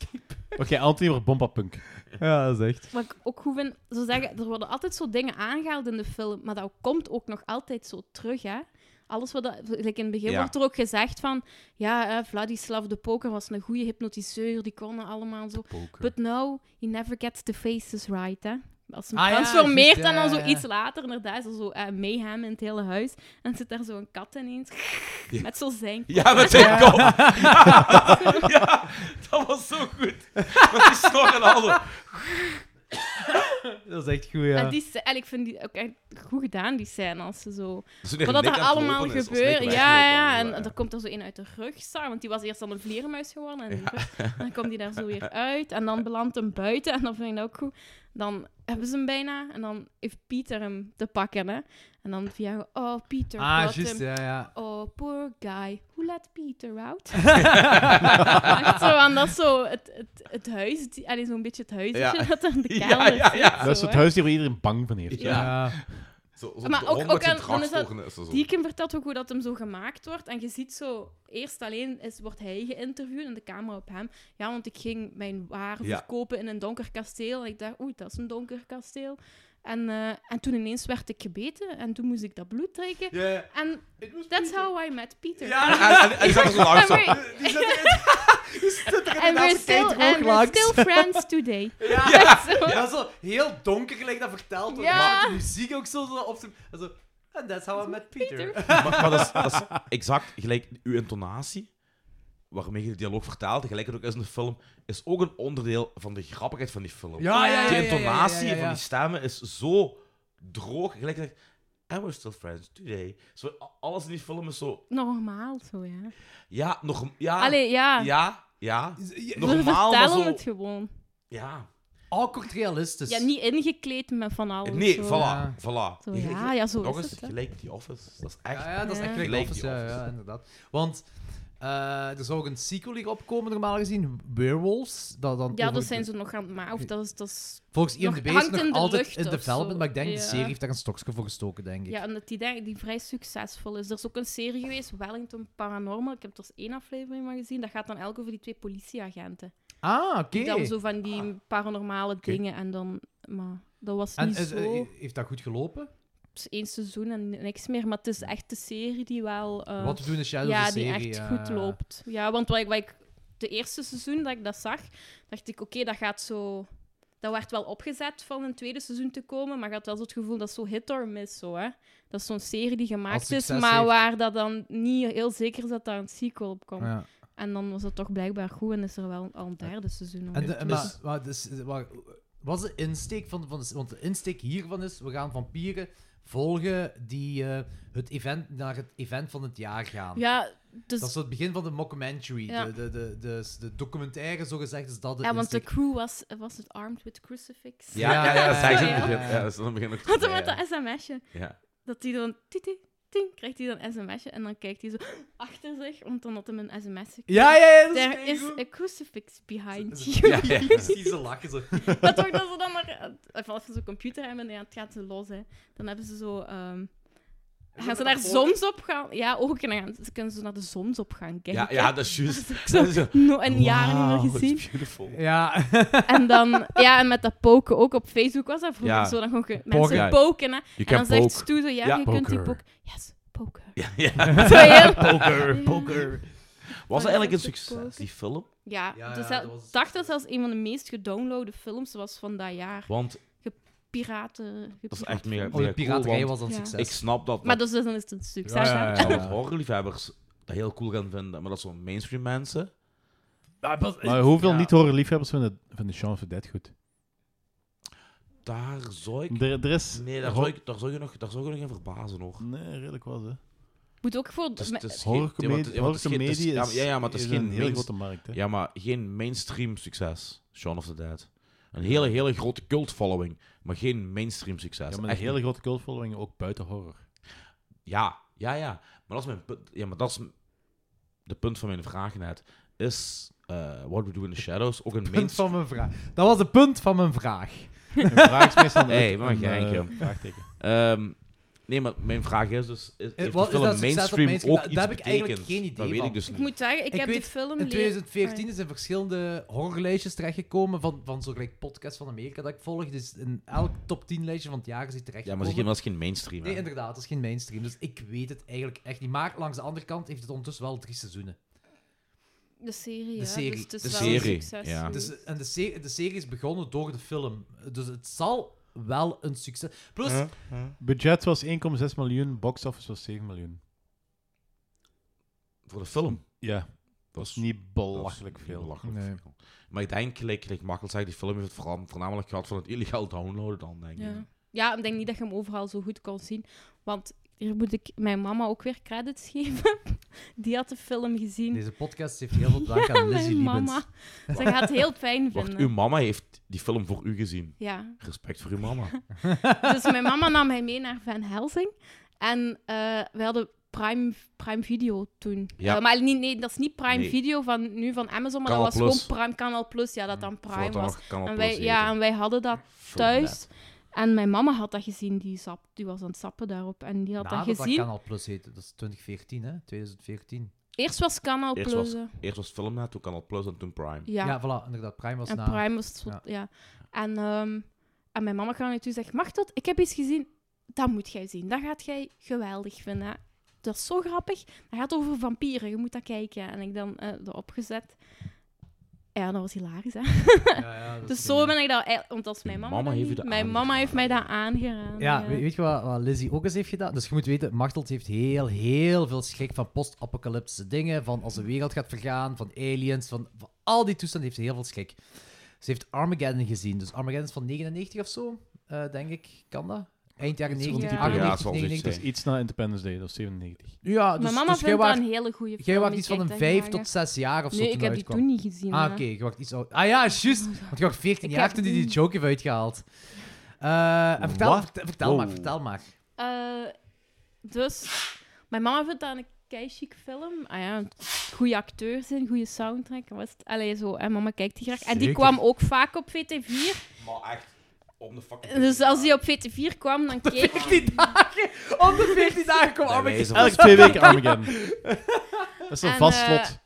E: Oké, Anthony wordt bompapunk.
C: Ja, dat is echt.
G: Wat ik ook goed vind, zo zeggen, er worden altijd zo dingen aangehaald in de film, maar dat komt ook nog altijd zo terug, hè. Alles wat dat, like in het begin
K: Ja.
G: wordt er ook gezegd van, ja, eh, Vladislav de Poker was een goede hypnotiseur, die konden allemaal zo. But no, he never gets the faces right, hè. Als hem
K: Ah ja,
G: transformeert
K: juist, ja,
G: en dan zo
K: ja, ja.
G: iets later, inderdaad, is er zo eh, mayhem in het hele huis. En zit daar zo een kat ineens,
F: Ja.
G: met zo zijn kop.
F: Ja, met zijn kop.
G: Ja.
F: Ja, dat was zo goed. Met die snor en al zo.
C: Dat is echt goed, ja.
G: En Ah, die, sc- en ik vind die ook echt goed gedaan, die scène. Als ze zo...
C: Als ze tegen
G: Wat dat
C: Nick
G: er
C: aan het
G: allemaal
C: lopen is, als
G: gebeurt.
C: Nick
G: Ja,
C: weglopen,
G: ja. En
F: eh,
C: ja.
G: er komt er zo een uit de rugzak. Want die was eerst al een vleermuis geworden. En die
K: Ja.
G: rug- dan komt die daar zo weer uit. En dan belandt hem buiten. En dan vind ik dat ook goed. Dan hebben ze hem bijna. En dan heeft Pieter hem te pakken. Hè. En dan via... Oh, Pieter.
C: Ah,
G: got
C: juist,
G: him.
C: ja, ja.
G: Oh, poor guy. Who let Peter out? Echt zo, want dat is zo het, het, het huis... Allee, zo'n beetje het huisje
E: Ja.
G: dat er in de
E: Ja,
G: kelder
E: ja, ja.
G: zit,
E: Dat is
G: zo,
E: het
G: hè.
E: huis waar iedereen bang van heeft.
C: Ja.
F: Zo, zo
G: maar
F: de
G: ook,
F: hond met
G: ook
F: zijn
G: aan, dan is dat,
F: draagstokken is er zo.
G: Deacon vertelt ook hoe dat hem zo gemaakt wordt. En je ziet zo, eerst alleen is, wordt hij geïnterviewd en de camera op hem. Ja, want ik ging mijn waar
F: Ja.
G: verkopen in een donker kasteel. En ik dacht, oei, dat is een donker kasteel. En, eh, en toen ineens werd ik gebeten en toen moest ik dat bloed trekken.
F: Ja, ja.
G: En that's how I met Peter.
F: Ja, en- en- en die zat er zo langs
G: En
F: op.
G: we-
F: Die zat
G: En
C: inderdaad
G: we're still,
C: skaten ook
G: and we're
C: langs.
G: still friends today.
C: Ja,
G: Zo.
C: ja, zo heel donker gelijk dat verteld wordt.
G: Ja.
C: Maar de muziek ook zo, zo op zijn... en Zo, and that's how I met Peter.
F: maar, maar dat, is, dat is exact gelijk uw intonatie, waarmee je de dialoog vertaalt, gelijk ook is in de film, is ook een onderdeel van de grappigheid van die film.
C: Ja, ja, ja,
F: De
C: ja, ja, ja,
F: intonatie
C: ja, ja, ja.
F: van die stemmen is zo droog. Gelijk dat je zegt, and we're still friends today. Zo, a- alles in die film is zo,
G: Normaal zo, ja.
F: ja, nog... Ja,
G: Allee, ja.
F: Ah. Ja, ja.
G: we
F: Normaal, maar
G: vertellen
F: zo...
G: het gewoon.
F: Ja.
C: Awkward realistisch.
G: Ja, niet ingekleed met van alles.
F: Nee,
G: Oh, zo.
F: voilà, voilà.
G: Zo,
F: Je- je-
G: ja, ja, zo
F: nog
G: is
F: eens,
G: het, hè.
F: gelijk die Office. Dat is echt...
C: Ja, ja, dat is echt
G: Ja.
F: Gelijk
C: gelijk Office,
F: die
C: ja,
F: Office.
C: ja, inderdaad. Want eh, er zou ook een sequel hierop komen, normaal gezien. Werewolves. Dat dan
G: Ja,
C: over
G: dat
C: de-
G: zijn ze nog aan het maken. Of dat is, dat is
C: Volgens
G: nog-
C: IMDb is
G: hangt
C: het nog
G: in de
C: altijd
G: lucht
C: in
G: of
C: development,
G: zo.
C: maar ik denk, de
G: Ja.
C: serie heeft daar een stokje voor gestoken, denk ik.
G: Ja, omdat die, daar- die vrij succesvol is. Er is ook een serie geweest, Wellington Paranormal. Ik heb er eens één aflevering van gezien. Dat gaat dan elk over die twee politieagenten.
C: Ah, oké.
G: Die dan zo van die paranormale dingen en dan... Maar dat was
C: Ah. En
G: niet
C: is-
G: zo...
C: eh, heeft dat goed gelopen?
G: Het is één seizoen en niks meer. Maar het is echt de serie die wel... eh,
C: Wat te doen is Shadow
G: Ja,
C: de
G: die
C: serie, eh,
G: echt
C: ja.
G: goed loopt. Ja, want wat ik, wat ik... De eerste seizoen dat ik dat zag, dacht ik, oké, dat gaat zo... Dat werd wel opgezet van een tweede seizoen te komen, maar je had wel zo het gevoel dat het zo hit or miss zo, hè. Dat is zo'n serie die
C: Als
G: gemaakt is,
C: succes
G: maar
C: heeft.
G: waar dat dan niet heel zeker is dat daar een sequel op komt.
C: Ja.
G: En dan was het toch blijkbaar goed en is er wel al een derde seizoen.
C: En de,
G: over.
C: en maar, maar dus, eh, maar wat is de insteek van, van... de- Want de insteek hiervan is, we gaan vampieren volgen die eh, het event, naar het event van het jaar gaan.
G: Ja, dus...
C: Dat is zo het begin van de mockumentary.
G: Ja.
C: De, de, de, de, de documentaire, zogezegd, is dat de
G: ja, want de
C: insteek.
G: crew was, was het armed with crucifix.
F: Ja, ja, ja, dat
C: Ja,
F: zei ze in
C: ja,
F: het begin.
C: ja.
F: Ja, dat is dan begin ook...
G: Wat dan
F: Ja,
G: met
F: ja.
G: dat sms'je.
F: Ja.
G: Dat hij dan... Ting, ting, ting, krijgt hij dan een sms'je en dan kijkt hij zo achter zich, want dan had hem een sms gekregen.
C: Ja, ja, ja, dat is
G: There
C: keigoed.
G: is a crucifix behind you.
C: Ja, ja, precies, ze lachen zo.
G: Maar toch dat ze dan maar... Of als ze zo'n computer hebben, ja, het gaat ze los, hè. Dan hebben ze zo... ehm, gaan ze naar zonsopgang... Ja, ook. En dan gaan, ze kunnen ze naar de zonsopgang kijken.
F: Ja, ja, dat is juist.
G: Zo,
F: Dat is zo-
G: no, een jaar
F: Wauw,
G: niet meer
F: dat is
G: gezien.
F: beautiful.
C: Ja.
G: En dan, ja, en met dat poken ook op Facebook was dat vroeger
F: Ja.
G: zo. Dan gewoon ge-
F: Poken.
G: mensen
F: Ja.
G: poken. Hè.
F: You
G: En
F: can
G: dan zegt
F: poke.
G: Stu zo, ja,
F: Ja.
G: je kunt die
F: Poker.
G: poken. Yes, poker.
F: Ja, ja.
G: Zo heel-
F: Poker,
G: Ja.
F: poker.
C: Oh,
F: Was dat eigenlijk een succes, die film?
G: Ja,
F: Ja,
G: dus
F: ja,
G: dat
F: dat was-
G: dacht dat zelfs een van de meest gedownloade films was van dat jaar.
F: Want-
G: Gepiraten...
F: Dat is echt mega,
C: Oh, de
F: mega cool,
C: piraterij
F: want
C: was dan
G: Ja.
C: succes.
F: Ik snap dat.
G: Maar
F: dat-
G: dus dan is het een succes.
F: Ik
G: hè?
F: snap dat horrorliefhebbers dat heel cool gaan vinden, maar dat zo'n mainstream mensen...
E: Maar hoeveel niet-horrorliefhebbers vinden, vinden Shaun of the Dead goed?
F: Daar zou ik...
E: Er, er is...
F: Nee, daar zou, ik, daar, zou je nog, daar zou je nog in verbazen, hoor.
E: Nee, redelijk was, hè.
G: Moet ook voor...
F: Dus Het is- het is
E: Horrorcomedie-
F: geen- ja, want het- ja, want het is geen- het is-
E: horrorcomedie is-
F: ja, ja, maar het is,
E: is
F: geen
E: een hele
F: mainst-
E: grote markt, hè.
F: Ja, maar geen mainstream succes, Shaun of the Dead. Een hele, hele grote cult following, maar geen mainstream succes.
E: Ja, maar een
F: Echt
E: hele grote cultfollowing, ook buiten horror.
F: Ja, ja, ja. Maar dat is mijn punt. Ja, maar dat is m- de punt van mijn vraag net. Is eh, What We Do in the Shadows ook een
C: Punt
F: mainstream...
C: van mijn vraag. Dat was het punt van mijn vraag.
E: Een vraag is meestal een-
F: Hey, maar
E: een,
F: een geintje.
E: eh, vraagteken.
F: Ehm, nee, maar mijn vraag is dus... Is, heeft
C: Eh,
F: de
C: wat is
F: film
C: dat succes op
F: mainstream,
C: mainstream?
F: ook
C: Daar-
F: iets
C: daar heb ik eigenlijk
F: betekend?
C: geen idee
F: Dat weet
C: van.
F: ik dus
G: Ik
F: niet.
G: moet zeggen, ik, heb
C: weet,
G: die film...
C: In
G: leren-
C: 2014
G: Ah,
C: is in verschillende horrorlijstjes terechtgekomen. Van, van zo'n gelijk podcast van Amerika dat ik volg. Dus in elk top 10 lijstje van het jaar is die
F: Ja,
C: terechtgekomen.
F: maar dat is geen mainstream,
C: Nee,
F: hè.
C: inderdaad, dat is geen mainstream. Dus ik weet het eigenlijk echt niet. Maar langs de andere kant heeft het ondertussen wel drie seizoenen.
G: ja. De serie,
C: De
G: ja.
C: serie.
G: Dus het is
F: De
G: wel
F: serie,
G: een succes.
F: ja.
G: geweest.
C: Dus, en de, se- de serie is begonnen door de film. Dus het zal wel een succes. Plus,
E: Budget was 1,6 miljoen, box office was 7 miljoen.
F: Voor de film.
E: Ja,
F: Dat
E: is niet belachelijk
F: niet
E: veel.
F: belachelijk
C: Nee.
F: veel. Maar ik denk, gelijk, gelijk makkelijk zei, die film heeft het vooral, voornamelijk gehad van het illegaal downloaden dan, denk ik.
G: Ja. ja, ik denk niet dat je hem overal zo goed kon zien. Want hier moet ik mijn mama ook weer credits geven. Die had de film gezien.
C: deze podcast heeft heel veel te maken aan Lizzie
G: mijn
C: Liebens.
G: mama. Ze gaat het heel fijn
F: Wacht,
G: vinden.
F: uw mama heeft die film voor u gezien.
G: Ja.
F: Respect voor uw mama.
G: Dus mijn mama nam hij mee naar Van Helsing. En eh we hadden Prime, Prime Video toen.
F: Ja.
G: Eh, maar niet, nee, dat is niet Prime
F: Nee.
G: Video van nu van Amazon, maar
F: Canal
G: dat was
F: Plus.
G: gewoon Prime Canal Plus. Ja, dat dan Prime
F: Voordat dat
G: was.
F: nog Canal
G: en
F: Plus Hm,
G: wij, ja,
F: heette.
G: en wij hadden dat
F: Verlet.
G: thuis. En mijn mama had dat gezien, die, sap, die was aan het sappen daarop. En die had
C: Nadat
G: dat gezien.
C: Canal Plus heette. Dat is 2014, hè? 2014.
G: Eerst was Canal
F: Eerst was,
G: Plus. hè.
F: eerst was film na, toen Canal Plus en toen Prime.
G: Ja.
C: Ja, voilà, inderdaad. Prime was
G: en
C: na.
G: Prime was het zo- ja. En, ehm, en mijn mama kwam naartoe en zegt, mag dat? Ik heb iets gezien. Dat moet jij zien. Dat gaat jij geweldig vinden. hè. Dat is zo grappig. Dat gaat over vampieren. Je moet dat kijken. En ik dan eh erop gezet. Ja, dat was hilarisch, hè?
C: ja, dat
G: dus
C: is
G: zo ben ik dat... eigenlijk- Want als mijn mama...
C: Mama
G: dat
C: heeft u
G: niet-
C: dat
G: mijn mama heeft mij dat aangeraden.
C: Ja, weet, weet je wat, wat Lizzie ook eens heeft gedaan? Dus je moet weten, Martelt heeft heel, heel veel schrik van post-apocalyptische dingen. Van als de wereld gaat vergaan, van aliens, van, van al die toestanden heeft ze heel veel schrik. Ze heeft Armageddon gezien. Dus Armageddon is van 99 of zo, eh, denk ik. Kan dat? Eind jaren
E: Iets
C: 90,
E: rond die-
C: 98,
E: ja,
C: 99.
E: dat is iets na Independence Day, dat is 97.
C: Ja, dus,
G: Mijn mama
C: dus jij
G: vindt dat
C: waart-
G: een hele goede
C: Jij
G: film,
C: was
G: ik
C: iets van
G: kijk
C: een
G: dat
C: 5
G: graag,
C: tot
G: hè.
C: 6 jaar of zo.
G: Nee, ik
C: toen
G: heb die
C: uitkwam.
G: toen niet gezien,
C: Ah,
G: hè.
C: oké, je wacht iets ouder. Ah ja, juist. Want je was 14
G: Ik
C: jaar
G: heb
C: toen je
G: die-
C: die joke heeft uitgehaald. Eh, en vertel,
E: Wat?
C: vertel, vertel maar,
E: Wow.
C: vertel maar.
G: Eh, dus, mijn mama vindt dat een keichic film. Ah ja, goede acteurs in, goede soundtrack. Was het? Allee, zo. En mama kijkt die graag. En die
F: Zeker.
G: kwam ook vaak op VT4.
F: Maar echt, om de fucking...
G: Dus als die op VT4 kwam, dan keek ik...
C: die dagen! Om de 14 dagen kwam
F: Bij wijze van
C: Armageddon.
E: Elke
F: spreken.
E: twee weken Armageddon. Dat is een
G: En,
E: vast
G: eh,
E: slot.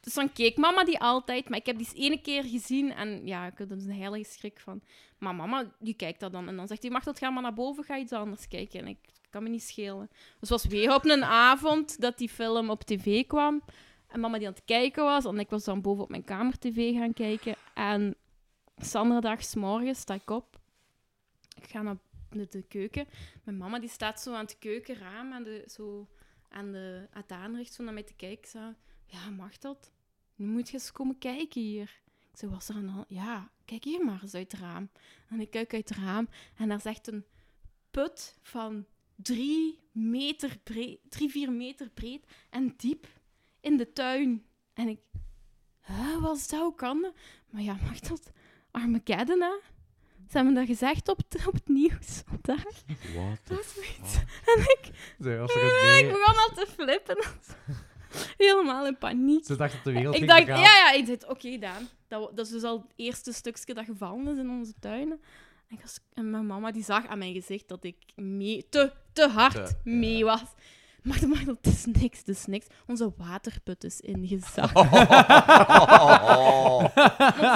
G: dus dan keek mama die altijd. Maar ik heb die eens ene keer gezien en ja, ik had er een heilige schrik van. Maar mama, die kijkt dat dan. En dan zegt hij, mag dat gaan maar naar boven, ga iets anders kijken. En ik kan me niet schelen. Dus het was weer op een avond dat die film op tv kwam. En mama die aan het kijken was. En ik was dan boven op mijn kamer tv gaan kijken. En zanderdagsmorgen sta ik op. Ik ga naar de, de keuken. Mijn mama die staat zo aan het keukenraam. Aan de, zo aan de, aan het aanrecht, zo naar mij te kijken. Ik zei, ja, mag dat? Nu moet je eens komen kijken hier. Ik zei, was er een... hand? Ja, kijk hier maar eens uit het raam. En ik kijk uit het raam en daar is echt een put van drie, meter breed, drie vier meter breed en diep in de tuin. En ik... Huh, wat is dat? Hoe kan dat? Maar ja, mag dat? Armageddon, hè? Ze hebben dat gezegd op, het- op het nieuws vandaag.
E: What
G: Dat is zoiets. En ik...
C: Ze was er een
G: Ik
C: nee.
G: begon al te flippen. Helemaal in paniek.
C: Ze dacht dat de wereld
G: Ik
C: ging
G: dacht, ja,
C: vergaan.
G: ja, ik dacht, oké, Daan. Dat, wa- dat is dus al het eerste stukje dat gevallen is in onze tuinen. En, ik was- en mijn mama die zag aan mijn gezicht dat ik mee, te, te hard
K: Te,
G: mee was. Maar, maar dat is niks, dat is niks. Onze waterput is ingezakt. Want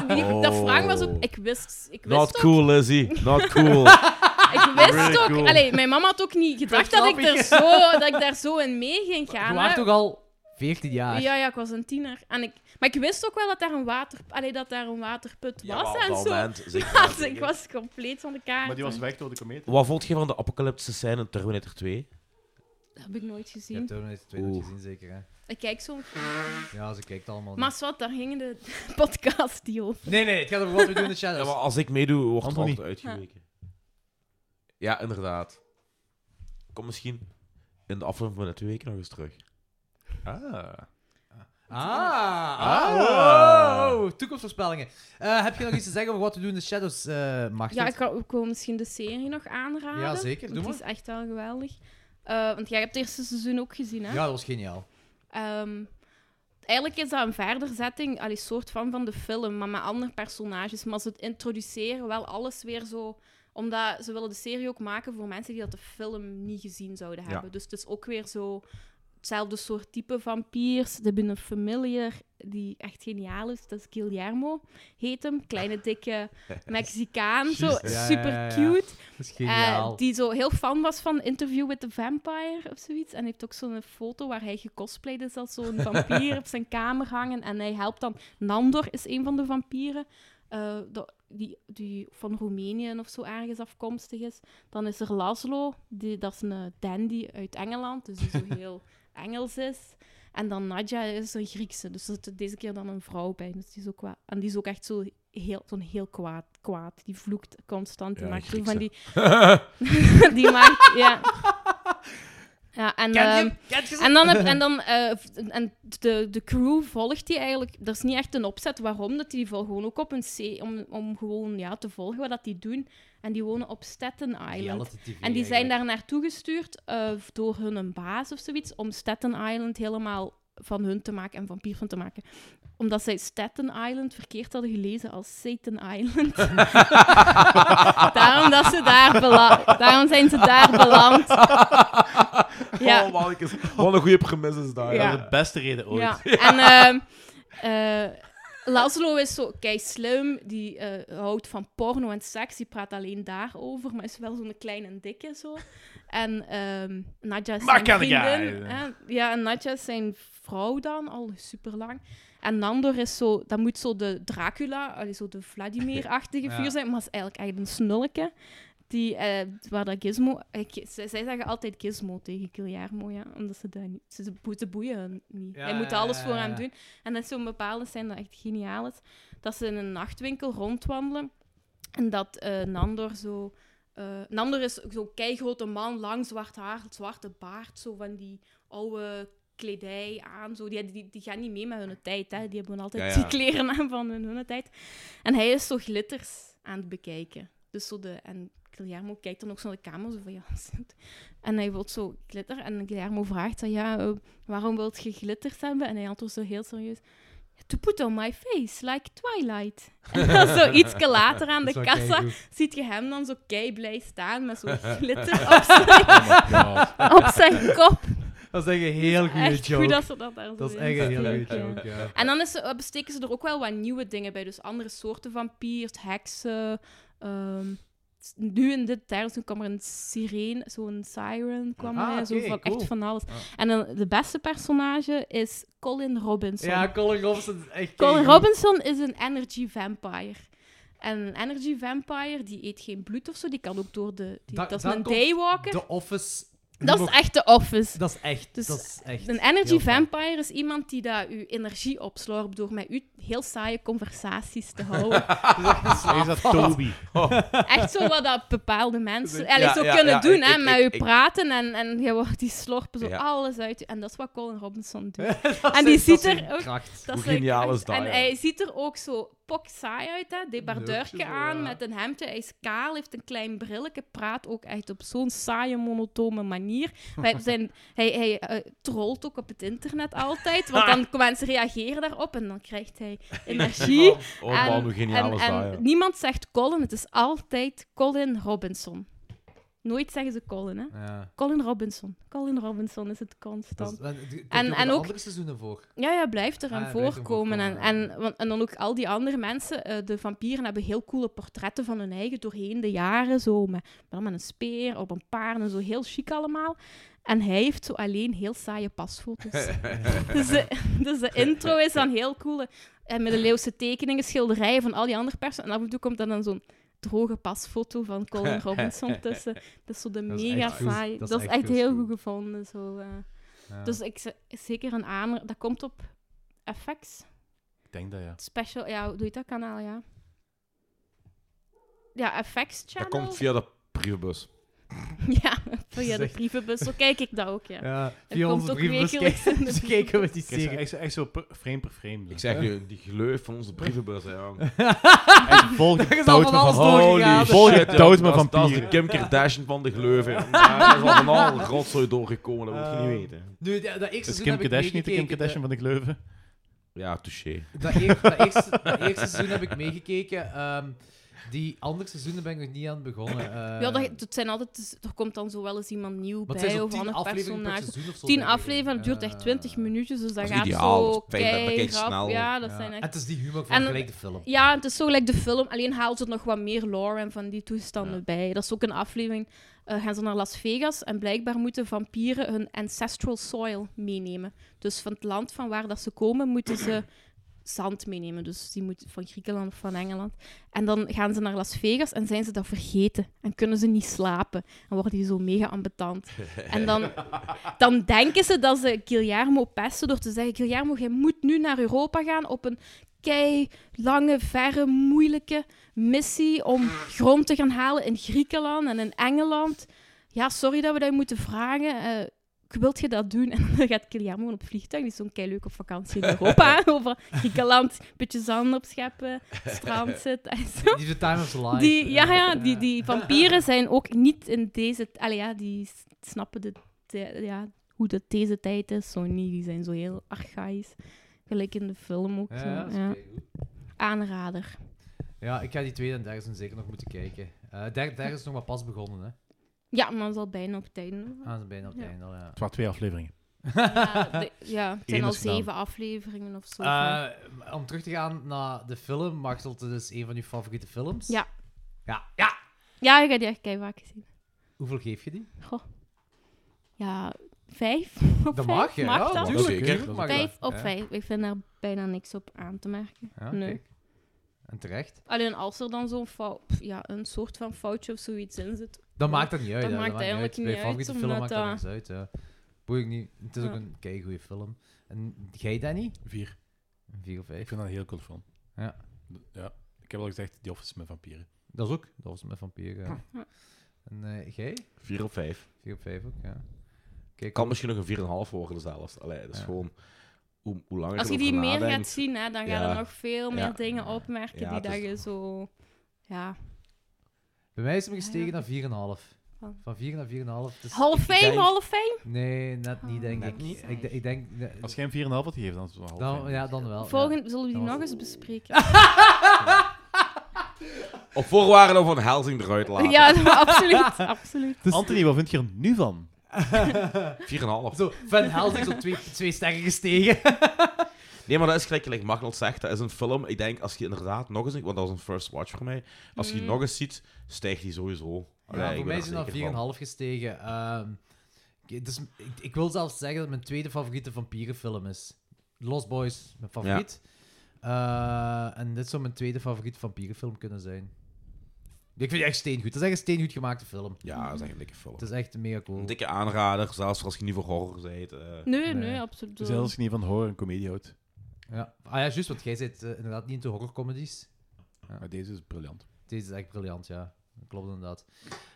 G: die- Dat vraag was ook... Ik wist, ik wist
F: Not
G: ook-
F: cool, Lizzie. Not cool.
G: ik wist
F: Really
G: ook...
F: cool.
G: Allee, mijn mama had ook niet gedacht dat ik,
C: Verklapping.
G: er zo, dat ik daar zo in mee ging gaan.
C: Je
G: hè.
C: waart toch al 14 jaar?
G: Ja, ja, ik was een tiener. En ik, maar ik wist ook wel dat daar een, water, allee, dat daar een waterput
F: Ja,
G: was
F: maar op
G: en
F: dat
G: zo.
F: moment, zeker,
G: Maar
F: zeker.
G: ik was compleet van de kaart.
E: Maar die was weg door de komeet.
F: Wat vond je van de apocalyptische scène in Terminator 2?
G: Dat heb ik nooit
C: Je
G: gezien.
C: hebt Terminator 2 nooit gezien, zeker, hè?
G: Ik kijk zo.
C: Ja, ze kijkt allemaal.
G: Maar wat, daar gingen de podcasts die over.
C: Nee, nee, het gaat over wat we doen in de shadows.
F: Ja, maar als ik meedoe, wordt het
E: Anthony.
F: altijd uitgeweken. Ja, inderdaad. Kom misschien in de aflevering van de twee weken nog eens terug. Ah.
C: Ah, ah,
E: Ah.
C: wow, toekomstvoorspellingen. Eh, heb je nog iets te zeggen over wat we doen in de shadows, eh Martin?
G: Ja, ik kan ik wil misschien de serie nog aanraden.
C: Ja, zeker,
G: want
C: doe
G: Die is echt wel geweldig. Eh, want jij hebt het eerste seizoen ook gezien, hè?
C: Ja, dat was geniaal.
G: Ehm, eigenlijk is dat een verderzetting, een soort van van de film, maar met andere personages. Maar ze introduceren wel alles weer zo omdat ze willen de serie ook maken voor mensen die dat de film niet gezien zouden
K: Ja.
G: hebben. Dus het is ook weer zo hetzelfde soort type vampiers. Ze hebben een familiar die echt geniaal is. Dat is Guillermo, heet hem. Kleine, dikke Mexicaan. zo
C: Juist, ja, ja,
G: super
C: ja, ja.
G: cute.
C: Dat is geniaal.
G: Eh, die zo heel fan was van Interview with the Vampire of zoiets. En heeft ook zo'n foto waar hij gecosplayed is als zo'n vampier op zijn kamer hangen. En hij helpt dan... Nandor is een van de vampieren. eh, dat- die, die van Roemenië of zo ergens afkomstig is. Dan is er Laszlo, die, dat is een eh, dandy uit Engeland, dus die zo heel Engels is. En dan Nadja is een Griekse, dus er zit deze keer dan een vrouw bij. Dus die is ook wel, en die is ook echt zo heel, zo'n heel kwaad, kwaad. Die vloekt constant. Die
K: Ja, een
G: maakt zo van die...
K: Griekse.
G: die maakt... Ja. Ja, en,
K: Kent je
G: ehm,
K: hem? Kent je ze?
G: en dan, heb, en dan eh, v- en de, de crew volgt die eigenlijk. Er is niet echt een opzet waarom, dat die volgen gewoon ook op een zee om, om gewoon ja, te volgen wat dat die doen. En die wonen op Staten Island.
K: Reality TV
G: en die zijn
K: eigenlijk.
G: daar naartoe gestuurd eh, door hun een baas of zoiets om Staten Island helemaal van hun te maken en vampier van te maken. Omdat zij Staten Island verkeerd hadden gelezen als Satan Island. daarom, dat ze daar bela- daarom zijn ze daar beland.
L: Oh, mannetjes. Wat een goede premise is daar.
G: Ja.
L: Dat is de beste reden ooit.
G: Ja. En ehm, eh, Laszlo is zo kei slim, die eh, houdt van porno en seks, die praat alleen daarover, maar is wel zo'n klein en dikke zo. En ehm Nadja is
K: Maar
G: zijn
K: kan ik
G: vriendin.
K: haar?
G: hè. Ja, en Nadja is zijn vrouw dan, al super lang. En Nandor is zo, dat moet zo de Dracula, allee, zo de Vladimir-achtige
K: Ja.
G: vuur zijn, maar is eigenlijk echt een snulleke. Die, eh, waar dat Gizmo... Ik, zij, zij zeggen altijd Gizmo tegen Guillermo, ja. Omdat ze dat niet... Ze, ze boe- ze boeien hun niet.
K: Ja,
G: Hij moet
K: ja,
G: alles
K: ja,
G: voor
K: ja,
G: hem
K: ja.
G: doen. En dat is zo'n bepaalde zijn dat echt geniaal is. Dat ze in een nachtwinkel rondwandelen. En dat eh, Nandor zo... eh, Nandor is zo'n keigrote man, lang zwart haar, zwarte baard, zo van die oude kledij aan. Zo. Die, die, die gaan niet mee met hun tijd, hè. Die hebben altijd
K: Ja, ja.
G: die kleren aan van hun, hun tijd. En hij is zo glitters aan het bekijken. Dus zo de, en Guillermo kijkt dan ook zo naar de camera, zo van ja. zit. En hij wil zo glitter. En Guillermo vraagt dan, ja, eh, waarom wilt je glitters hebben? En hij antwoordt zo heel serieus. To put on my face, like Twilight. En dan zo ietske later aan de
K: Dat is wel
G: kassa
K: keigoed.
G: ziet je hem dan zo kei blij staan met zo'n glitter
C: Oh
G: op zijn, op zijn kop.
C: Dat is echt een heel goede
G: Echt
C: joke.
G: goed Oh. dat ze dat daar zo
C: Dat is
G: in
C: echt een heel goede
G: steken,
C: joke, ja.
G: En dan is, eh, besteken ze er ook wel wat nieuwe dingen bij. Dus andere soorten vampiers, heksen. ehm, s- nu in dit derde seizoen kwam er een sirene, zo'n siren kwam
C: Ah,
G: er, zo
C: oké,
G: van,
C: cool. Ah.
G: echt van alles. En dan de beste personage is Colin Robinson.
C: Ja, Colin Robinson is echt
G: Colin
C: keigoed.
G: Robinson is een energy vampire. En een energy vampire, die eet geen bloed of zo, die kan ook door de... Die,
C: Da-
G: dat is
C: daar
G: een
C: komt
G: daywalker.
C: The Office.
G: Dat is echt de Office.
C: Dat is echt.
G: Dus
C: dat is echt
G: Een
C: heel
G: energy
C: fijn.
G: vampire is iemand die daar uw energie opslorpt door met u heel saaie conversaties te houden.
E: Is dat Toby?
G: Echt zo wat dat bepaalde mensen
E: Ja,
G: allee, zo
E: ja,
G: kunnen
E: ja,
G: doen,
E: ik-
G: hè,
E: ik-
G: met
E: ik-
G: u
E: ik-
G: praten en, en je wordt die slorpen zo
E: Ja.
G: alles uit. je- En dat is wat Colin Robinson doet.
K: Dat
G: en die
K: is- dat
G: ziet
K: is
G: er
K: een
G: ook...
K: kracht.
G: dat
K: Hoe
G: zijn
K: geniaal
G: kracht.
K: is dat,
G: En
K: ja.
G: hij ziet er ook zo pok saai uit, hè. Debardeurtje
K: Leuk, zo,
G: aan
K: ja.
G: met een hemdje. Hij is kaal, heeft een klein brilletje, praat ook echt op zo'n saaie, monotone manier. Wij zijn, hij hij eh, trolt ook op het internet altijd, want dan mensen reageren daarop en dan krijgt hij energie.
L: Oh, oh, man, hoe geniaal
G: en,
L: is
G: en
L: dat, ja.
G: niemand zegt Colin, het is altijd Colin Robinson. Nooit zeggen ze Colin, hè?
C: Ja.
G: Colin Robinson. Colin Robinson is het constant.
C: Dat is- en- doen we de andere seizoenen voor?
G: Ja, ja, blijft er
C: Ah,
G: aan
C: ja, blijft hem
G: voorkomen. En, en, want- en dan ook al die andere mensen. eh, de vampieren hebben heel coole portretten van hun eigen doorheen de jaren. Zo met, wel met een speer op een paard en zo. Heel chic allemaal. En hij heeft zo alleen heel saaie pasfoto's. dus, de, dus de intro is dan heel cool. En met de Leeuwse tekeningen, schilderijen van al die andere personen. En af en toe komt er dan zo'n droge pasfoto van Colin Robinson tussen. Dat is zo de
K: Dat is
G: mega
K: echt goed.
G: saai. Dat is echt,
K: goed.
G: heel goed gevonden. Zo, eh.
E: Ja.
G: Dus ik ze- zeker een aanrader. Dat komt op FX.
E: Ik denk dat ja.
G: Special, ja, hoe doe je dat kanaal, ja? Ja, FX
L: Dat
G: Channel.
L: komt via de brievenbus.
G: Ja, via de brievenbus. Zo kijk ik dat ook, ja.
C: Ja,
G: Dat komt ook
C: Dus
G: wekelijks in de brievenbus.
E: Ik zeg Echt, zo- echt zo per- frame per frame. dus.
L: Ik zeg je, die gleuf van onze brievenbus, ja.
E: En volg de dood me van- Holy
L: Volg
E: shit,
L: je
E: ja.
L: dood me
E: Dat is-
L: van
E: dat is de
L: de Kim Kardashian van de gleuven. Daar is al van al rotzooi doorgekomen, dat wil je
G: Eh.
L: niet weten.
C: Nu, dat, dat eerste
E: Is
C: seizoen
E: Kim
C: heb ik
E: Kardashian niet de Kim
C: meegekeken.
E: Kardashian van de Gleuven?
L: Ja, touché.
C: Dat, eer- dat eerste, dat eerste seizoen heb ik meegekeken. Ehm, die andere seizoenen ben ik nog niet aan begonnen. Eh,
G: Ja, dat, dat zijn altijd, dus er komt dan zo wel eens iemand nieuw
C: Maar het zijn
G: bij
C: zo
G: of
C: tien
G: ander
C: afleveringen per
G: personage.
C: seizoen of zo,
G: Tien
C: denk ik.
G: afleveringen, het duurt echt twintig minuutjes, dus dat,
L: is
G: gaat
L: ideaal,
G: zo
L: dat is fijn, dat bekijk je
G: keirap.
L: snel.
G: Ja, dat
C: Ja.
G: zijn echt...
C: En het is die humor van
G: En-
C: gelijk de film.
G: Ja, het is zo gelijk de film, alleen haalt ze nog wat meer lore en van die toestanden bij. Dat is ook een aflevering, eh, gaan ze naar Las Vegas en blijkbaar moeten vampieren hun ancestral soil meenemen. Dus van het land van waar dat ze komen, moeten ze zand meenemen. Dus die moet van Griekenland of van Engeland. En dan gaan ze naar Las Vegas en zijn ze dat vergeten. En kunnen ze niet slapen. En worden die zo mega ambetant. En dan, dan denken ze dat ze Guillermo pesten door te zeggen... Guillermo, jij moet nu naar Europa gaan op een kei lange, verre, moeilijke missie om grond te gaan halen in Griekenland en in Engeland. Ja, sorry dat we dat je moeten vragen. Eh wilt je dat doen? En dan gaat Guillermo gewoon op vliegtuig. Die is zo'n kei leuk op vakantie in Europa. hè, Over Griekenland, beetje zand opscheppen, strand zitten. en zo.
C: Die is de time of the life.
G: Die, ja, ja die, die vampieren zijn ook niet in deze... Allee, ja, die s- snappen de, de- ja, hoe dat deze tijd is. Zo niet, die zijn zo heel archaïs. Gelijk in de film ook.
C: Ja,
G: zo,
C: dat is
G: ja.
C: keigoed.
G: Aanrader.
C: Ja, ik ga die tweede en derde seizoen zeker nog moeten kijken. Eh derde, derde is nog maar pas begonnen, hè?
G: Ja, maar dat is al bijna op het einde.
C: Ah, dat is bijna op het
G: Ja.
C: einde al, ja.
E: Het waren twee afleveringen.
G: Ja, de- ja, het zijn
E: Eén
G: al
E: is gedaan.
G: zeven afleveringen of zo.
C: Eh, om terug te gaan naar de film, Martelt, het is een van uw favoriete films.
G: Ja.
C: Ja, ja.
G: Ja, ik heb die echt keihard gezien.
C: Hoeveel geef je die?
G: Goh. Ja, vijf op
C: Dat
G: vijf?
C: mag je, ja,
G: dat?
C: tuurlijk, Zeker. tuurlijk mag
G: Vijf
C: dat,
G: op
C: ja.
G: vijf. Ik vind daar bijna niks op aan te merken.
C: Ja,
G: nee.
C: kijk. En terecht.
G: Alleen als er dan zo'n fout, pff, ja, een soort van foutje of zoiets in zit.
C: Dat maakt dat niet uit.
G: Dat
C: hè.
G: maakt eigenlijk
C: Bij
G: niet uit,
C: favoriete film
G: omdat
C: maakt dat
G: dat-
C: niks uit. Ja. Boeit niet. Het is ook
G: Ja.
C: een keigoede film. En jij, Danny?
E: Vier.
C: Vier of vijf.
E: Ik vind dat een heel cool film.
C: Ja.
E: ja. Ik heb al gezegd, The Office met vampieren.
C: Dat is ook. Dat was met vampieren. ja.
G: Ja.
C: En eh, jij?
F: Vier op vijf.
C: Vier op vijf ook, ja. Kijk,
F: kan misschien nog een 4,5 worden zelfs. Allee, dat is
C: Ja.
F: gewoon... Hoe, hoe langer
G: Als je
F: ik
G: die
F: erover
G: meer gaat
F: nadenk-
G: zien, hè, dan gaan
F: Ja.
G: er nog veel meer
F: Ja.
G: dingen opmerken
F: Ja,
G: die
F: het
G: dat
F: is-
G: je zo... Ja.
C: Bij mij is hem
G: Ja,
C: gestegen
G: ja. Oh.
C: naar 4,5.
G: Van-
C: Van 4 naar 4,5. Dus
G: Hall of
C: ik
G: Fame,
C: denk-
G: Hall of Fame?
C: Nee, net
G: Oh.
C: niet, denk
E: Net
C: ik.
E: niet?
C: Ik, de- ik denk...
E: Als jij hem 4,5 had gegeven, dan is het wel half.
C: Dan, ja, dan wel. Oh, ja.
G: Volgende zullen we die
C: Dat
G: nog
C: was-
G: eens bespreken.
F: Op voorwaarde om Van Helsing eruit te laten.
G: ja, dat- absoluut. absoluut.
E: Dus- Anthony, wat vind je er nu van?
F: 4,5.
C: Zo, Van Helsing, zo twee, twee sterren gestegen.
F: Nee, maar dat is gelijk, gelijk Magnus zegt. Dat is een film. Ik denk, als je inderdaad nog eens... Want dat was een first watch voor mij. Als je die
G: Mm.
F: nog eens ziet, stijgt die sowieso. Allee,
C: ja,
F: ik
C: voor
F: ben
C: mij
F: er
C: is het
F: zeker van.
C: naar 4,5 gestegen. Ehm, ik- dus, ik, ik wil zelfs zeggen dat mijn tweede favoriete vampierenfilm is. Lost Boys, mijn favoriet. Eh, en dit zou mijn tweede favoriete vampierenfilm kunnen zijn. Ik vind die echt steengoed. Het is echt een steengoed gemaakte film.
F: Ja, dat is echt een dikke film.
C: Het is echt mega cool.
F: Een dikke aanrader, zelfs voor als je niet voor horror bent. eh.
G: Nee,
C: Nee.
G: nee, absoluut.
F: Dus
E: Zelfs als je niet van horror en comedie houdt.
C: Ja. Ah ja, juist, want jij zit inderdaad niet into horrorcomedies.
E: Maar deze is briljant.
C: Deze is echt briljant, ja. Dat klopt inderdaad.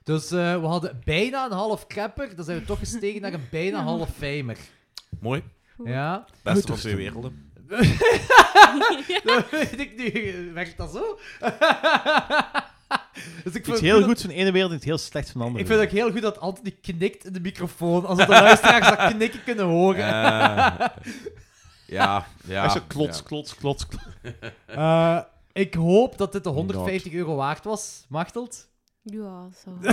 C: Dus eh, we hadden bijna een half crapper, dan zijn we toch gestegen naar een bijna half famer.
F: Mooi.
C: Ja?
F: Beste van twee werelden.
C: Dat weet ik nu. Werkt dat zo? dus ik
E: Iets
C: vind,
E: heel
C: ik
E: goed van de ene wereld en iets heel slecht van de andere
C: vind het ook heel goed dat Anthony knikt in de microfoon, alsof de luisteraars dat knikken kunnen horen.
F: Eh, ja, ja.
E: Echt zo klots,
F: ja.
E: klots, klots, klots.
C: Eh, ik hoop dat dit de 150 euro waard was, Machtelt.
G: Ja, zo.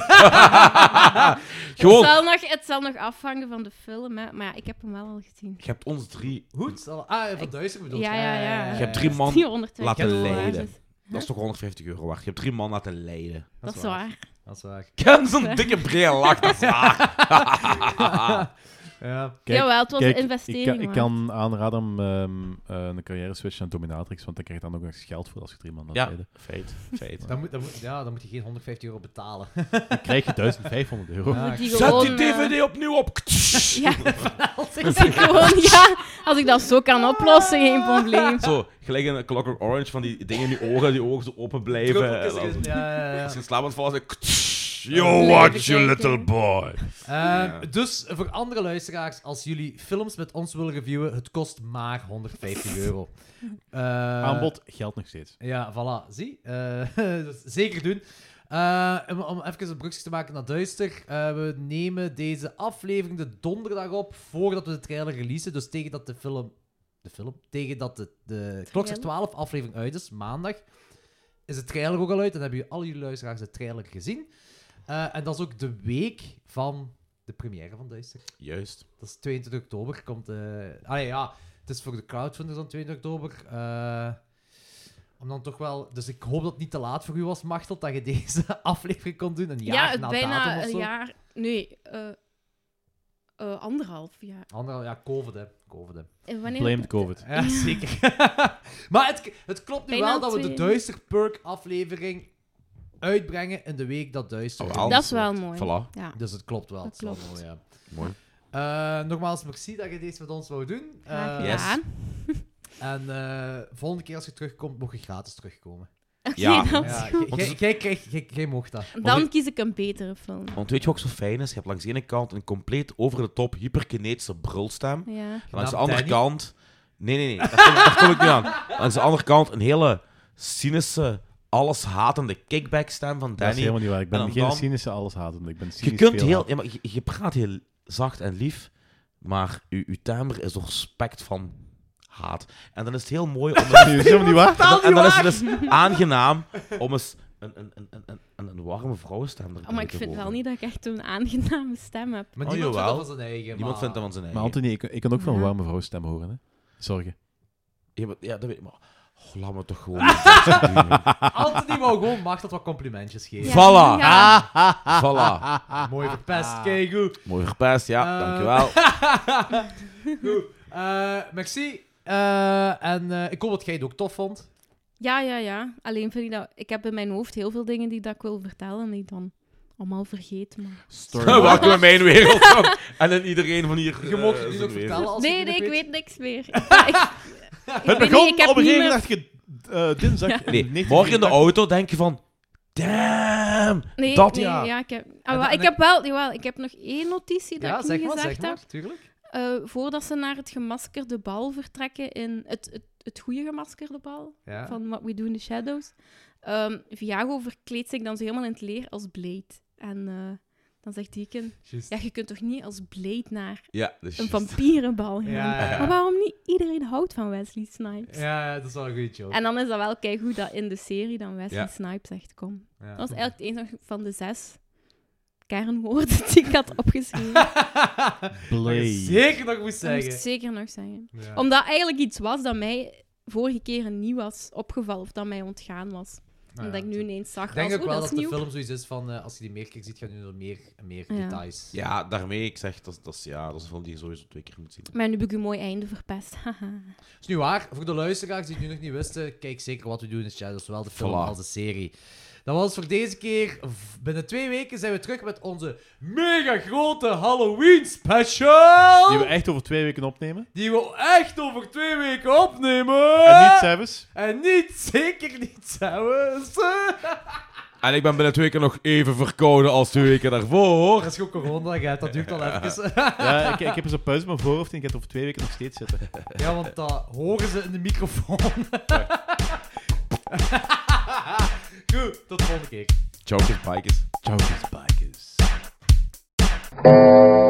F: Gewoon.
G: Het, zal nog, het zal nog afhangen van de film, hè. maar ja, ik heb hem wel al gezien.
F: Je hebt ons drie...
C: Goed. zal- Ah, van duizend bedoel
G: Ja, ja, ja.
F: Je hebt drie man
G: 420
F: laten
G: euro, hè,
F: leiden.
G: dus-
F: Dat is toch 150 euro waard. Je hebt drie man laten leiden.
G: Dat is waar.
C: Dat is waar.
F: Ken zo'n dikke bril lach, dat is waar.
C: Ja.
E: Kijk,
G: Jawel, het was
E: kijk,
G: een investering.
E: Ik kan, ik
G: waard.
E: kan aanraden om ehm, eh, een carrière switch naar Dominatrix, want dan krijg je dan ook nog eens geld voor als je drie man laat
F: Ja.
E: rijden.
F: Feit, feit.
C: Dan moet, dan, moet, ja, dan moet je geen 150 euro betalen.
E: Dan krijg je 1500 euro.
C: Ja,
G: Moet die
C: ik-
F: Zet
G: gewoon, eh,
F: die DVD opnieuw op.
G: Ja, dat ik gewoon, ja, als ik dat zo kan oplossen, geen probleem.
F: Zo, gelijk in Clockwork Orange van die dingen in die ogen, die ogen zo open blijven.
C: Druppeltjes erin. Ja, ja, ja.
F: Als je in slaap aan het vallen, is het-
G: Blijven
F: Yo, watch
G: kijken.
F: you little boy.
C: Ehm,
F: Ja.
C: Dus voor andere luisteraars, als jullie films met ons willen reviewen, het kost maar 150 euro. Eh,
E: Aanbod geldt nog steeds.
C: Ja, voilà, zie. Eh, dus zeker doen. Eh, om, om even een brugje te maken naar Duister. eh, we nemen deze aflevering de donderdag op voordat we de trailer releasen. Dus tegen dat de film. De film? Tegen dat de, de Klokster 12 aflevering uit is, maandag, is de trailer ook al uit. En hebben jullie, al jullie luisteraars de trailer gezien. Eh, en dat is ook de week van de première van Duister.
F: Juist.
C: Dat is 22 oktober. Komt, eh ah nee, ja, het is voor de crowdfunders dan 22 oktober. Eh, om dan toch wel... Dus ik hoop dat het niet te laat voor u was, Machtel, dat je deze aflevering kon doen. Een jaar
G: Ja, het
C: na
G: bijna
C: datum of
G: een
C: zo.
G: jaar. Nee, eh, eh, anderhalf jaar.
C: Anderhal- ja, COVID, hè. COVID, hè.
G: En wanneer
E: Blame the COVID.
C: Ja, zeker. maar het, het klopt nu
G: Bijna
C: wel dat we de
G: twee.
C: Duister Perk aflevering uitbrengen in de week dat Duister
F: Oh,
C: released
G: Dat is wel
C: wordt.
G: mooi.
F: Voilà.
G: Ja.
C: Dus het klopt wel.
G: Dat
C: het zal
G: klopt.
C: wel, ja.
F: Mooi.
C: Eh, nogmaals, merci dat je deze met ons wou doen.
G: Graag
C: Eh,
F: Yes.
G: gedaan.
C: En eh, volgende keer als je terugkomt, mocht je gratis terugkomen.
F: Ja.
G: Oké, dat is
C: Ja, jij-
G: goed.
C: jij- jij krijgt- jij- jij mocht dat.
G: Dan kies ik een betere film.
F: Want weet je wat ook zo fijn is? Je hebt langs de ene kant een compleet over de top hyperkinetische brulstem.
G: Ja. Oh,
F: En langs de
C: Genaamd
F: andere
C: Danny?
F: kant... Nee, nee, nee. Daar kom, daar kom ik nu aan. Langs de andere kant een hele cynische, alles hatende kickbackstem van
E: Dat is
F: Danny.
E: helemaal niet waar. Ik ben
F: En dan-
E: geen
F: dan-
E: cynische alles hatend. Ik ben cynisch
F: Je, kunt
E: veel
F: heel,
E: haat.
F: ja, maar je, je praat heel zacht en lief, maar uw, uw timbre is doorspekt van haat. En dan is het heel mooi om... Dat
E: is helemaal niet waar.
F: En dan, en dan is het dus
G: Totaal niet waar.
F: aangenaam om eens een, een, een, een, een, een, een warme vrouwenstem erbij
G: Oh, maar ik
F: te
G: vind wel
F: horen.
G: niet dat ik echt een aangename stem heb.
F: Maar die-
C: Niemand
F: Oh, jawel.
C: vindt dat van zijn eigen,
F: Niemand
C: maar-
F: vindt dat van zijn eigen.
E: Maar Anthony, ik, ik kan ook van een
G: Ja.
E: warme vrouwstem horen, hè? Zorgen.
F: Ja, maar- ja, dat weet ik, maar... Oh, laat me toch gewoon...
C: Anthony wou gewoon Machtel wat complimentjes geven.
F: Voilà.
C: Ja.
F: Voilà.
C: Mooi verpest,
F: Ah.
C: keigoed.
F: Mooi verpest, ja,
C: Eh,
F: dankjewel.
C: Goed. Eh, merci. Eh, en eh, ik hoop dat jij het ook tof vond.
G: Ja, ja, ja. Alleen vind ik dat... Ik heb in mijn hoofd heel veel dingen die dat ik wil vertellen en die ik dan allemaal vergeet. Maar...
F: Welkom in mijn wereld. jong. en in iedereen van hier. eh,
C: Je mag het dus
F: zijn wereld.
C: ook vertellen als je
G: Nee,
C: het
G: nee,
C: niet
G: ik
C: weet.
G: weet niks meer. Ik- ja, ik- ik
E: Het
G: weet niet,
E: begon
G: ik heb
E: op een
G: niet
E: gegeven
G: meer-
E: moment je eh, dinsdag.
G: Ja.
E: eh,
F: Nee,
E: 19
F: morgen in de
E: dacht-
F: auto denk je van... Damn,
G: Nee,
F: dat
G: nee,
F: ja.
G: ja. ik heb, ah,
C: En
G: wel,
C: dan-
G: ik heb wel, jawel, ik heb nog één notitie dat
C: Ja,
G: ik
C: zeg
G: niet
C: maar,
G: gezegd
C: zeg maar.
G: heb.
C: Tuurlijk.
G: Eh, voordat ze naar het gemaskerde bal vertrekken in het, het, het goede gemaskerde bal
C: Ja.
G: van What We Do in the Shadows. ehm, Viago verkleedt zich dan zo helemaal in het leer als Blade. En eh, dan zegt Deacon,
C: Juist.
G: ja, je kunt toch niet als Blade naar
F: Ja, dat is
G: een
F: juist.
G: vampierenbal gaan?
C: Ja, ja, ja.
G: Maar waarom niet iedereen houdt van Wesley Snipes?
C: Ja, dat is wel een goed, joh.
G: En dan is dat wel kijk hoe dat in de serie dan Wesley
F: Ja.
G: Snipes echt komt.
C: Ja.
G: Dat was eigenlijk het enige van de zes kernwoorden die ik had opgeschreven.
C: Dat je
E: Blade.
C: zeker nog moest
G: Dat moest ik
C: zeggen.
G: zeker nog zeggen.
C: Ja.
G: Omdat eigenlijk iets was dat mij vorige keer niet was opgevallen of dat mij ontgaan was.
C: Nou
G: Omdat
C: ja.
G: ik nu ineens zag,
C: Ik denk
G: als,
C: ook
G: oh,
C: wel
G: dat is
C: dat de
G: nieuw.
C: film zoiets is van, eh, als je die meer keer ziet, gaan je er meer, meer
G: Ja.
C: details.
F: Ja, daarmee ik zeg, dat, dat, is, ja, dat is een film die je sowieso twee keer moet zien.
G: Maar nu heb ik een mooi einde verpest. Haha.
C: Is nu waar, voor de luisteraars die het nu nog niet wisten, kijk zeker wat we doen in Shadows, zowel de film
F: Voilà.
C: als de serie. Dat was het voor deze keer. V- Binnen twee weken zijn we terug met onze mega grote Halloween special!
E: Die we echt over twee weken opnemen.
C: Die we echt over twee weken opnemen!
E: En niet Sebus.
C: En niet, zeker niet zelfs.
F: En ik ben binnen twee keer nog even verkouden als twee weken daarvoor.
C: Dat is gewoon corona, hè. dat duurt al even.
E: Ja, ik, ik heb eens een pauze op mijn voorhoofd en ik heb het over twee weken nog steeds zitten.
C: Ja, want dat horen ze in de microfoon. Goed, tot de volgende keer.
F: Chokers, bikers.
E: Ciao, bikers.
M: Thank